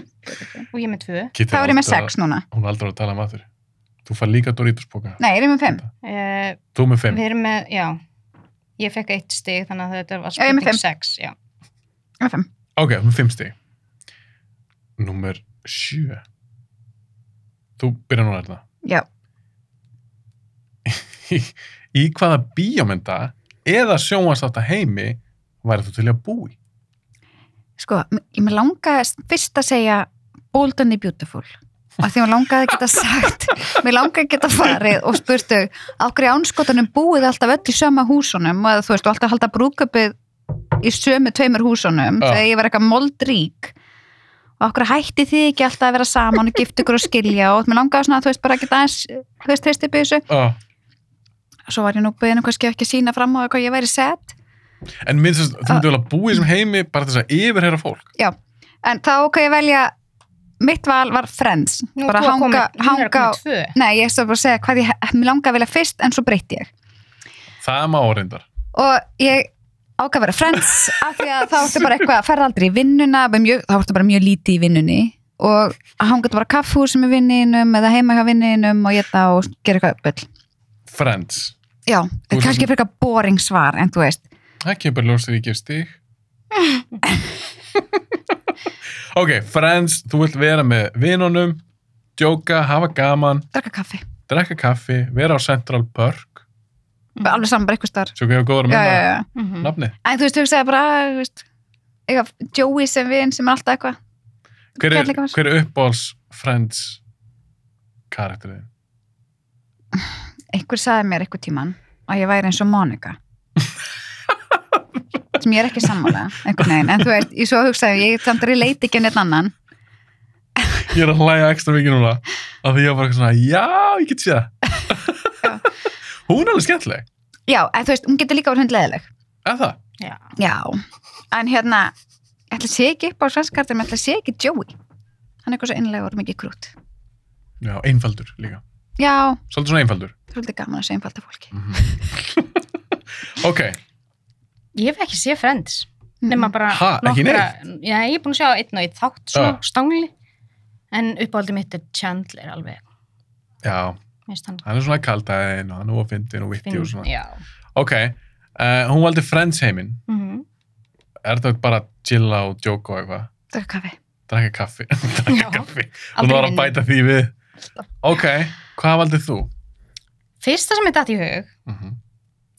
B: og ég með tvö.
A: Kitty
C: það var ég með
A: aldrei-
C: sex núna
A: Hún er aldrei að tala um aður. Þú far líka Doritos-bóka.
C: nei, ég er með fimm
B: Uh,
A: Þú með fimm.
B: við erum með, já, ég fekk eitt stig þannig að þetta var
C: Já, ég er með
B: spurning
C: fimm.
B: sex. Já.
C: Ég er með fimm.
A: Ok, með fimm stig. Númer sjö. Þú byrjar núna þetta.
C: já,
A: Í, í hvaða bíómynda eða sjónvast átta heimi væri þú til í að búi?
C: sko, m- ég með langaði fyrst að segja Bold and the Beautiful og því mér langaði að geta sagt mér langaði að geta farið og spurtu á hverju ánskotanum búið alltaf öll í söma húsunum og þú veist, og alltaf að halda brúköpið í sömu tveimur húsunum
A: Já.
C: þegar ég var eitthvað moldrík og og okkur hætti þið ekki alltaf að vera saman og gift ykkur og skilja og mér langaði svona að þú veist bara að geta aðeins þú veist treysti upp í þessu
A: Ah.
C: og svo var ég nú beðin um kannski ekki að sína fram á það hvað ég væri sett
A: En minn, þú
C: Ah.
A: myndir vel að búa í þessum heimi bara til þess að yfirherra fólk.
C: en þá okkar ég velja mitt val var friends
B: Nú,
C: bara
B: þú að
C: hanga,
B: komin- hún er að
C: hanga
B: koma tvö.
C: nei ég stóð bara að segja hvað ég mér langaði að velja fyrst en svo breytti ég
A: Það má reyndar.
C: og ég ákvað að vera friends af því að þá ertu bara eitthvað að ferða aldrei í vinnuna bara mjög, þá ertu bara mjög lítið í vinnunni og hann getur bara kaffhús með vinninum eða heima hjá vinninum og ég það og gera eitthvað öll
A: Friends.
C: já,
A: ert
C: kannski
A: svona-
C: fyrir eitthvað boring svar en þú veist,
A: Það kemur bara ljós þegar ég gef stig. ok, friends, þú vilt vera með vinunum, djóka, hafa gaman,
C: drakka kaffi
B: Mm.
A: drekka kaffi, vera á Central Park.
B: Mhm.
C: alveg saman bara eitthvað starf
A: Svo hvað ég góður
C: já,
A: með
C: já,
A: það
C: já.
B: Mhm.
A: nafnið.
C: en þú veist, þú segir bara að, þú veist, eitthvað, Joey sem vin sem er alltaf eitthvað
A: Hver er,
C: Kærleika var-
A: hver er uppbóls friends karakterið?
C: einhver sagði mér eitthvað tíman að ég væri eins og Monika sem ég er ekki sammála einhvern veginn, en þú veist, ég svo hugsaði ég samt að ég leiti ekki að neitt annan
A: Ég er að hlæja ekstra mikið núna. Af því ég var bara eitthvað svona, já, ég get séð það. Hún er alveg skemmtileg.
C: Já, en þú veist, hún getur líka verið hundleðileg.
A: Er það?
B: Já.
C: Já. En hérna, ég ætla að sé ekki upp á svenskartum, ég ætla að sé ekki Joey. Hann er eitthvað svo innlegur og mikið krút.
A: Já, einfaldur líka.
C: Já,
A: Svolítið svona einfaldur.
C: það er svolítið gaman að segja einfalda fólki.
B: Mhm.
A: Ok,
B: Ég hef ekki séð Friends nema
C: Mm,
B: bara
A: Ha, ekki
B: Já, ég er búin að sjá einn og einn þátt svona
A: Já.
B: stangli en uppáhaldið mitt er Chandler alveg
A: já,
B: minnst hann
A: hann er svona kaldæðin og hann er ofindin og vitti og svona.
B: Já.
A: Ok, uh, hún valdi Friends heiminn.
B: Mhm.
A: Er þetta bara að chilla og djóka og eitthvað?
C: Það er kaffi.
A: Drakka kaffi. Drakka
B: Já,
A: kaffi. Þú
B: Aldrei
A: var að
B: vinna.
A: bæta því við. Ok, hvað valdið þú?
B: Fyrsta sem ég datt í hug
A: Mm -hmm.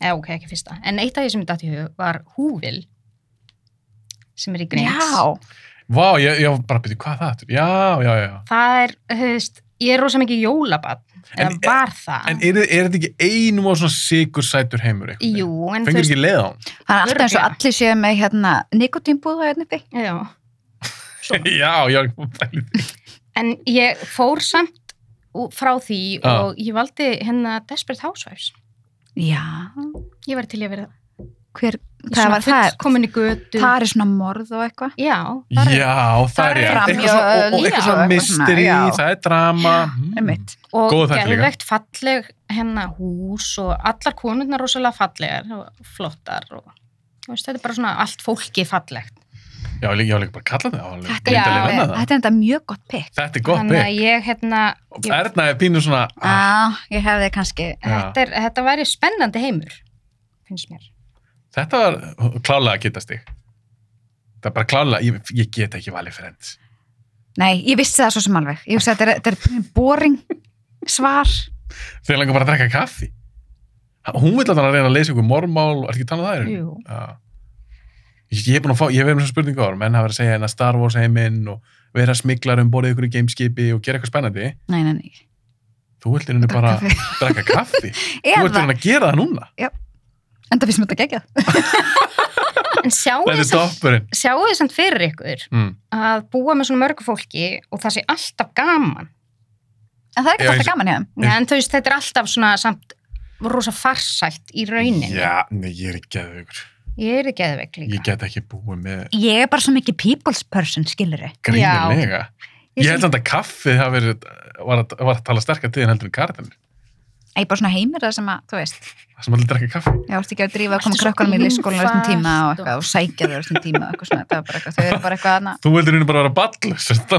B: eða ok, ekki fyrsta, en eitt af því sem ég datt í hug var Húvil sem er í Grins
C: Já.
A: Vá, ég, ég var bara að byrja, hvað er það aftur? Já, já, já.
B: það er, þú veist, ég er rosa mikið jólabann, eða
A: En- e-
B: var það
A: En er, er þetta ekki einum og svona sigursætur heimur? einhvern veginn?
B: Jú, en þú
A: Fengur
B: veist
A: ekki leið á hún?
C: Það er alltaf eins
B: Örugglega.
C: og allir séu með hérna nikotínbúða hérna uppi.
B: já.
A: já, já, ég var bæli því.
B: en ég fór samt ú- frá því
A: Já.
B: og ég valdi hérna Desperate Housewives
C: Já.
B: ég var til í að vera
C: Hver,
B: Ég
C: það
B: svona
C: var það.
B: fullkomin í götu
C: Það er svona morð og eitthvað.
B: já, það er-
A: Já, það er
B: er
A: rétt. Eitthvað
B: framhjá-
A: svona- og- og
B: já,
A: Eitthvað svona
C: eitthvað svona,
A: mystery,
C: já.
A: það er drama. Mm.
C: Einmitt.
B: og
A: Góð þættir líka.
B: gerðvegt falleg hérna hús og allar konurnar rosalega fallegar og flottar og þú veist, þetta er bara svona allt fólki fallegt
A: Já, ég ég var líka bara að kalla það. ég var líka
C: Þetta er,
B: Já,
A: myndarleg
C: alveg-
A: annað það.
C: þetta er enda mjög gott pick.
A: Þetta er gott
B: þannig að
A: bygg.
B: ég hérna ég,
A: Erna er pínu svona... Ah,
C: Já, ég hefði kannski.
B: þetta, er, þetta væri spennandi heimur finnst mér
A: Þetta var klálega að geta stig. Það er bara klálega, ég, ég get ekki valið frends.
C: Nei, ég vissi það svo sem alveg. Ég vissi að þetta er, þetta er boring svar.
A: Þeir langar bara að drekka kaffi. Hún vil að hann að reyna að leysa ykkur mormál og er ekki talað það er?
B: Jú.
A: Já. Ég ég er búin að fá, ég hef verið með svona spurningu ára, menn hafa verið að segja hennar Star Wars heiminn og vera smiklar um borðið ykkur í gameskipi og gera eitthvað spennandi.
C: Nei, nei, nei.
A: Þú vilt henni bara
C: Kaffi.
A: drekka kaffi. Þú vilt
C: Eða,
A: henni að gera það núna.
C: enda finnst mér þetta geggjað.
B: en sjáu
A: Þetta er doppurinn.
B: þið samt fyrir ykkur
A: Mm.
B: að búa með svona mörgu fólki og það sé alltaf gaman
C: En það
A: Já,
C: er ekki alltaf
A: eins-
C: gaman hjá þeim.
B: Nei, en þú veist, þetta er alltaf svona samt rosa farsælt í rauninni
A: Já, nei, ég er ekki að ykkur.
B: ég er ekki eðveik líka
A: Ég get ekki búið með
C: Ég er bara svo mikið people's person, skilur þið.
A: grínilega.
C: Ég
A: Ég held samt að kaffið hafi verið, var að, var að tala sterkar til en heldur en karðanir.
C: Ég er bara svona heimir það sem að, þú veist,
A: Það sem allir drekka kaffi.
C: ég átti ekki að drífa að koma
B: Allt svo
C: krökkunum í lýskólan á þessum
B: einfalt
C: tíma og
B: og-
C: eitthvað og sækja þau á þessum tíma og eitthvað svona, það var bara eitthvað, þau eru bara eitthvað annað.
A: Þú heldur henni bara að vera ballus. þetta-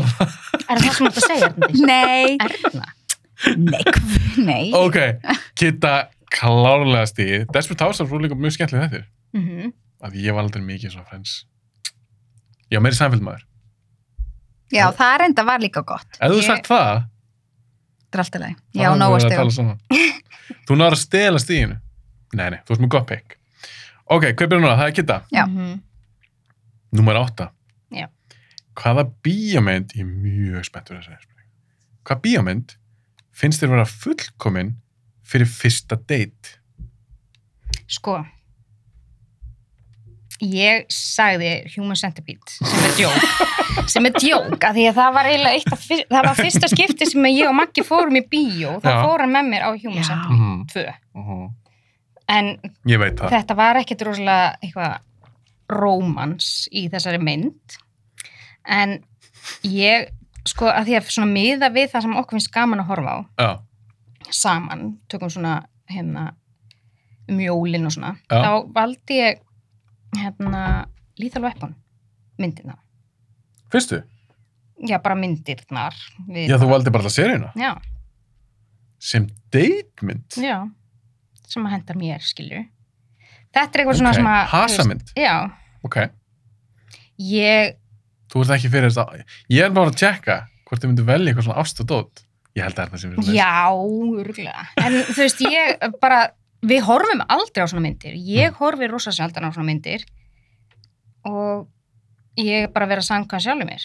B: er það sem þú ert að segja Erndís?
C: Nei,
B: Erna,
C: nei, guð, nei.
A: ok, Kitta klárlega stíð. Desperate Housewives voru líka mjög skemmtileg þetta.
B: mm
A: Af því ég var aldrei mikið svona friends. Já, meiri samfélg maður.
C: Já, það er enda var líka gott.
A: Ef þú
B: Ég-
A: sagt það,
C: Það er alltaf leið.
A: þá
C: Já,
A: hefðum
C: nóg
A: við
C: að
A: verið
C: stegum.
A: tala saman. Þú náður að stela stíðinu. Nei, nei, þú ert með gott pick. Ok, hver byrjar núna? Það er Kitta.
C: Já.
B: mhm.
A: Númer 8.
B: Já.
A: Hvaða bíómynd, ég er mjög spenntur að segja spurning. Hvaða bíómynd finnst þér vera fullkomin fyrir fyrsta date?
B: sko ég sagði Human Centipede sem er djók sem er djók, af því að það var eiginlega eitt af fyrst, það var fyrsta skipti sem ég og Maggi fórum í bíó, það
A: Já.
B: fór hann með mér á Human
C: Já.
B: Centipede
A: Mhm,
B: 2
A: mhm.
B: en
A: Ég veit það.
B: þetta var ekkit rosalega eitthvað rómans í þessari mynd en ég sko að því að svona miða við það sem okkur finnst gaman að horfa á
A: Já,
B: saman, tökum svona hérna um jólin og svona
A: Já.
B: þá valdi ég hérna Lethal Weapon myndina,
A: fyrstu?
B: já bara myndirnar við,
A: Já, þú valdi bara alltaf seríuna.
B: já,
A: Sem datemynd?
B: já sem að hendar mér, skilur þetta er eitthvað svona
A: Ok,
B: sem að
A: Hasamynd,
B: þú veist, já,
A: ok.
B: ég,
A: Þú ert ekki fyrir þetta. Ég er bara að tjekka hvort þið myndu velja eitthvað svona ást og dót. Ég held að það sem við
B: já, örgulega en þú veist, ég bara við horfum aldrei á svona myndir
A: Mm.
B: ég horfi rosa sjaldan á svona myndir og ég er bara að vera sangkvæm sjálfum mér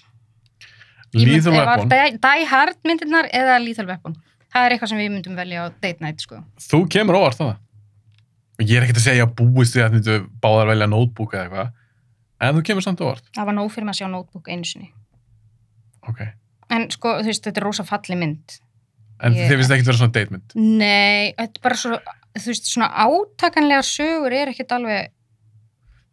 A: Lethal Weapon.
B: Die, die Hard myndirnar eða Lethal Weapon það er eitthvað sem við myndum velja á date night sko.
A: Þú kemur óvart á það. Og Ég er ekkert að segja að búist við að myndu báðar velja notebook eða eitthvað. En þú kemur samt óvart.
B: það var nóg fyrir mig að sjá notebook einu sinni
A: Ok.
B: en sko, þú veist, þetta er rosa falli mynd
A: En
B: Ég-
A: þið finnst ekkert vera svona datemynd.
B: nei, þetta er bara svo þú veist, svona átakanlegar sögur er ekkert alveg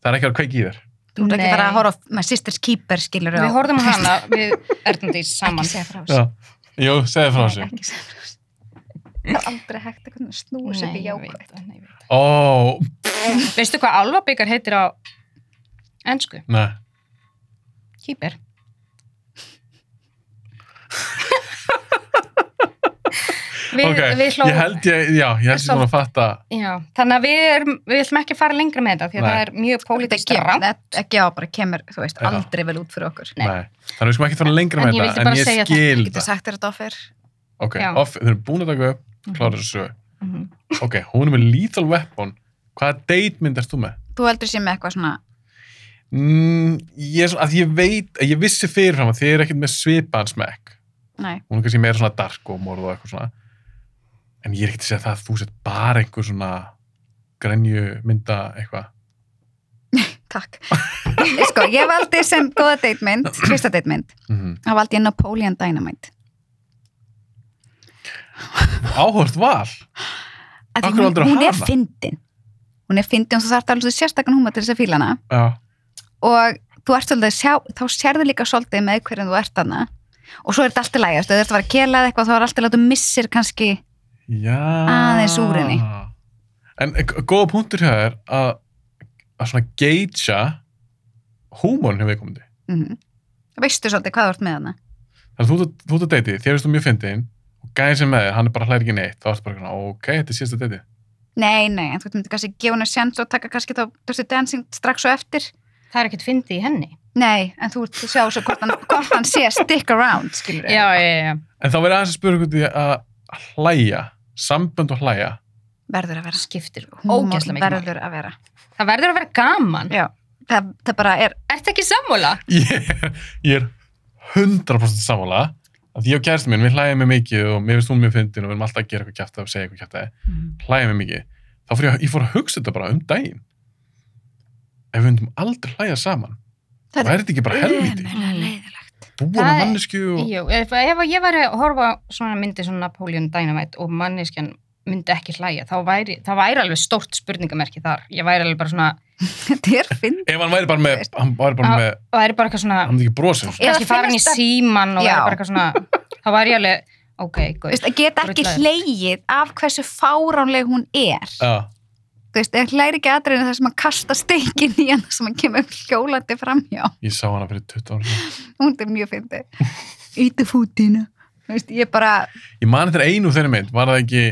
A: Það er ekki að kveiki í þér.
C: Þú ert ekki
B: Nei.
C: bara að horfa á með Sisters Keeper, skilur
B: við horfum á hana við Erndís
C: Ekki
B: saman
C: segja frá
A: Já.
C: þessu.
A: Jú, segði frá þessu.
C: Nei, ekki segja frá þessu. Það er aldrei hægt að snúa
B: Nei,
C: sér til
B: ég veit
C: jákvæmt.
B: það, nei, ég veit
A: Ó,
B: það. veistu hvað alvabikar heitir á ennsku,
A: nei.
B: kýper Við,
A: Ok,
B: við
A: ég held ég, já, ég held ég svona að fatta.
B: Já, þannig að við, erum, við ætlum ekki að fara lengra með þetta því að
A: Nei.
B: það er mjög pólitískt rann
C: Þetta ekki á bara kemur, þú veist,
A: Já.
C: aldrei vel út fyrir okkur.
B: Nei.
A: Nei. Þannig við skum ekki fara lengra
B: En
A: með
B: ég vildi
A: þetta,
B: bara
A: en ég
B: segja þetta,
A: skil
C: Getur
A: það.
C: sagt þér þetta á fyrr?
A: Ok,
B: Já. Mhm.
A: off, þeir eru búin að taka upp, klára þessu sögu. Ok, hún er með Lethal Weapon. Hvaða datemynd ert þú með?
C: Þú heldur sér með eitthvað svona,
A: Mm, ég, er svona- að ég veit, að ég vissi fyrirfram að þið er ekkert með svipaðan smekk.
C: nei,
A: Hún er kannski meira svona dark og morð og eitthvað svona. En ég er ekkert að segja það að þú sett bara einhver svona grenju mynda eitthvað.
C: takk. sko, ég valdi sem góða deitmynd, fyrsta deitmynd,
A: Mm
C: þá valdi ég Napoleon Dynamite.
A: Áhört val.
C: Af því
A: Af hverju
C: hún,
A: valdirðu
C: hún er
A: hana?
C: fyndin. Hún er fyndin og þú þarf alveg sérstakann húma til þess að fíla hana.
A: Já,
C: og þú ert svolítið að sjá, þá sérðu líka svolítið með hverjum þú ert hana og svo er þetta alltaf lægast, þú ert að vera að kela eða eitthvað þá er alltaf að þú missir kannski
A: Já.
C: Aðeins úr henni.
A: En g- góða punktur hjá þér að, að svona geitja húmórin hjá viðkomandi.
C: mm veistu svolítið hvað þú ert með hana
A: Þannig að þú ert- þú ert að deytið, þér veist þú mjög fyndin og gæðin sem með þér, hann er bara hlæri ekki neitt, þá ertu bara svona, ok, þetta er síðasta deytið.
C: nei, nei, en þú myndir kannski gefa hana sjans og taka kannski þá Dirty Dancing strax og eftir
B: Það er ekkert fyndið í henni.
C: nei, en þú ert að sjá svo hvort hann, hvort hann sé að stick around, skilur
B: Já, já, já.
A: En þá verður aðeins að spura hvernig að hlæja, sambönd og hlæja.
C: verður að
B: Það
C: vera
B: skiptir
C: Húmor
B: ógæslega mikið. máli.
C: verður að vera
B: Það verður að vera gaman.
C: já, það, það bara er
B: Ertu ekki sammála?
A: Ég, ég er 100% sammála að ég og kæristin minn, við hlæjum mig mikið og mér finnst hún mjög fyndin og við erum alltaf að gera eitthvað kjæftið og segja eitthvað kjæftið. hlæja mig mikið þá fór ég, ég fór að hugsa þetta bara um daginn ef við myndum aldrei hlæja saman
C: Það
A: væri þetta ekki bara helviti
C: Ömurlega leiðilegt.
A: búin
B: Það
A: að
B: er-
A: mannesku og
B: Jú, ef, ef ég væri að horfa á svona myndi svona Napoleon Dynamite og manneskjan myndi ekki hlæja, þá væri, það væri alveg stórt spurningamerki þar. Ég væri alveg bara svona,
C: Þetta er finn
A: ef hann væri bara með hann væri bara
B: Á-
A: með,
B: væri bara eitthvað svona,
A: hann myndi ekki brosa og svona.
C: Eða
B: kannski farin í
C: finnast það-
B: síman og
C: Já.
B: væri bara eitthvað svona, þá væri ég alveg, ok, góð.
C: að geta ekki
B: Drullaður.
C: hlegið af hversu fáránleg hún er
A: Já,
C: þú veist, ég hlæri ekki aðriðinu þar sem að kasta steikin í hann sem að kemur hjólandi framhjá.
A: ég sá hana fyrir 20 ára síðan.
C: Hún er mjög fyndi. Íti fútinu. Þú veist, ég bara,
A: ég man þetta einu þeirri mynd var það ekki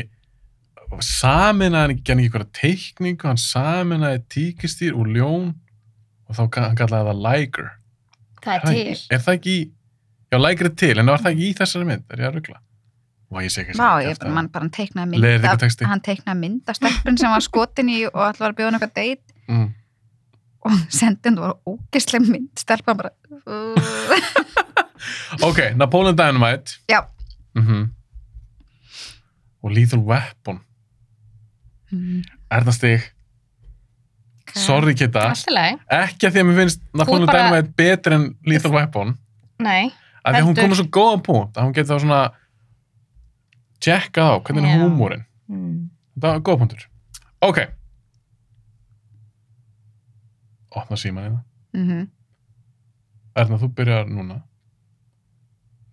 A: saminaði hann ekki gerði ekki einhverja teikningu hann saminaði tíkistýr úr ljón og þá ga- hann kallaði það lægur
B: Það er
A: það
B: til.
A: ekki- er það ekki í- já lægur er til en var það ekki í þessari mynd er ég að ruggla Vá, ég sé ekki
C: vá, ég bara, mann bara hann teiknaði
A: Leiðir
C: mynd
A: ykkur
C: af,
A: texti.
C: hann teiknaði mynd af stelpun sem var skotin í og alltaf var að bjóða hann eitthvað deit
A: mm.
C: og sendin, það var ógeðsleg mynd, stelpan bara, uh,
A: Ok, Napoleon Dynamite
C: Já.
A: Mhm. Og Lethal Weapon
C: mm,
A: Erna Stig Sorry, Kitta.
B: Allt í lagi.
A: Ekki að því að mér finnst Napoleon
B: bara-
A: Dynamite betri en Lethal Weapon.
B: Nei,
A: Af því að hún
B: Heldur.
A: komur svo góðan punkt að hún getur þá svona tjekkað á hvernig
B: Já.
A: er húmórin.
B: Mm.
A: Þetta var góða punktur. Ok. Opna síman eða.
C: Mm -hmm.
A: Erna, þú byrjar núna.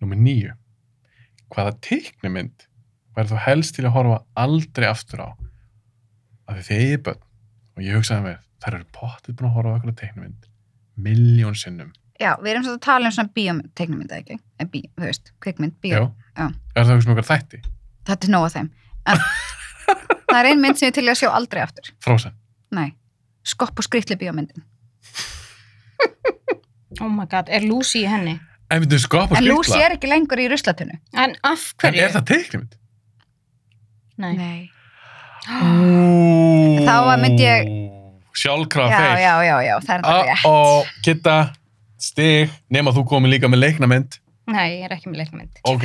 A: Númer nýju. Hvaða teiknumynd verður þú helst til að horfa aldrei aftur á? Af því þið er bönn. Og ég hugsaði mér, þær eru pottið búin að horfa á eitthvað teiknumynd. Miljón sinnum.
C: Já, við erum svolítið að tala um svona bíóteiknumynda, ekki? Eh, Bí, þú veist, kvikmynd, bíó.
A: Já.
C: Já.
A: Er það að hugsa um eitthvað þætti?
C: Þetta er nóg af þeim. En, það er ein mynd sem ég er til í að sjá aldrei aftur.
A: Frozen.
C: Nei, skopp og skrýtli bíómyndin.
B: oh my god, er Lucy í henni?
A: En við duðum skopp og
C: En
A: skýtla.
C: Lucy er ekki lengur í ruslatunnu.
B: En af
A: En
B: hverju?
A: er það teiknumynd?
B: Nei.
A: Þá
C: Þá var- myndi ég-
A: Sjálfkrafa
C: Já,
A: feil.
C: já, já, já, það er það rétt.
A: Uh-oh, Kitta, stig, nema þú komið líka með leiknamynd.
B: Nei, ég er ekki með leikmynd.
A: Ok,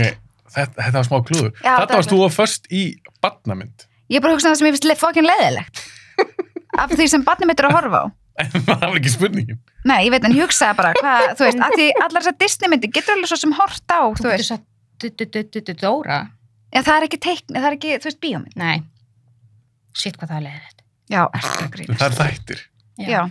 A: þetta, þetta var smá klúður.
C: Já, það er
A: Þetta varst þú að först í badnamynd.
C: Ég er bara að hugsa um það sem ég finnst fokkin leðilegt. Af því sem barnið mitt er að horfa á.
A: En það var ekki spurningin.
C: Nei, ég veit, en ég hugsaði bara, hvað, þú veist, að því allar þessar Disney myndi getur alveg svo sem hort á,
B: Þú
C: þú
B: getur
C: veist.
B: sagt du- du- du- du- du- Dóra?
C: En það er ekki teikn, það er ekki, þú veist, bíómynd.
B: Nei. Sitt hvað það er leðilegt.
C: Já, er það að grínast?
A: Það er þættir.
C: Já,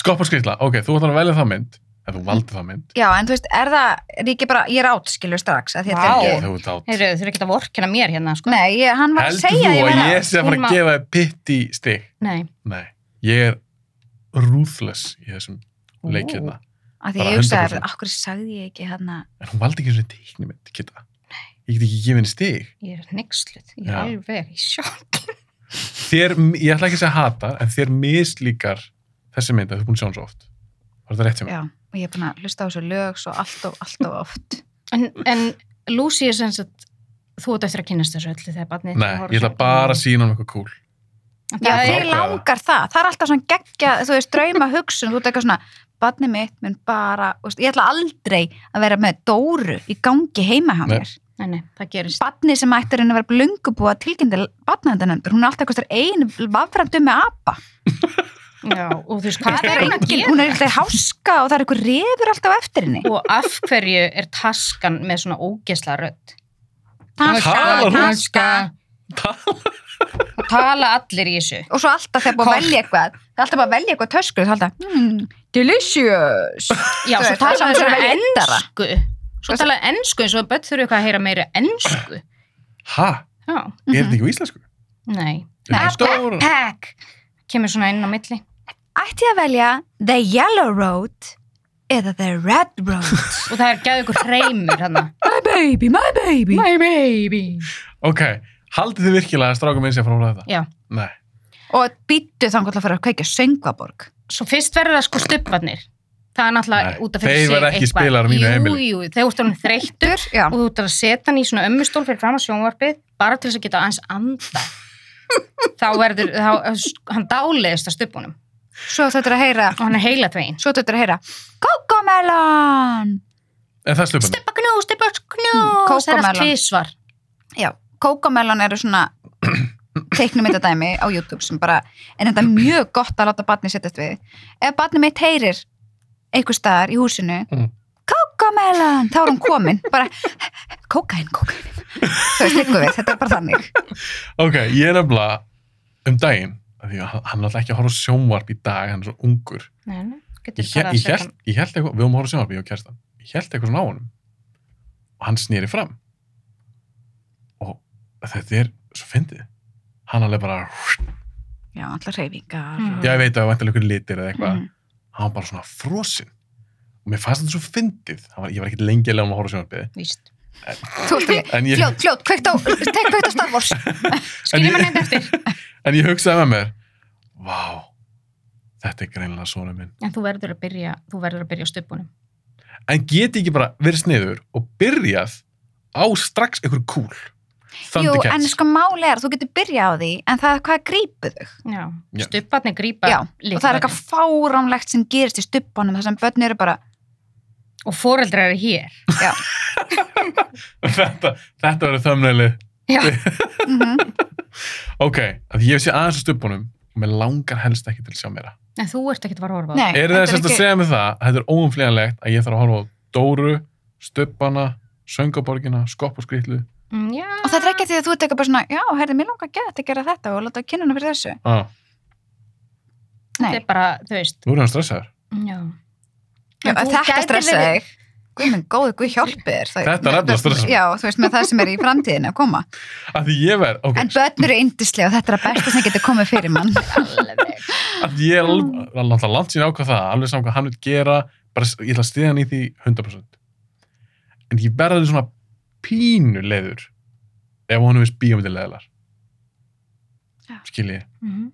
A: Skopp og skrýtla. Ok, þú ætlar að velja það mynd. En þú valdi það mynd.
C: já, en þú veist, er það, er ég ekki bara, ég er átt, skilur strax, að því
B: Vá.
C: að
A: Ég,
C: þetta
A: þú ert átt.
B: Heyrðu, þú eru ekki að vorkina mér hérna, sko.
C: Nei, ég, hann var að
A: Heldur
C: segja
A: þú
C: að ég
A: að
C: væri
A: ég sé að fara
B: Hún má-
A: að gefa þér pitt í stig?
B: Nei.
A: Nei, ég er ruthless í þessum
B: Ú.
A: leik hérna.
C: Af því
A: Bara
C: ég hugsaði,
A: 100%.
C: okkur sagði ég ekki hann að,
A: En hún valdi ekki svona teiknumynd, Kitta. Ég get ekki gefið henni stig.
B: Ég er nixluð. Ég er
A: Já.
B: alveg í sjokk.
A: þér, ég ætla ekki að segja hata en þér mislíkar þessi mynd að þú er búin að sjá hann svo oft var þetta rétt hjá mér?
C: já, og ég er búin að hlusta á þessu lög svo allt og, allt og oft.
B: En, en Lucy er sem sagt, þú ert eftir að kynast þessu öllu þegar barnið
A: Nei, ég ætla bara að sína hann eitthvað cool
B: En
C: Já,
B: það
A: Ég
B: er,
C: þig
A: ákvað það.
C: langar það. Það er alltaf svona geggja, þú veist, drauma hugsun, þú ert eitthvað svona, barnið mitt mun bara, þú veist, ég ætla aldrei að vera með Dóru í gangi heima hjá
A: Nei.
C: mér.
B: nei, nei, það gerist.
C: Barnið sem ættir henni að vera blöngubúa tilkynnti barnaðendanendur, hún er alltaf eitthvað einu vaframdu með um apa.
B: Já, og þú veist, hvað er
C: Engin-
B: hún að gera?
C: Hún er eitthvað háska og það er eitthvað reyður alltaf eftir henni.
B: Og af hverju er taskan með svona ógesla rödd?
A: Talar hún?
B: Og tala allir í þessu.
C: Og svo alltaf þegar búið að
B: Kort.
C: velja eitthvað, það er alltaf bara að velja eitthvað töskur, það er alltaf, hmm, delicious.
B: Já, svo
C: Þú veist, það er
B: tala
C: svona
B: hún svona
C: velja endara.
B: ennsku. Svo tala hún ennsku eins og börn þurfi eitthvað að heyra meira ennsku.
A: ha,
B: Já,
A: er þetta ekki á íslensku?
B: nei.
A: Er þetta stóra?
B: Pack! Kemur svona inn á milli.
C: ætti ég að velja The Yellow Road eða The Red Road
B: Og það er gæðu ykkur hreymur hann.
C: My baby, my baby
B: My baby.
A: ok, haldið þið virkilega að stráka minn sé að fara úr þetta?
B: Já.
A: Nei,
C: Og býttu þannig að fara að kveikja söngvaborg
B: Svo fyrst verður það sko stubbarnir. Það er náttúrulega
A: Nei,
B: út af fyrir
A: þeir
B: sig
A: verða ekki spilarar á mínu heimili.
B: Jú, jú, þeir úttur hann þreyttur
C: Dur, já
B: og þú ert að setja hann í svona ömmustól fyrir fram að sjónvarpið bara til þess að geta aðeins anda þá verður þá, hann dáliðist að stubunum
C: Svo þetta er að heyra
B: og hann er heila tvegin
C: Svo þetta er að heyra Kókomelon
A: en það slupar
B: stubba Hmm, knú, stubba knú
C: Mm,
B: það er allt
C: kókomelon.
B: tvísvar
C: Já, Kókomelon eru svona teiknum þetta dæmi á YouTube sem bara en þetta er mjög gott að láta batni setjast við Ef batni mitt heyrir einhver staðar í húsinu
A: Mm.
C: Kókomelon, þá er hún komin bara kókain, kókain Þú veist, liggur við, þetta er bara þannig
A: ok, ég er nefnilega um daginn af því að hann hann er alltaf ekki að horfa á sjónvarp í dag hann er svo ungur
B: Nei, nei, getur
A: ég,
B: bara
A: ég,
B: að
A: ég,
B: setja
A: held,
B: hann-
A: ég held eitthvað, við höfum að horfa á sjónvarp ég og kerstan, ég held eitthvað svona á honum og hann snýri fram og þetta er svo fyndið hann alveg bara
C: Já, alltaf reyfingar.
B: Mhm.
A: Já, ég veit að það var vantilega ykkur litir eða eitthvað.
C: Mhm.
A: Hann var bara svona frosinn. Og mér fannst þetta svo fyndið. Hann Var, ég var ekkert lengi að lega um að horfa sjónarbyrði.
B: víst
C: Þú veist ekki,
A: En ég,
C: fljótt, fljótt, kveikt á, tek kveikt á Star Wars.
A: ég-
B: skiljum hann eitthvað eftir
A: en ég hugsaði með mér, vá, þetta er greinilega svona minn.
B: en þú verður að byrja, þú verður að byrja á stubunum
A: En geti ekki bara verið sniður og byrjað á strax ykkur kúl.
C: Jú,
A: Thundercats.
C: en sko máli er að þú getur byrjað á því, en það er hvað grípu þau.
B: já,
A: Já.
B: stubbarnir grípa
C: Já,
B: litlu
C: Og það
B: börnin.
C: er eitthvað fáramlegt sem gerist í stubbanum, þar sem börn eru bara,
B: og foreldrar eru hér
A: þetta, þetta verður þömmneili.
B: já,
C: mhm,
A: Ok, að ég sé aðeins á stubunum og mér langar helst ekki til að sjá meira.
B: En þú ert ekkert að fara að horfa á
C: Nei,
A: Er
C: þetta
A: það semst að
C: ekki-
A: segja mig það að þetta er óumflýjanlegt að ég þarf að horfa á Dóru, Stöppana, Söngaborgina, Skopp og Skrýtlu?
B: Mm, Já,
C: Og þetta er ekki af því að þú ert eitthvað bara svona, já, herði, mér langar að geta að gera þetta og láta kynna hana fyrir þessu.
A: Ah,
C: Nei,
B: þetta er bara, þú veist
A: þú erum stressaður.
B: Já
C: já,
B: En þú
C: þetta
B: gætir
C: stressa
B: verið-
C: þig. Guð minn, góð, guð hjálpi þér. Það-
A: Þetta er nefnilega stressandi.
C: Já, þú veist, með það sem er í framtíðin að koma.
A: Að því ég verð, ok,
C: En börn eru yndislega og þetta er að besta sem getur komið fyrir mann.
B: Alveg.
A: að ég er alveg, það er náttúrulega langt sín ákvað það, alveg saman hvað hann vil gera, bara s- ég ætla að stiða hann í því 100%. En ég verður svona pínu leiður ef honum veist bíómyndir leiðilegar.
C: Já.
A: Skil ég.
B: Mhm.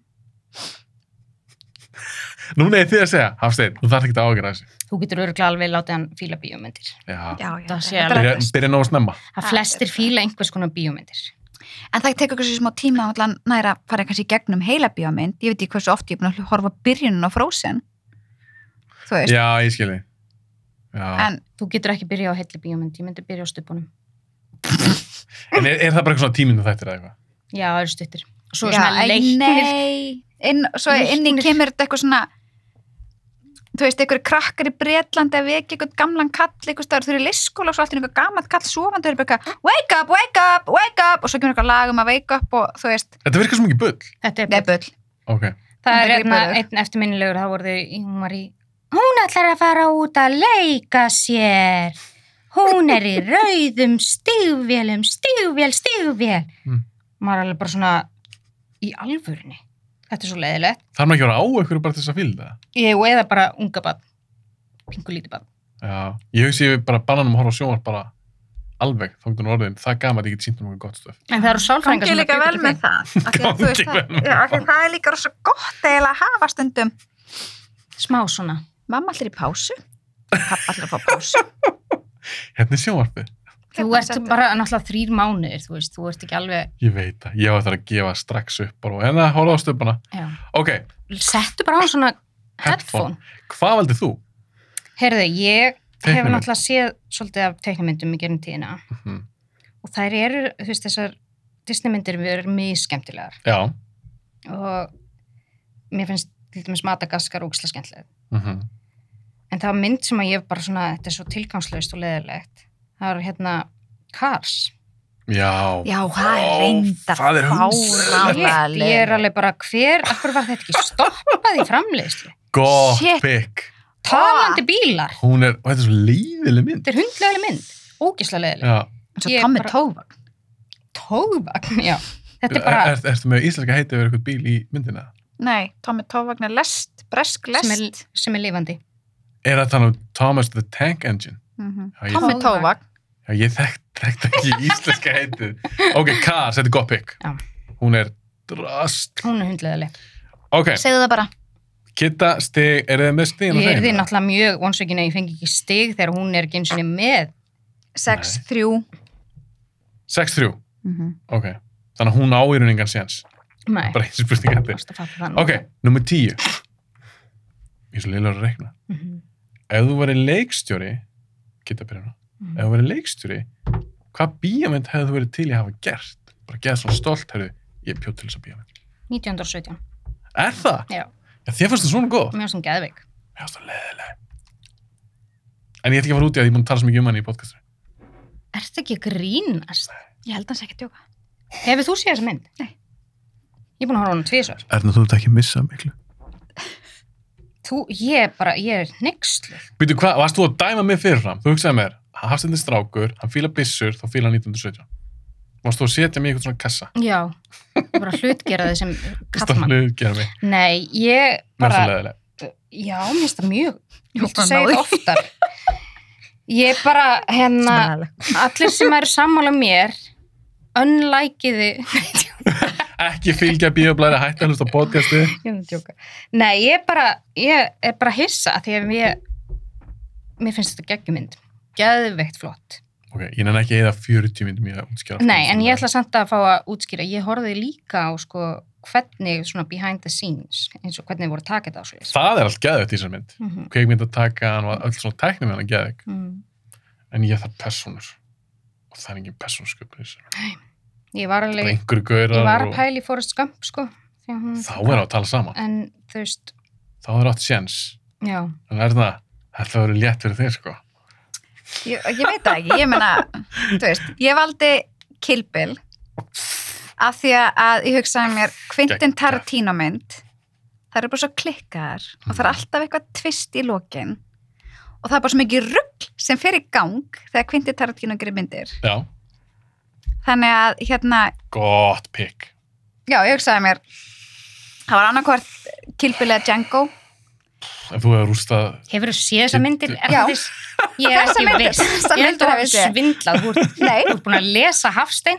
A: Núna er þið að segja, Hafsteinn, þú þarf ekki að ágjöra þessu.
B: Þú getur öruglega alveg látið hann fíla bíómyndir
A: Já,
C: Já, já,
B: Það sé
C: þetta er
B: alveg-
A: byrja,
C: að best.
A: byrja nóg að snemma.
B: að
C: Það
B: flestir
C: er-
B: fíla einhvers konar bíómyndir
C: En það tekur kannski smá tíma að allan næra að fara kannski í gegnum heila bíómynd. Ég veit ekki hversu oft ég er búin að horfa á byrjunin á Frozen. Þú veist,
A: Já, ég skil þið. Já.
C: en
B: þú getur ekki byrja á heilli bíómynd, ég myndi byrja á stuppunum
A: En er, er það bara eitthvað svona tímyndu þættir eða eitthvað?
B: já, það eru stuttir og svo
C: já,
B: svona
C: æ,
B: leiknir
C: Nei, inn, svo inni
B: Leiknir.
C: kemur þetta eitthvað svona þú veist, einhver krakkar í Bretlandi að vekja eitthvað gamlan kall eitthvað staður, þau eru í listskóla og svo allt er einhver gamall kall sofandi og þau eru bara eitthvað, wake up, wake up, wake up og svo kemur eitthvað lag um að wake up og þú veist,
A: Þetta virkar svo mikið bull.
B: þetta er
C: nebull
A: Ok.
B: Það er
C: Hún er
B: einna,
C: gripaður.
B: einn eftirminnilegur, það voru þau, hún var í, hún ætlar að fara út að leika sér, hún er í rauðum stígvélum, stígvél, stígvél.
A: Mm.
B: Maður er alveg bara svona í alvörunni, þetta er svo leiðilegt.
A: Þarf maður ekki að vera á ykkur bara til þess að fylgja það?
B: Ég og eða bara unga bann, pingu lítið bann.
A: Já. Ég hugsi ég bara bananum að horfa á sjónvarp bara alveg, þóngdun orðin. Það gaf maður ekki sínt um eitthvað gott stöf.
B: En það eru sálfrængar
C: gangi
B: sem
C: líka
B: bjuggu
C: vel
B: til
C: með
B: þau.
C: það af því að þú veist
A: Gangi vel með
C: það- já, af því
A: það.
C: að það er líka rosa gott eiginlega að hafa stundum
B: Smá svona.
C: mamma allir í pásu pappa allir að fá pásu
A: Hérna er sjónvarpið.
B: Þú
C: Hérna
B: ert
C: setur-
B: bara náttúrulega þrýr mánuðir, þú veist, þú ert ekki alveg,
A: Ég veit það, ég var það að gefa strax upp bara, en það horfðu á stöpana.
B: já.
A: Ok,
B: Settu bara á svona
A: Headphone.
B: headphone.
A: hvað valdi þú?
B: Herðu, ég hef
A: Teiknimynd.
B: náttúrulega séð svolítið af teiknumyndum í gerum tíðina
A: Mhm.
B: og þær eru, þú veist, þessar Disneymyndir eru mjög skemmtilegar
A: Já.
B: og mér finnst til dæmis Madagaskar ógislega skemmtileg
A: Mm
B: en það var mynd sem að ég bara svona, þetta er svo tilgangslaust og leðilegt það var hérna Cars
A: Já.
C: já, það er
A: Ó,
C: reyndar
A: það er
B: Shit,
A: hundleiðilegt.
C: fáránlega
B: ég er alveg bara hver, akkur var þetta ekki stoppað í framleiðslu
A: Gott
C: Shit.
A: pick.
B: talandi bílar,
A: Hún er, og þetta er svo leiðileg mynd.
B: þetta er hundlega mynd ógislega leðileg,
A: Já.
C: eins og
B: ég
C: Tommy
B: bara-
C: Tóvagn
B: tóðvagn já, þetta er
A: Er,
B: bara
A: er, ertu með íslenska heiti yfir eitthvað bíl í myndina?
C: Nei, Tommy Tóvagn er lest, bresk lest.
B: sem er, sem er lifandi
A: Er það þannig um Thomas the Tank Engine?
C: Mhm.
A: Já, ég-
C: Tommy Tóvagn.
A: Já, ég þekkt, þekkt ekki íslenska heitið. Ok, Cars, þetta er gott pick.
B: Já.
A: Hún er drast.
B: hún er hundleðileg
A: Ok,
C: Segðu það bara.
A: Kitta, stig, er þið með stigin?
B: Ég er því náttúrulega mjög vonsveikin að ég fengi ekki stig þegar hún er ekki eins og niður með.
A: Nei.
C: 6, 3.
A: 6-3,
C: Mhm.
A: ok. Þannig að hún áýruningan séns.
B: Nei,
A: Bara eins og spurning hætti.
B: varst að fatta það.
A: Ok, nummer 10. Ég er svo liðlega að reikna.
B: Mm
A: Ef þú væri leikstjóri, Kitta byrja nú. Ef þú væri leikstjóri, hvað bíjament hefði þú verið til í að hafa gert? Bara geða svona stolt, herru, ég bjóð til þess að bíjament.
B: 1917,
A: Er það?
B: Já. Mm.
A: Já, þér fannst það svona góð?
B: mjög sem geðveik.
A: Mér finnst það leðileg. En ég ætti ekki að fara út í að ég er búin að tala svo mikið um hann í podcastur.
B: Ertu ekki að grínast?
C: Ég held hans ekki að djóka.
B: Hefur þú séð þessa mynd?
C: Nei.
B: Ég er búin að horfa á hana tvísvar.
A: Erna, þú ert ekki að missa miklu.
B: Þú, ég er bara, ég er nexlu.
A: Býtu, hvað, varst þú að dæma mig fyrirfram? Þú hugsaði mér, hafstendin strákur, hann fíla byssur, þá fíla hann 1917. Varst þú að setja mig í eitthvað svona kassa?
B: Já, bara hlutgera þeir sem kallmann.
A: Stofnið, gera mig.
B: Nei, ég
A: Mér finnst
B: bara,
A: það leðileg.
B: já, mér finnst það mjög,
C: Ég
B: viltu
C: bara
B: segja
C: náði.
B: þetta oftar? Ég bara, hérna, allir sem eru sammála mér önlækiði
A: Ekki fylgja bíoblæri, hætta að hlusta á podcasti.
B: Nei, ég er bara ég er bara hissa af því að ég mér finnst þetta geggjumynd geðveikt flott
A: Ok, ég nenni ekki að eða 40 myndum ég að útskjára.
B: Nei, en ég ætla samt að fá að útskýra ég horfði líka á sko hvernig svona behind the scenes eins og hvernig voru að taka þetta á svo leys
A: Það er allt geðvægt í þessar mynd.
B: mm
A: Kveikmynd að taka, hann var öll svona tæknum hann að geðvæg.
B: mhm.
A: En ég þarf personur. Og það er engin persónusköpun í þessar.
B: Ég var
A: Bara
B: alveg
A: einhverju gaurar
B: ég var
A: og-
B: að pæla í Forrest Gump sko því að hún...
A: Þá er það að tala saman.
B: En þú veist,
A: Þá er átt séns.
B: já,
A: En er það, þetta verður létt fyrir þig, sko.
C: Ég, ég veit það ekki, ég meina, þú veist, ég valdi Kill Bill af því að ég hugsaði mér Quentin
A: Geggjað.
C: Tarantino mynd, það eru bara svo klikkaðar og það er alltaf eitthvað tvist í lokin og það er bara svo mikið rugg sem fer í gang þegar Quentin Tarantino gerir myndir.
A: Já,
C: Þannig að, hérna,
A: gott pikk.
C: já, ég hugsaði mér, það var annarkvart Kill Bill eða Django
A: En þú hefur rústað,
B: hefur þú séð þessar myndir?
C: Já.
B: Erlendis? Ég er
C: Þessar
B: ekki
C: myndir-
B: viss.
C: þessar
B: Ég held að
C: myndir
B: þú
C: hef ég
B: hefur
C: séð.
B: svindlað, þú ert-
C: Nei.
B: þú ert búin að lesa Hafstein.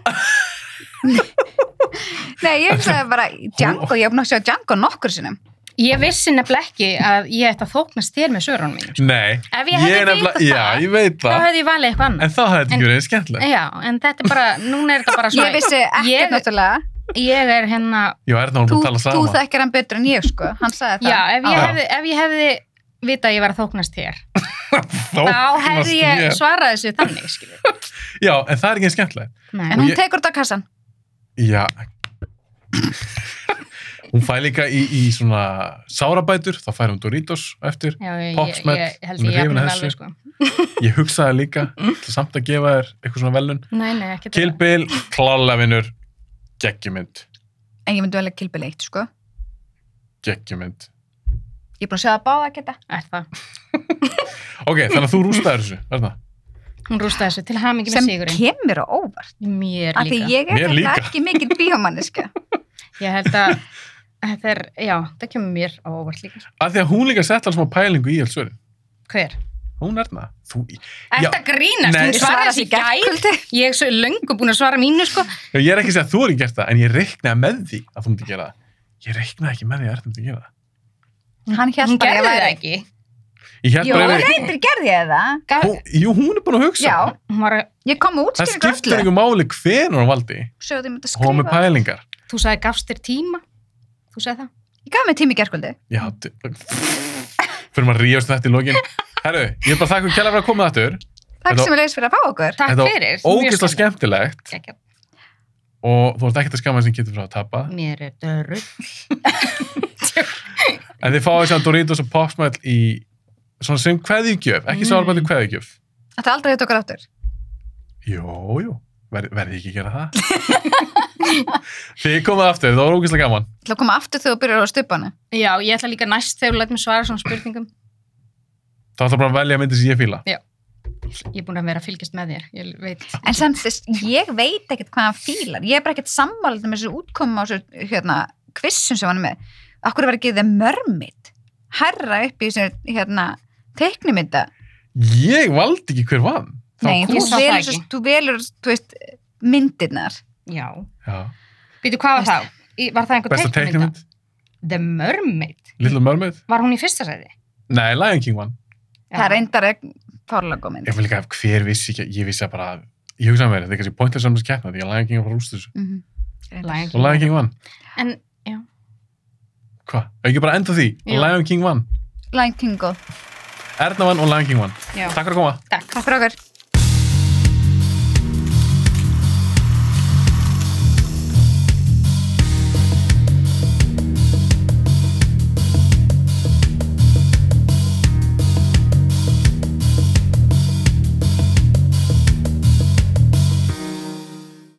C: Nei, ég hugsaði bara Django, ég hef búin að sjá Django nokkur sinnum.
B: Ég vissi nefnilega ekki að ég ætti að þóknast þér með svörunum mínum.
A: nei.
B: Ef ég hefði
A: nefnilega-
B: vitað
A: Já,
B: það,
A: ég veit
B: Þá
A: það.
B: hefði ég valið eitthvað annað.
A: En það hefði
B: En-
A: ekki verið skemmtilegt.
B: Já, en þetta er bara, núna er þetta bara svona...
C: Ég vissi ekkert
B: Ég-
C: náttúrulega.
B: Ég er hérna,
A: Já, Erna var
C: Þú,
A: búin að tala
C: þú
A: saman.
C: þekkir hann betur en ég sko, hann sagði það.
B: já, ef ég
A: Já.
B: hefði, ef ég hefði vitað að ég var að þóknast þér,
A: Þá
B: þá hefði
A: varst
B: ég
A: mér.
B: svarað þessu þannig, skilur.
A: Já, en það er ekki eins skemmtilegt.
B: Nei.
C: En hún
A: ég-
C: tekur þetta á kassan.
A: Já. hún fær líka í, í svona sárabætur, þá fær hún Doritos á eftir.
B: Já, ég,
A: Popp
B: ég,
A: smell,
B: ég held
A: hún
B: ég
A: er hrifin
B: jafnir
A: af
B: með
A: þessu.
B: alveg sko.
A: Ég hugsaði líka, til samt að gefa þér eitthvað svona velun.
B: Nei, nei, ekki
A: Kill Bill, klálega vinnur, geggjumynd,
C: En ég myndi vel að kilpil eitt sko.
A: geggjumynd.
C: Ég er búin að sjá það báða að geta.
B: Er það.
A: Ok, þannig að þú rústaði þessu, Erna.
B: Hún rústaði þessu til hamingi með
C: Sem
B: sigurinn.
C: kemur á óvart.
B: Mér
C: Af því
B: líka.
C: ég er
A: Mér
C: nefnilega
A: líka.
C: ekki mikil bíómanniska.
B: Ég held að þetta er, já, þetta kemur mér á óvart líka.
A: Af því að hún líka sett alls má pælingu í alls verið.
B: Hver?
A: Hún Erna, þú, Já.
B: Þetta grínast,
A: Nei.
B: hún svaraði þessu í gær.
C: gerkvöldi.
B: Ég er svo löngu búin að svara mínu, sko.
A: Já, ég er ekki að segja að þú er ekki gert það, en ég reiknaði með því að þú myndi gera það. Ég reiknaði ekki með því að Erna myndi gera það.
C: Hann
B: Hún
C: hjælt bara
B: gerði
C: ég
B: það
C: væri.
B: ekki.
A: Ég held
C: Jú,
A: bara yfir-
C: reyndir gerði ég það.
B: Gaf,
A: Hún- Jú, hún er búin að hugsa.
C: Já,
A: það.
B: hún var,
C: ég kom með
A: Það
C: útskýringu
A: skiptir
C: öllu.
A: einhver máli hvenur hún valdi.
C: Sjóðu ég myndi að
A: Hún var með
C: skrifa.
A: pælingar.
B: þú sagði gafst þér tíma. Þú sagði það.
C: Ég gaf mig tími gerkvöldi.
A: Já, d- fyrir maður að ríðast þetta í lokin. Herru, ég er bara þakka kjælega fyrir að koma þetta
C: Takk
A: Þetta-
C: sem er leiðis fyrir að fá okkur.
B: Takk
A: Þetta var
B: fyrir.
A: Ógeðslega skemmtilegt
B: skemmt.
A: og þú ert ekkert að skama sem getur frá að tapa.
B: Mér er dörrull.
A: En þið fáið sér Doritos og Popsmell í svona sem kveðjugjöf, ekki
B: Mm.
A: sárbændi kveðjugjöf.
C: Þetta er aldrei hitt okkur áttur.
A: Jó, jú, Ver, verði ekki að gera það. þið komið aftur, það var ógeðslega gaman.
C: Það koma aftur þegar þú byrjar á stupanu.
B: Já, ég ætla líka næst þegar þú lætt mér svara svona spurningum.
A: Það ætla bara að velja myndi sem ég fíla.
B: Ég er búin að vera að fylgjast með þér. Ég veit.
C: En samt, þess- ég veit ekkert hvað hann fílar. Ég er bara ekkert sammálið með þessu útkomu á þessu hérna, kvissum sem hann er með. Akkur var ekki þið mörmit? Herra upp í þessu hérna, teiknumynda.
A: Ég valdi ekki hver vann. Það var
C: Nei,
A: kúl.
C: þú
B: ég sá það
C: velur,
B: ekki.
C: svo- þú velur þú veist, myndirnar.
B: Já.
A: Já.
B: Býtu, hvað var það? Í- Var það einhver
A: Besta
B: teiknumynda?
A: teiknumynd,
B: The Mermaid.
A: Little Mermaid.
B: Var hún í fyrsta sæði?
A: Nei, Lion King vann.
C: Það er eindar fárlega góð mynd.
A: Ég vil líka, hver vissi ekki, ég vissi að bara, ég hugsaði með mér, þetta er kannski pointless samlis keppna, því að Lion King var bara rúst þessu.
C: Mhm. Reyndar.
B: Lion
A: Og Lion
B: King.
A: King vann.
B: En,
A: Hvað? Ef Ekki bara enda því,
B: Jú.
A: Lion King vann.
C: Lion King góð.
A: Erna vann og Lion King vann.
B: já,
A: Takk fyrir að koma.
B: takk.
C: Takk fyrir okkur.